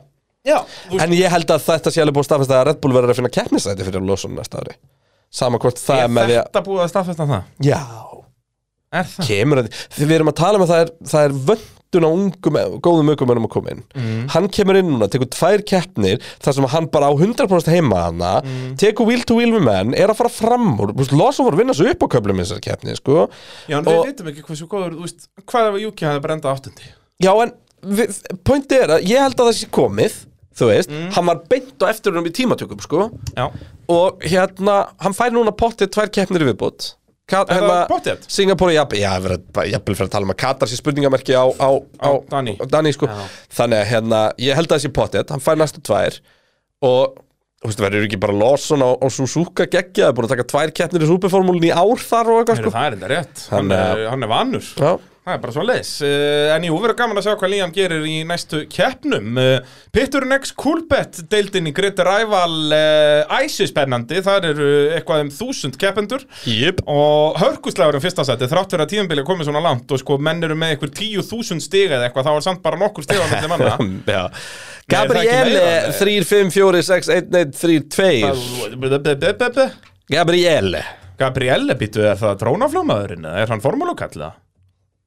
Speaker 3: Já, þú
Speaker 2: En ég held að þetta sé alveg búið að staðfesta að Red Bull verður að finna keppnisæti fyrir Lawson næsta ári Sama hvort það er
Speaker 3: er
Speaker 2: með því að
Speaker 3: þetta búið að staðfesta það?
Speaker 2: Já,
Speaker 3: Er það?
Speaker 2: kemur að því Því við erum að tala um að það er, það er vöndun á ungum, góðum aukumennum að koma inn Hann kemur inn núna, tekur tvær keppnir þar sem hann bara á 100% heima hana tekur wheel to wheel með menn er að fara fram úr, Þú veist, Lawson voru að vinna svo upp á köflum í þessar keppni, sko
Speaker 3: Já, en við
Speaker 2: Og-
Speaker 3: vitum ekki hversu góður, þú veist, hvað ef að Juki hafði bara endað áttundi?
Speaker 2: Já, en við, pointi er að ég held að það sé komið Þú veist, hann var beint á eftirunum í tímatökum, sko
Speaker 3: Já.
Speaker 2: Og hérna, hann fær núna pottið tvær keppnir í viðbót Ka
Speaker 3: Er
Speaker 2: hérna,
Speaker 3: það pottþétt?
Speaker 2: Singapore, já, já, við erum bara- jafnvel fyrir að tala um að Katar sé spurningamerki á, á, á,
Speaker 3: Dani.
Speaker 2: á Dani sko. Þannig að hérna, ég held að það sé pottið Hann fær næstu tvær Og, þú veist, verður ekki bara Lawson á, á Suzuka geggja Það er búin að taka tvær keppnir í súperformúlinni í ár þar og eitthvað,
Speaker 3: Heru,
Speaker 2: sko
Speaker 3: það er enda rétt, hann,
Speaker 2: Hann,
Speaker 3: er, hann er vanur.
Speaker 2: Já.
Speaker 3: Það er bara svo leis. En jú, verður gaman að sjá hvað Liam gerir í næstu keppnum. Eh, Pitturinn X Coolbet deildin í Greta Rival eh, æsi spennandi, það eru eitthvað um þúsund keppendur.
Speaker 2: Jip
Speaker 3: Og hörkuslegur um fyrsta seti, þrátt fyrir að tíðanbili komið svona langt og sko menn eru með einhver tíu þúsund stiga eða eitthvað, þá er samt bara nokkur stiga á milli manna.
Speaker 2: Já.
Speaker 3: það er ekki meira,
Speaker 2: Gabriele
Speaker 3: nei.
Speaker 2: 3, 5, 4, 6, 1, 1, 3, 2 Gabriele
Speaker 3: Gabrielle, býttu, er það drónafljómaðurinn? eða Er hann formúlukallið?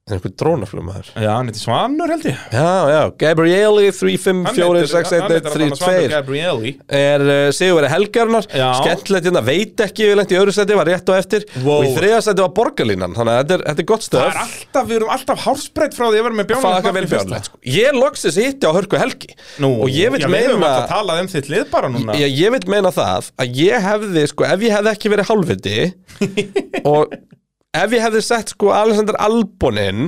Speaker 2: Er einhver drónaflugmaður?
Speaker 3: Já, hann heitir Svanur held ég
Speaker 2: Já, já, Gabriele 3, 5,
Speaker 3: Hann
Speaker 2: 4,
Speaker 3: heitir-
Speaker 2: 6, 1,
Speaker 3: hann heitir
Speaker 2: 1, 3,
Speaker 3: bara Svanur
Speaker 2: 2
Speaker 3: Gabrieli
Speaker 2: Er uh, Sigurveri Helgarnar
Speaker 3: Já.
Speaker 2: Skellilegt hérna, veit ekki við lengt í öðru seti Var rétt og eftir
Speaker 3: Wow.
Speaker 2: Og í þriða seti var borgarlínan Þannig að þetta er, þetta er gott
Speaker 3: Það er
Speaker 2: stöð
Speaker 3: alltaf, við erum alltaf hársbreytt frá því að vera með bjánum
Speaker 2: Faka vel björnlegt sko. Ég loksis hitti á hörku helgi Og ég veit
Speaker 3: já, Við höfum
Speaker 2: meina
Speaker 3: alltaf talað um þitt lið bara núna
Speaker 2: ég, ég veit meina það að ég hefði sko, ef ég hefði ekki verið hálfviti og ef ég hefði sett sko Alexander Albon inn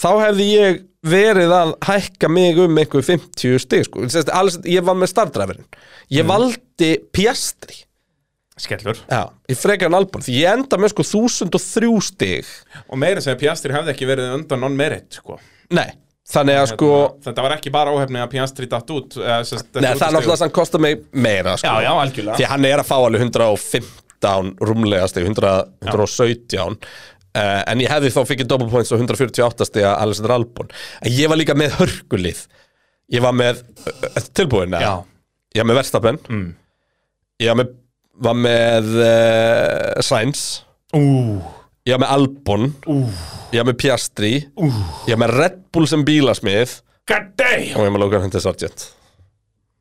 Speaker 2: þá hefði ég verið að hækka mig um einhver 50 stig sko. Sest, Alexander, ég var með starfdræfurinn ég valdi Piastri
Speaker 3: Skellur
Speaker 2: Já. í frekarinn Albon, því ég enda með sko 1003 stig
Speaker 3: Og meira segja Piastri hefði ekki verið undan non-merit sko.
Speaker 2: nei, þannig að sko
Speaker 3: Þetta var ekki bara óhefni að Piastri datt út eh, sest,
Speaker 2: nei, það er náttúrulega að hann kostar mig meira sko.
Speaker 3: Já, já, algjörlega
Speaker 2: Því að hann er að fá alveg 115 rúmlega stig, 100 117 uh, en ég hefði þá fikið double points og 148 stig að Alexander Albon en ég var líka með hörkulið ég var með uh, tilbúin eða? ég var með Verstappen mm. ég var með, var með uh, Sainz
Speaker 3: Ú,
Speaker 2: ég var með Albon uh. ég var með Piastri uh. ég var með Red Bull sem bílasmið
Speaker 3: god damn
Speaker 2: og ég var með Logan Hunter Sargent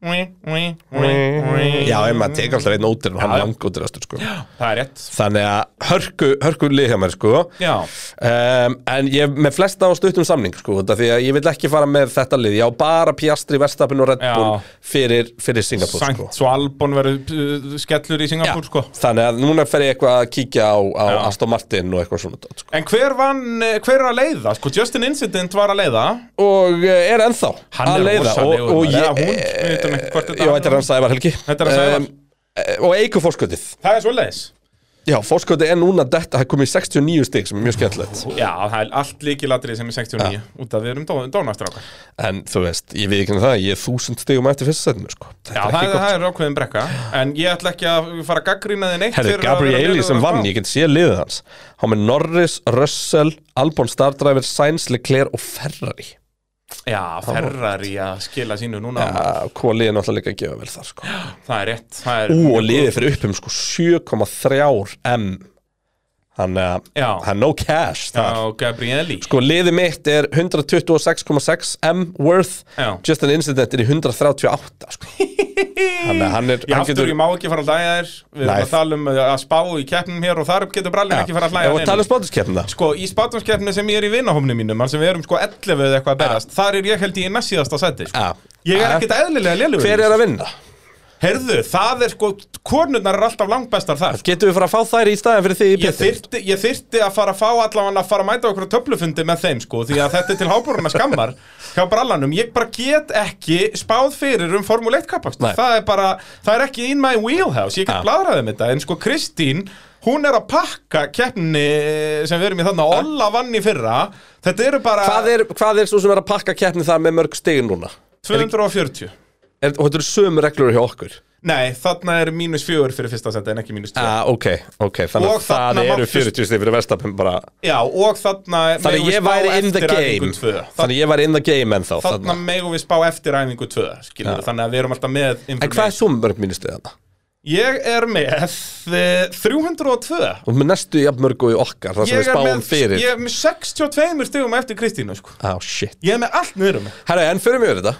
Speaker 3: Ui, ui, ui, ui.
Speaker 2: já, ef maður tekur alltaf einn ótir og hann langótir sko.
Speaker 3: Það er rétt
Speaker 2: þannig að hörku, hörku lið hjá mér sko
Speaker 3: Já,
Speaker 2: um, en ég er með flesta á stuttum samning sko, þetta því að ég vil ekki fara með þetta lið ég á bara Piastri, Verstapin og Red
Speaker 3: Já.
Speaker 2: Bull fyrir, fyrir Singapur
Speaker 3: Sankt
Speaker 2: sko.
Speaker 3: svo Albon verið uh, skellur í Singapur sko.
Speaker 2: þannig að núna fer ég eitthvað að kíkja á, á Aston Martin og eitthvað svona dót, sko.
Speaker 3: En hver vann, eh, hver er að leiða? Sko, Justin Incident var að leiða
Speaker 2: og eh, er ennþá
Speaker 3: Hann
Speaker 2: að
Speaker 3: er
Speaker 2: leiða
Speaker 3: rosalegur,
Speaker 2: og, og
Speaker 3: maður.
Speaker 2: ég, eh,
Speaker 3: Eða hún, við vitum ekki hvort þetta
Speaker 2: Jú,
Speaker 3: er.
Speaker 2: þetta er hann Sævar Helgi
Speaker 3: Þetta er hann Sævar.
Speaker 2: um, eh, og eigu fórskotið
Speaker 3: Það er svo leiðis
Speaker 2: Já, fórskoti er núna detta, það er komið í 69 stig sem er mjög skemmtilegt
Speaker 3: Já, það er allt líkilatrið sem er 69 Út af við erum dó- dónastrákar
Speaker 2: En þú veist, ég við ekki um það, ég er þúsund stigum eftir fyrsta setinu sko. Þetta
Speaker 3: Já,
Speaker 2: er
Speaker 3: það
Speaker 2: ekki
Speaker 3: er,
Speaker 2: gott
Speaker 3: það er ákveðin brekka En ég ætla ekki að fara að gaggrýna þið neitt
Speaker 2: Herri,
Speaker 3: fyrir að vera um
Speaker 2: Gabrieli
Speaker 3: lélegur
Speaker 2: sem
Speaker 3: að
Speaker 2: vann,
Speaker 3: spá.
Speaker 2: ég get séð liðið hans Há með Norris, Russell, Albon Stardriver, Sainz, Leclerc og Ferrari
Speaker 3: Já, Ferrari að skila sínu núna
Speaker 2: Já, hvað liðið er náttúrulega líka að gefa vel þar sko.
Speaker 3: Það er rétt það er
Speaker 2: Ú, og liðið fyrir upp um sko 7,3 M Þannig að
Speaker 3: Já.
Speaker 2: það er no cash þar
Speaker 3: Já, Gabrieli
Speaker 2: Sko, liðið mitt er 126,6 M worth
Speaker 3: Já.
Speaker 2: Just an incident er í 138 sko. Þannig að hann er
Speaker 3: Ég
Speaker 2: hann
Speaker 3: aftur,
Speaker 2: getur-
Speaker 3: ég má ekki fara að hlæja þér Við erum
Speaker 2: Nei.
Speaker 3: að tala um að spá í keppnum hér og þar getur brallin ekki fara að hlæja
Speaker 2: Já, og
Speaker 3: neinum.
Speaker 2: tala um spátuskeppnina
Speaker 3: Sko, í spátumskeppni sem ég er í vinahómni mínum Þannig sem við erum sko 11 eða eitthvað að berast Þar er ég held ég í næst síðasta seti sko.
Speaker 2: Já.
Speaker 3: Ég er ekkit eðlilega lélugur
Speaker 2: Hver er að vinna?
Speaker 3: Herðu, það er sko, konurnar er alltaf langbestar þar
Speaker 2: Getum við fara að fá þær í staðin fyrir þig í
Speaker 3: Ég
Speaker 2: pittin?
Speaker 3: þyrti, ég þyrti að fara að fá allavega að fara að mæta okkur á töflufundi með þeim sko Því að þetta er til hábúruna skammar hjá brallanum Ég bara get ekki spáð fyrir um Formule 1 kappakstur
Speaker 2: Nei.
Speaker 3: Það er bara, það er ekki in my wheelhouse Ég get ja. bladraðið með þetta En sko Kristín, hún er að pakka keppni sem við erum í þarna Olla vann í fyrra Þetta eru bara
Speaker 2: Hvað er, hvað er svo sem er að pakka keppni þar með mörg stigin núna?
Speaker 3: 240
Speaker 2: Er, og þetta eru sömu reglur hjá okkur
Speaker 3: Nei, þarna er mínus fjögur fyrir fyrsta seti en ekki mínus 2
Speaker 2: ah, ok, ok, þannig
Speaker 3: Og
Speaker 2: að það
Speaker 3: þarna
Speaker 2: eru
Speaker 3: máttu-
Speaker 2: 40 stig fyrir verstafn bara
Speaker 3: Já, og þarna
Speaker 2: Þannig að
Speaker 3: megum við
Speaker 2: ég
Speaker 3: spá
Speaker 2: væri in the
Speaker 3: eftir æfingu
Speaker 2: game
Speaker 3: tvö.
Speaker 2: Þannig að ég væri in the game ennþá
Speaker 3: þarna
Speaker 2: þarna.
Speaker 3: megum við spá eftir æfingu 2 skilur, þannig að við erum alltaf með
Speaker 2: En hvað er svo mörg mínustu þarna?
Speaker 3: ég er með eh, 302
Speaker 2: Og með næstu jafn mörg og í okkar Það sem
Speaker 3: ég
Speaker 2: við
Speaker 3: er,
Speaker 2: spáum
Speaker 3: með,
Speaker 2: fyrir
Speaker 3: ég er með 62 stegum eftir Kristínu sko.
Speaker 2: Á, shit
Speaker 3: ég er með allt nöðrum
Speaker 2: Herra, en fyrir mjög þetta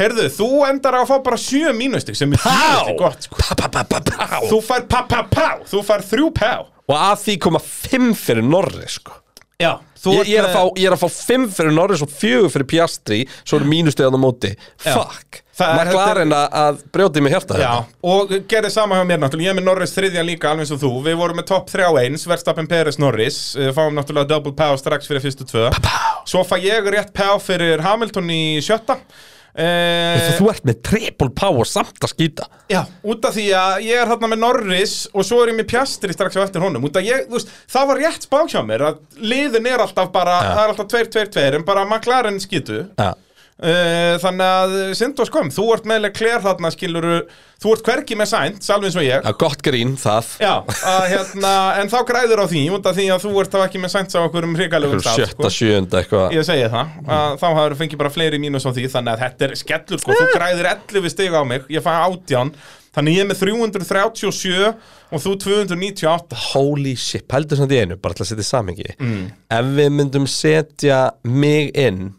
Speaker 3: herðu, þú endar á að fá bara 7 mínustig sem er
Speaker 2: Pá!
Speaker 3: dýrasti gott sko.
Speaker 2: Pá, pá, pá, pá, pá
Speaker 3: þú fær pá pá pá, þú fær 3 pá
Speaker 2: Og að því koma 5 fyrir Norri, sko
Speaker 3: já, þú
Speaker 2: Ég,
Speaker 3: ert
Speaker 2: ég, er að
Speaker 3: með-
Speaker 2: fá, ég er að fá 5 fyrir Norris og 4 fyrir Piastri Svo eru mínustegðan á móti Fuck
Speaker 3: Það er-
Speaker 2: McLaren að, að brjóti mig hérna. hjarta
Speaker 3: Já, og gerði sama hjá mér náttúrulega, ég er með Norris þriðjan líka alveg eins og þú, við vorum með topp 3 eins, Verstappen Peres Norris, eh, fáum náttúrulega double pow strax fyrir fyrstu tvö, svo fæ ég rétt pow fyrir Hamilton í sjötta,
Speaker 2: Þú-
Speaker 3: eh,
Speaker 2: Þú ert með triple power samt að skýta
Speaker 3: já, út af því að ég er þarna með Norris og svo er ég með Pjastri strax á eftir honum, út af ég, þú veist, það var rétt spák hjá mér að liðin er alltaf bara, það er alltaf 2-2-2 en bara McLaren skýtu,
Speaker 2: Já
Speaker 3: Uh, þannig að synd og skömm, þú ert meðlega klær þarna skiluru, þú ert hvergi með sænt, alveg eins og ég
Speaker 2: Já, Gott grín, það
Speaker 3: Já, að, hérna, en þá græður á því út af því að þú ert þá ekki með sænt á okkur um hrikalögum stað
Speaker 2: Sjötta, sjönda eitthvað
Speaker 3: Ég segi það, að, þá hafður fengið bara fleiri mínus á því þannig að þetta er skellur sko, þú græðir 11 stig á mig, ég fæ 18 þannig ég er með 337 og þú 298
Speaker 2: Holy shit, pældu samt í einu, bara til að setja í samingi
Speaker 3: Mm.
Speaker 2: Ef við myndum setja mig inn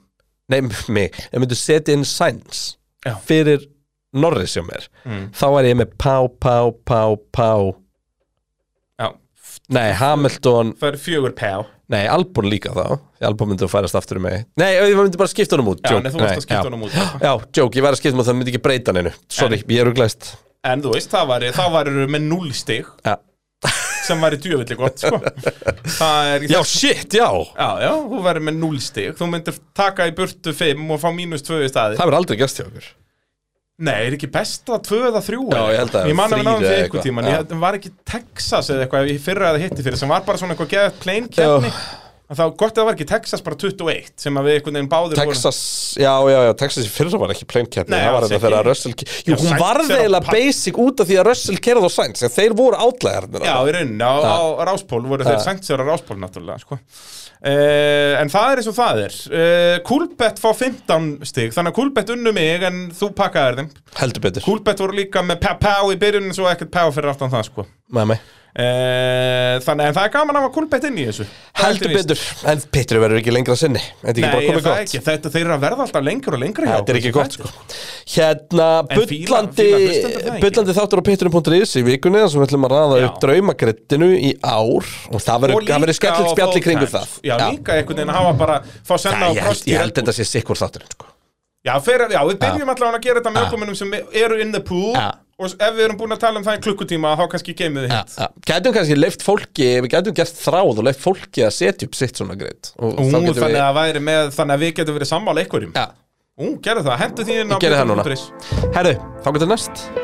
Speaker 2: Nei, mig Ef við myndum setja inn Sainz
Speaker 3: Já. Mm.
Speaker 2: Fyrir Norris hjá mér Þá er ég með pá, pá, pá, pá
Speaker 3: Já,
Speaker 2: Nei, Hamilton
Speaker 3: það er fjögur pæ
Speaker 2: Nei, Albon líka þá Því Albon myndi að færast aftur um mig Nei, ég myndi bara skipta honum út
Speaker 3: Já,
Speaker 2: joke.
Speaker 3: nei, þú varst að skipta
Speaker 2: já.
Speaker 3: honum út, já.
Speaker 2: Já, joke, ég væri að skipta honum út, það myndi ekki breyta neinu Sorry, ég eru glæst
Speaker 3: en þú veist, það var, þá varir með 0 stig
Speaker 2: Já.
Speaker 3: sem var í djöfulli gott sko. það er í
Speaker 2: Já, shit, já
Speaker 3: Já, já, þú verður með 0 stig Þú myndir taka í burtu 5 og fá mínus 2 í staði
Speaker 2: Það verður aldrei gæst hjá okkur
Speaker 3: Nei, er ekki best að 2 eða 3
Speaker 2: Já, ég held að
Speaker 3: Ég man að við
Speaker 2: þrír
Speaker 3: náðum
Speaker 2: eða
Speaker 3: því
Speaker 2: eitthvað,
Speaker 3: einhvern tíman
Speaker 2: já.
Speaker 3: Ég held- var ekki Texas eða eitthvað Ég fyrra eða hitti fyrir sem var bara svona eitthvað geðað plain keppni En þá gott að það var ekki Texas bara 21 sem að við einhvern veginn báður
Speaker 2: Texas, já, já, já, Texas í fyrra var ekki plain keppni,
Speaker 3: Nei,
Speaker 2: það var
Speaker 3: alls
Speaker 2: þetta
Speaker 3: ekki.
Speaker 2: þegar að Russell ke- Jú,
Speaker 3: Já,
Speaker 2: hún
Speaker 3: Sainz
Speaker 2: varði
Speaker 3: er á
Speaker 2: eiginlega
Speaker 3: pall.
Speaker 2: basic út af því að Russell kerði á Sainz en þeir voru átlæðarnir
Speaker 3: Já, í rauninni, á, á Ráspól voru þeir sengt sér á Ráspól náttúrulega sko. uh, En það er eins og það er uh, Kúlbett fá 15 stig Þannig að Kúlbett unnu mig en þú pakkaðir þeim
Speaker 2: heldur betur
Speaker 3: Kúlbett voru líka með pá-pá í byrjunin svo ekkert pá fyrir aftan það sko
Speaker 2: með mig
Speaker 3: Eh, Þannig að það er gaman að hafa kulbett inn í þessu Það er
Speaker 2: heldur
Speaker 3: til víst.
Speaker 2: betur, en Petri verður ekki lengra sinni þetta er ekki bara
Speaker 3: Nei,
Speaker 2: komið
Speaker 3: það er
Speaker 2: gott
Speaker 3: ekki, þetta þeir eru að verða alltaf lengur og lengur hjá
Speaker 2: Þetta er
Speaker 3: okkur.
Speaker 2: ekki gott sko Hérna,
Speaker 3: En fíla-
Speaker 2: bullandi
Speaker 3: fíla hlustendur það ekki?
Speaker 2: bullandi þáttur á pitturinn.is í vikunni þar sem við ætlum að raða
Speaker 3: Já.
Speaker 2: upp draumagrettinu í ár og það
Speaker 3: Og
Speaker 2: verður-
Speaker 3: líka
Speaker 2: það verður
Speaker 3: á
Speaker 2: skellilt spjalli
Speaker 3: Fótbolti.
Speaker 2: kringu það
Speaker 3: Já, líka einhvern veginn að hafa bara Fá
Speaker 2: Æ,
Speaker 3: senna á
Speaker 2: Ég held-
Speaker 3: prosti
Speaker 2: ég held þetta sé sikkur þátturinn sko
Speaker 3: Já, fer, já, við byrjum allavega að gera þetta með okkumunum sem eru in the pool
Speaker 2: Já.
Speaker 3: Og ef við erum búin að tala um það í klukkutíma Þá kannski geymið þið hitt
Speaker 2: Já, Gætum kannski leift fólki, við gætum gert þráð og leift fólki að setja upp sitt svona greitt og þá
Speaker 3: Ú, þannig,
Speaker 2: getum við
Speaker 3: að væri með, þannig að við getum verið sammála einhverjum
Speaker 2: Já,
Speaker 3: Ú, gerðu það, hendu því inn á
Speaker 2: gerðu það núna
Speaker 3: punktur is.
Speaker 2: Herru, þá getum við næst